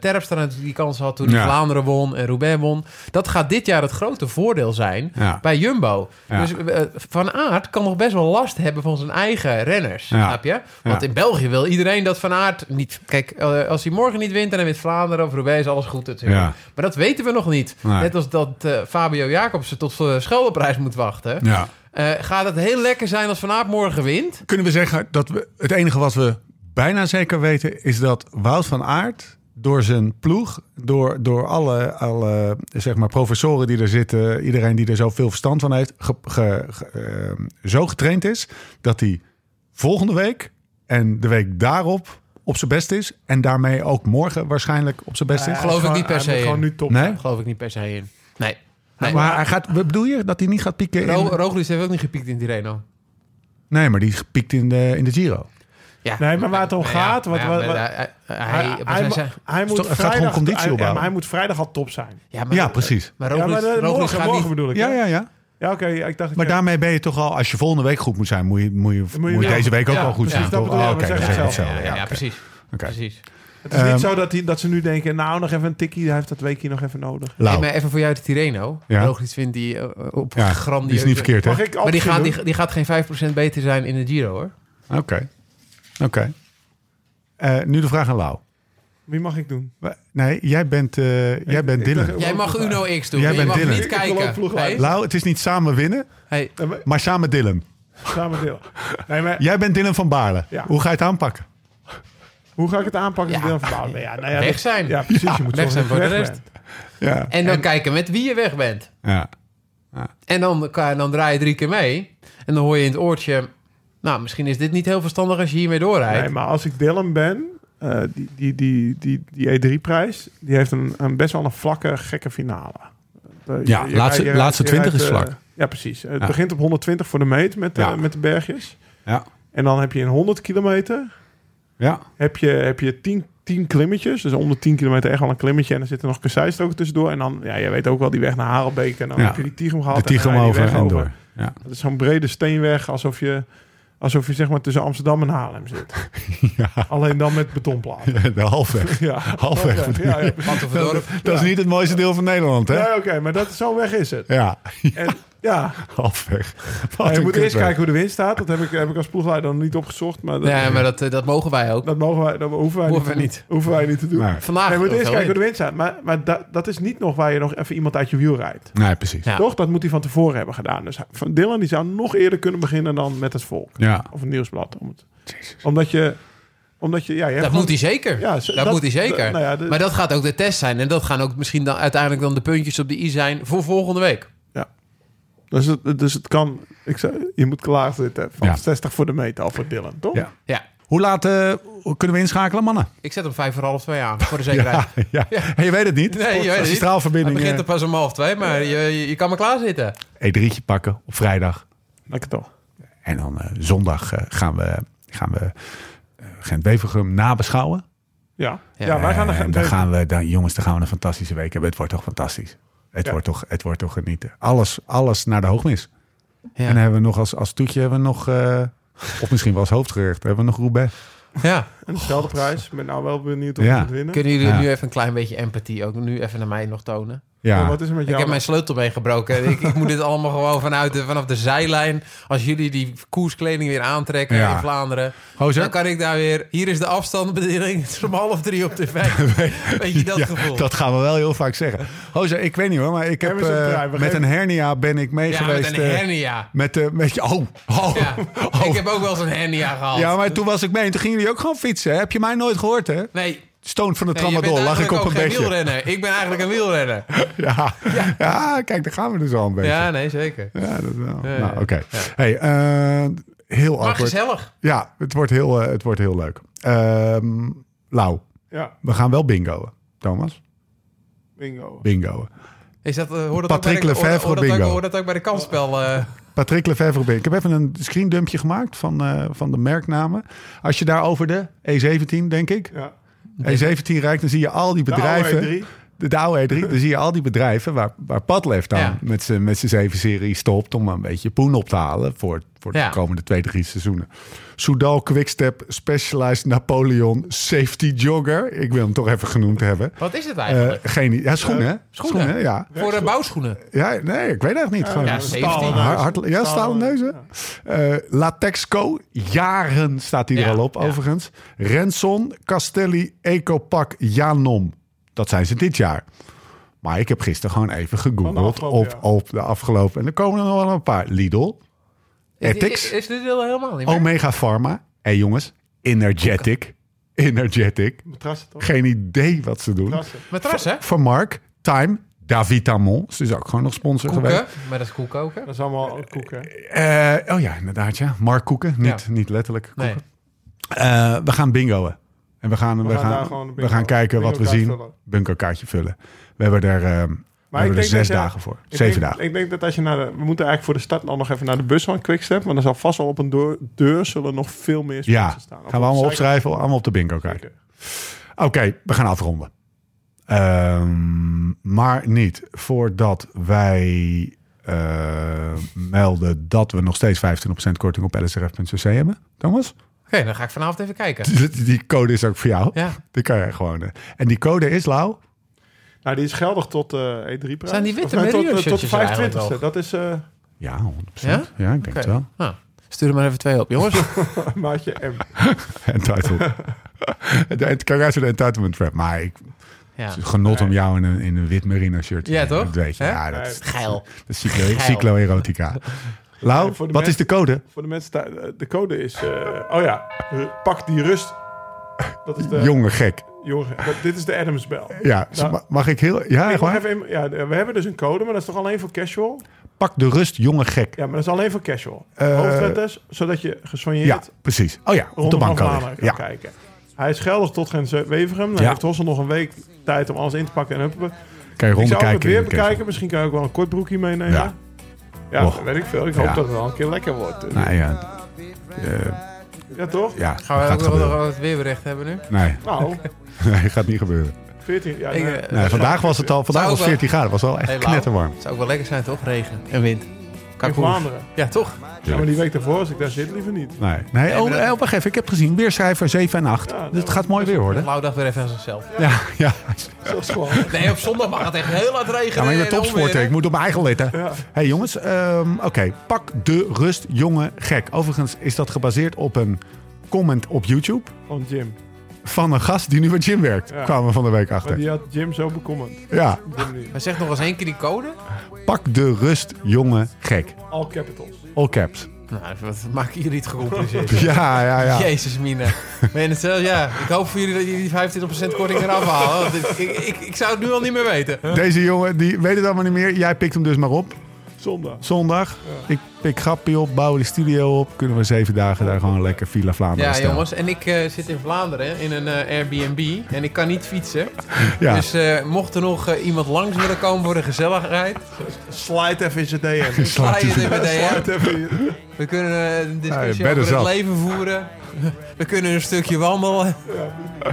D: Terpstra natuurlijk die kans had toen hij
A: Ja.
D: Vlaanderen won en Roubaix won. Dat gaat dit jaar het grote voordeel zijn
A: Ja.
D: bij Jumbo.
A: Ja.
D: Dus eh, Van Aert kan nog best wel last hebben van zijn eigen renners,
A: Ja.
D: snap je? Want
A: Ja.
D: in België wil iedereen dat Van Aert niet... Kijk, eh, als hij morgen niet wint en hij wint Vlaanderen of Roubaix is alles goed natuurlijk.
A: Ja.
D: Maar dat weten we nog niet.
A: Nee.
D: Net als dat eh, Fabio Jacobsen tot de Scheldeprijs moet wachten.
A: Ja.
D: Eh, gaat het heel lekker zijn als Van Aert morgen wint?
A: Kunnen we zeggen dat we het enige wat we bijna zeker weten is dat Wout van Aert door zijn ploeg, door, door alle, alle zeg maar, professoren die er zitten, iedereen die er zoveel verstand van heeft, ge- ge- ge- ehm, zo getraind is dat hij volgende week en de week daarop op zijn best is en daarmee ook morgen waarschijnlijk op zijn best is.
D: geloof ik
C: Gewoon-
D: niet per
C: hij
D: se
C: moet Gewoon
D: in.
C: nu top.
A: Nee?
D: Daar geloof ik niet per se in. Nee. nee.
A: Maar hij gaat, wat bedoel je dat hij niet gaat pieken?
D: Ro
A: In,
D: Roglic heeft ook niet gepiekt in Tirreno.
A: nee, maar die piekt in de, in de Giro.
D: Ja.
C: Nee, maar waar het om
D: Ja,
C: gaat, wat-
D: maar
C: wat-
D: ja,
C: wat-
D: maar hij- hij-
C: Hij,
D: hij-
C: hij-
D: maar zij-
C: hij moet
A: Sto- gaat gewoon
C: vrijdag,
A: conditie
C: hij- ja,
A: opbouwen.
C: maar hij moet vrijdag al top zijn.
D: Ja, maar-
A: Ja, precies.
D: Maar
C: Ja, maar
D: Roglic-
C: eh,
D: Roglic
C: morgen,
D: gaat
C: morgen
D: niet...
C: bedoel ik.
A: Ja,
C: hè?
A: ja, ja.
C: Ja, oké, ik dacht... ik-
A: Maar daarmee ben je toch al, als je volgende week goed moet zijn, moet je, moet je, moet je
C: ja.
A: deze week ook
D: Ja,
A: al goed
D: precies,
A: zijn.
C: dat
A: toch?
C: bedoel ik,
A: Ah, Oké,
C: maar
A: dan
C: zeg
A: zeg je
C: het
A: hetzelfde.
C: zelf.
A: Ja,
D: Ja,
A: oké.
D: precies.
A: Oké.
D: precies.
C: Het is
A: Ehm,
C: niet zo dat, die, dat ze nu denken, nou, nog even een tikkie. Hij heeft dat weekje nog even nodig.
A: Lau.
D: Nee, maar even voor jou de Tireno.
A: Ja.
D: Roglic vindt die eh, op
A: Ja,
D: grandioze...
A: die is niet verkeerd, hè?
C: Mag
A: Oké.
C: ik
D: Maar die
C: optie
D: gaat,
C: doen?
D: die, die gaat geen 5% beter zijn in de Giro, hoor.
A: Oké. Eh, nu de vraag aan Lau.
C: Wie mag ik doen?
A: Wa- Nee, jij bent, eh jij
C: Ik-
A: bent
C: ik dacht-
A: Dylan.
D: Jij mag Uno X doen.
A: Jij
D: maar je
A: bent
D: mag
A: Dylan.
D: niet
C: Ik- ik wil ook
D: kijken.
C: ploeg
D: Hey,
C: laten.
A: Lau, het is niet samen winnen,
D: hey,
C: Nee, maar-
A: maar samen Dylan.
C: Eh, Samen deel. Nee, maar
A: Jij bent Dylan van Baarle.
C: Ja.
A: Hoe ga je het aanpakken?
C: hoe ga ik het aanpakken?
D: Ja.
C: als ik deel verbouw? Nee, ja, nou ja,
D: Weg
C: dat-
D: zijn.
C: Ja, precies. je moet zorgen
D: weg zijn
C: dat
D: voor
C: je
D: de
C: weg
D: rest.
C: bent.
A: Ja.
D: En dan kijken met wie je weg bent.
A: ja.
D: En dan, en dan draai je drie keer mee. En dan hoor je in het oortje... Nou, misschien is dit niet heel verstandig als je hiermee doorrijdt.
C: Nee, maar als ik Dylan ben, eh, die, die, die, die, die E3-prijs, die heeft een, een best wel een vlakke, gekke finale. Eh,
A: Ja, laatste-
C: rijdt-
A: laatste
C: je rijdt,
A: 20 is
C: eh,
A: vlak.
C: ja, precies. Het
A: Ja.
C: begint op 120 voor de meet met, de-
A: Ja.
C: met de bergjes.
A: Ja.
C: En dan heb je in 100 kilometer
A: ja.
C: heb je, heb je 10, 10 klimmetjes. Dus om de 10 kilometer echt wel een klimmetje. En er zitten nog kasseistroken tussendoor. En dan, ja, je weet ook wel die weg naar Harelbeek. En dan
A: Ja.
C: heb je die Tigum
A: De
C: gehad.
A: Tigrum
C: en dan ga je die
A: over
C: weg
A: en door. Ja.
C: Dat is zo'n brede steenweg, alsof je, alsof je zeg maar tussen Amsterdam en Haarlem zit.
A: Ja.
C: Alleen dan met betonplaten.
A: De halfweg.
C: Ja,
A: Halfweg.
C: halfweg. Ja, ja.
D: Battenverdorp.
A: Dat is niet het mooiste deel van Nederland, hè?
C: Nee, oké, maar dat, zo'n weg is het.
A: Ja,
C: En, ja,
A: halfweg.
C: nou,
A: Wat een
C: je moet
A: kutweg.
C: eerst kijken hoe de wind staat. Dat heb ik, heb ik als ploegleider nog niet opgezocht, maar dat,
D: Ja, maar dat, eh, dat mogen wij ook.
C: dat, mogen wij, dat hoeven wij
D: Hoeven
C: niet,
D: we
C: te doen. Hoeven wij niet te doen.
A: Nee.
D: Vandaag.
C: je moet
D: ook
C: eerst
D: wel
C: kijken hoe de wind staat. Maar, maar dat, dat is niet nog waar je nog even iemand uit je wiel rijdt.
A: Nee, precies.
D: Ja.
C: Toch? Dat moet hij van tevoren hebben gedaan. Dus hij- van Dylan die zou nog eerder kunnen beginnen dan met het volk.
A: Ja.
C: Of een nieuwsblad. Om het, omdat je... Omdat je ja, je hebt
D: Dat
C: gewoon-
D: moet hij zeker.
C: Ja,
D: dat,
C: ze- dat-
D: moet hij zeker.
C: d- nou ja, de-
D: maar dat gaat ook de test zijn. En dat gaan ook misschien dan uiteindelijk dan de puntjes op de i zijn voor volgende week.
C: Dus het, dus het kan... Ik zei, je moet klaarzitten van
A: Ja.
C: 60 voor de meter al voor Dylan, toch?
A: Ja.
D: Ja,
A: Hoe laat eh, kunnen we inschakelen, mannen?
D: ik zet hem vijf voor half twee aan. Voor de zekerheid.
A: ja. En je weet het niet.
D: Nee, je weet
A: Als
D: het
A: die
D: niet.
A: straalverbinding...
D: Hij begint
A: eh,
D: er pas om half twee, maar je, je, je kan maar klaarzitten.
A: E3'tje pakken op vrijdag.
C: Lekker toch?
A: En dan eh, zondag eh, gaan we, gaan we eh, Gent-Wevergem nabeschouwen.
C: Ja. Ja,
D: Ja.
C: wij gaan er
A: Eh, en
C: geen...
A: dan gaan we, dan, jongens, dan gaan we een fantastische week hebben. Het wordt toch fantastisch. Het,
C: Ja.
A: wordt, toch, het wordt toch genieten. Alles, alles naar de hoogmis.
D: Ja.
A: En dan hebben we nog als, als toetje, hebben we nog, eh, of misschien wel als hoofdgerecht, hebben we nog Roubaix.
D: Ja.
C: Een stelde prijs. Ik ben nou wel benieuwd of
A: Ja.
C: je het winnen.
D: Kunnen jullie
A: Ja.
D: nu even een klein beetje empathie ook nu even naar mij nog tonen?
C: Maar
A: Ja,
C: Oh, Wat is er met
D: Ik
C: jou?
D: heb mijn sleutelbeen gebroken. ik, ik moet dit allemaal gewoon vanuit de, vanaf de zijlijn. Als jullie die koerskleding weer aantrekken
A: Ja.
D: in Vlaanderen. Dan
A: gozer,
D: kan ik daar weer... Hier is de afstandsbediening. Het is om half drie op tv. Weet je dat
A: Ja,
D: gevoel?
A: dat gaan we wel heel vaak zeggen. Gozer, ik weet niet hoor, maar ik heb
C: Geef eens een
A: eh,
C: draai, we
A: met
C: geven-
A: een hernia ben ik mee
D: ja,
A: geweest.
D: met een
A: eh,
D: hernia.
A: met de, met je, oh, oh,
D: Ja.
A: oh.
D: Ik heb ook wel eens een hernia gehad.
A: Ja, maar toen was ik mee en toen gingen jullie ook gewoon fietsen. hè? Heb je mij nooit gehoord, hè?
D: Nee, nee,
A: Stoon van de
D: je
A: tramadol,
D: bent
A: lag ik
D: eigenlijk
A: op
D: ook
A: een
D: geen
A: bedje.
D: wielrenner. Ik ben eigenlijk een wielrenner.
A: Ja. Ja. kijk, daar gaan we dus al een beetje.
D: Ja,
A: Ja,
D: nee, zeker.
A: dat wel.
D: Ja,
A: nou,
D: ja.
A: oké. Hey, eh, heel
D: Maar
A: awkward.
D: gezellig.
A: Ja, het wordt heel, eh, het wordt heel leuk. Ehm Lau,
C: Ja,
A: we gaan wel bingoen. Thomas,
C: bingo.
A: bingoen.
D: Is dat, eh, hoor dat
A: Patrick
D: ook bij de- hoor-
A: Lefevre
D: hoor dat ook-
A: bingo.
D: Hoor dat ook bij de kansspel. eh,
A: Patrick Lefevre ben ik. Ik heb even een screendumpje gemaakt van, eh, van de merknamen. Als je daar over de E17, denk ik,
C: Ja.
A: E17 rijdt, dan zie je al die bedrijven...
D: E
C: De oude E3.
A: De, de oude E3, dan zie je al die bedrijven waar, waar Padlef dan
D: Ja.
A: met zijn met zijn zeven serie stopt om een beetje poen op te halen voor, voor de
D: Ja.
A: komende twee, drie seizoenen. Soudal, Quickstep, Specialized, Napoleon, Safety Jogger. Ik wil hem toch even genoemd hebben.
D: wat is het
A: Eh
D: eigenlijk?
A: geen, ja, schoenen. hè?
D: schoenen.
A: ja.
D: Voor de bouwschoenen.
A: ja. Nee, ik weet eigenlijk niet. Gewoon,
D: Ja,
A: eh,
D: safety.
C: Stalen
D: Ja,
A: Har-
C: neuzen.
A: hard- ja, stalen neuzen. Eh, Latexco, jaren staat hij
D: Ja,
A: er al op,
D: ja.
A: overigens. Renson, Castelli, Ecopak, Janom. Dat zijn ze dit jaar. Maar ik heb gisteren gewoon even
C: Van de
A: gegoogeld
C: afgelopen
A: op,
C: jaar.
A: op de afgelopen. En er komen er nog wel een paar. Lidl,
D: Is,
A: Ethics, Oh.
D: is dit wel helemaal niet meer?
A: Omega Pharma. Hé jongens, Energetic. Energetic.
C: Matrassen toch?
A: Geen idee wat ze doen.
C: Matrassen.
D: Matras, hè?
A: Van Mark, Time, Davitamon. Ze is ook gewoon nog sponsor geweest.
D: Koeken. Maar dat is koek ook, hè?
C: Dat is allemaal koeken.
A: Eh, oh ja, inderdaad, ja. Mark Koeken, niet,
D: Ja.
A: niet letterlijk. Koeken.
D: Nee.
A: Eh, we gaan bingoen. En we gaan, we
C: gaan
A: gaan,
C: daar gewoon de
A: we
C: bingo-
A: gaan kijken wat we
C: bingo-kaart
A: zien.
C: vullen.
A: Bunkerkaartje vullen. We hebben er... eh, We hebben er
C: denk
A: zes
C: dat je-
A: dagen voor.
C: ik
A: Zeven
C: denk-
A: dagen.
C: Ik denk dat als je naar de, we moeten eigenlijk voor de stad dan nog even naar de bus van Quickstep. Want er zal vast al op een deur, deur zullen nog veel meer sponsors
A: Ja,
C: staan.
A: gaan we allemaal opschrijven, allemaal op de bingo kijken. Oké, we gaan afronden. Ehm, maar niet voordat wij eh, melden dat we nog steeds 25% korting op lsrf.cc hebben. Thomas,
D: Oké, dan ga ik vanavond even kijken.
A: die die code is ook voor jou.
D: Ja.
A: Die kan jij gewoon. eh. En die code is, Lau,
C: Nou, die is geldig tot eh E3-prijs.
D: Zijn die witte
C: nee, tot,
D: Merino
C: eh, tot
D: shirtjes er eigenlijk
C: 25ste. Dat is eh
A: Ja, 100%. Ja,
D: Ja?
A: ik denk het wel.
D: Nou, stuur er maar even twee op, jongens.
C: maatje M.
A: Entitled. de, het kan juist een entitlement trap. Maar ik
D: Ja.
A: genot om jou in een, in een wit merino shirt te
D: Ja,
A: zien.
D: toch?
A: Dat weet je.
D: Hè?
A: Ja, dat is
D: Geil.
A: dat is cyclo,
D: Geil.
A: cyclo-erotica. Lau,
C: En voor de
A: wat is
C: mensen-
A: de code?
C: Voor de mensen thuis, eh, de code is... eh, oh ja, eh, pak die rust. Dat is de...
A: Jonge gek.
C: jongen, dat- dit is de Adamsbel.
A: Ja,
C: Nou,
A: ma- mag ik heel... Ja,
C: Ik
A: echt
C: mag
A: waar?
C: even in- ja, we hebben dus een code, maar dat is toch alleen voor casual?
A: Pak de rust, jonge gek.
C: Ja, maar dat is alleen voor casual.
A: Eh,
C: Hoofdletters, zodat je
A: Ja,
C: gesoigneerd
A: precies. Oh ja, op de bank al
C: kan
A: liggen. Ja.
C: kijken. Hij is geldig tot Gent Wevergem. Dan
A: Ja.
C: heeft Hossel nog een week tijd om alles in te pakken en huppen.
A: Kan je
C: Ik zou ook het
A: rondkijken.
C: weer
A: in de kerst.
C: bekijken. Misschien kan je ook wel een kort broekje meenemen.
A: Ja.
C: Ja,
A: Och.
C: dat weet ik veel. Ik hoop
A: Ja.
C: dat het wel een keer lekker wordt.
A: Nou ja,
C: Ja, toch?
A: ja
D: Gaan we
A: gaat
D: ook nog
A: gebeuren.
D: wel het weerbericht hebben nu?
A: Nee,
C: Nou,
A: nee, gaat niet gebeuren.
C: 14... Ja,
D: Ik,
C: nee.
D: eh,
A: Nee, vandaag was het al vandaag
D: Zou
A: was
D: wel-
A: 14 graden. was wel echt
D: Hey, Lau.
A: knetterwarm.
D: Zou ook wel lekker zijn, toch? Regen en wind.
C: in
D: Kakkoe.
C: Vlaanderen.
D: Ja, toch?
C: Ja, maar die week daarvoor, als ik daar zit, liever niet.
A: Nee, nee oh,
D: maar dat-
A: eh, wacht even. Ik heb gezien. Weerschrijver 7 en 8.
C: Ja,
A: Dus
C: dat
A: het gaat mooi weer worden.
D: Blauw dag weer even aan zichzelf.
A: Ja, ja.
C: Dat is gewoon...
D: Nee, op zondag mag het echt heel hard regenen.
A: ja maar ik ben
D: en
A: topsporter.
D: onweer,
A: eh, Ik moet op mijn eigen letten.
C: Ja.
A: hey, jongens. ehm, Oké, pak de rust, jonge gek. Overigens is dat gebaseerd op een comment op YouTube
C: Van Jim.
A: van een gast die nu bij Jim werkt.
C: Ja.
A: Kwamen we van de week
C: Maar
A: achter.
C: die had Jim zo bekommerd.
A: Ja,
C: Jim niet.
D: hè? Maar zeg nog eens één keer die code.
A: pak de rust, jonge gek.
C: All capitals.
A: All caps.
D: Nou, wat maken jullie het gecompliceerd?
A: Ja, ja, ja.
D: Jezus, Mina. Meen het zelf? Ja, ik hoop voor jullie dat jullie die 25% korting eraf halen. want dit- ik, ik, ik zou het nu al niet meer weten.
A: Deze jongen, die weet het allemaal niet meer. Jij pikt hem dus maar op.
C: Zondag.
A: Zondag. Ik pik Grappie op, bouwen de studio op. Kunnen we zeven dagen daar gewoon lekker Villa Vlaanderen
D: Ja,
A: stellen.
D: jongens. En ik eh, zit in Vlaanderen in een eh, Airbnb. En ik kan niet fietsen.
A: Ja.
D: Dus eh, mocht er nog eh, iemand langs willen komen voor de gezelligheid...
C: Slide even in zijn DM.
D: Ga je er meteen
C: Slide even in-
D: We kunnen eh, een discussie
A: Ja, je bent er
D: over
A: zat.
D: het leven voeren. We kunnen een stukje wandelen.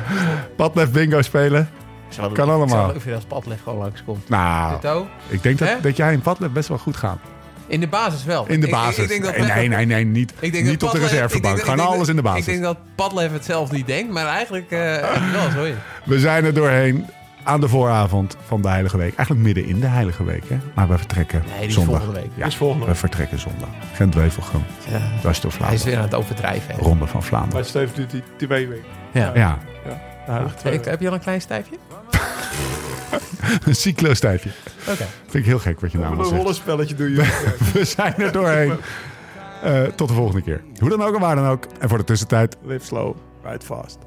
A: Padlef bingo spelen. Kan
D: Ik zou
A: allemaal.
D: het leuk vinden als Padleg gewoon langskomt.
A: Nou,
D: Tito?
A: ik denk dat,
D: Hè?
A: dat jij in Padlef best wel goed gaat.
D: In de basis wel.
A: In de
D: Ik- ik-
A: basis.
D: Ik, denk dat
A: nee, nee, nee, nee, niet,
D: Ik denk
A: niet
D: dat
A: op de
D: Padlef- ik denk
A: reservebank.
D: dat-
A: Gewoon
D: ik denk
A: alles in de
D: dat-
A: basis.
D: Ik denk dat Padlef het zelf niet denkt, maar eigenlijk eh wel, zo is het.
A: We zijn er doorheen aan de vooravond van de Heilige Week. Eigenlijk midden in de Heilige Week, hè? Maar we vertrekken
D: Nee, die is
A: zondag.
D: volgende week.
A: Ja,
C: is volgende
A: we
C: week.
A: vertrekken zondag. Gent Wevelgem,
D: Ja.
A: dwars door
D: Hij is
A: Vlaanderen.
D: weer aan het overdrijven. hè.
A: Ronde van Vlaanderen.
C: Maar Steve doet die twee weken.
D: Ja.
A: Ja,
C: Ja, echt twee
D: Ik- heb je al een klein stijfje?
A: een cyclostijfje.
D: Oké.
A: Vind ik heel gek wat je nou allemaal
C: Een
A: zegt.
C: rollenspelletje doe je.
A: We zijn er doorheen. Eh, tot de volgende keer. Hoe dan ook en waar dan ook. En voor de tussentijd
C: Live slow, ride fast.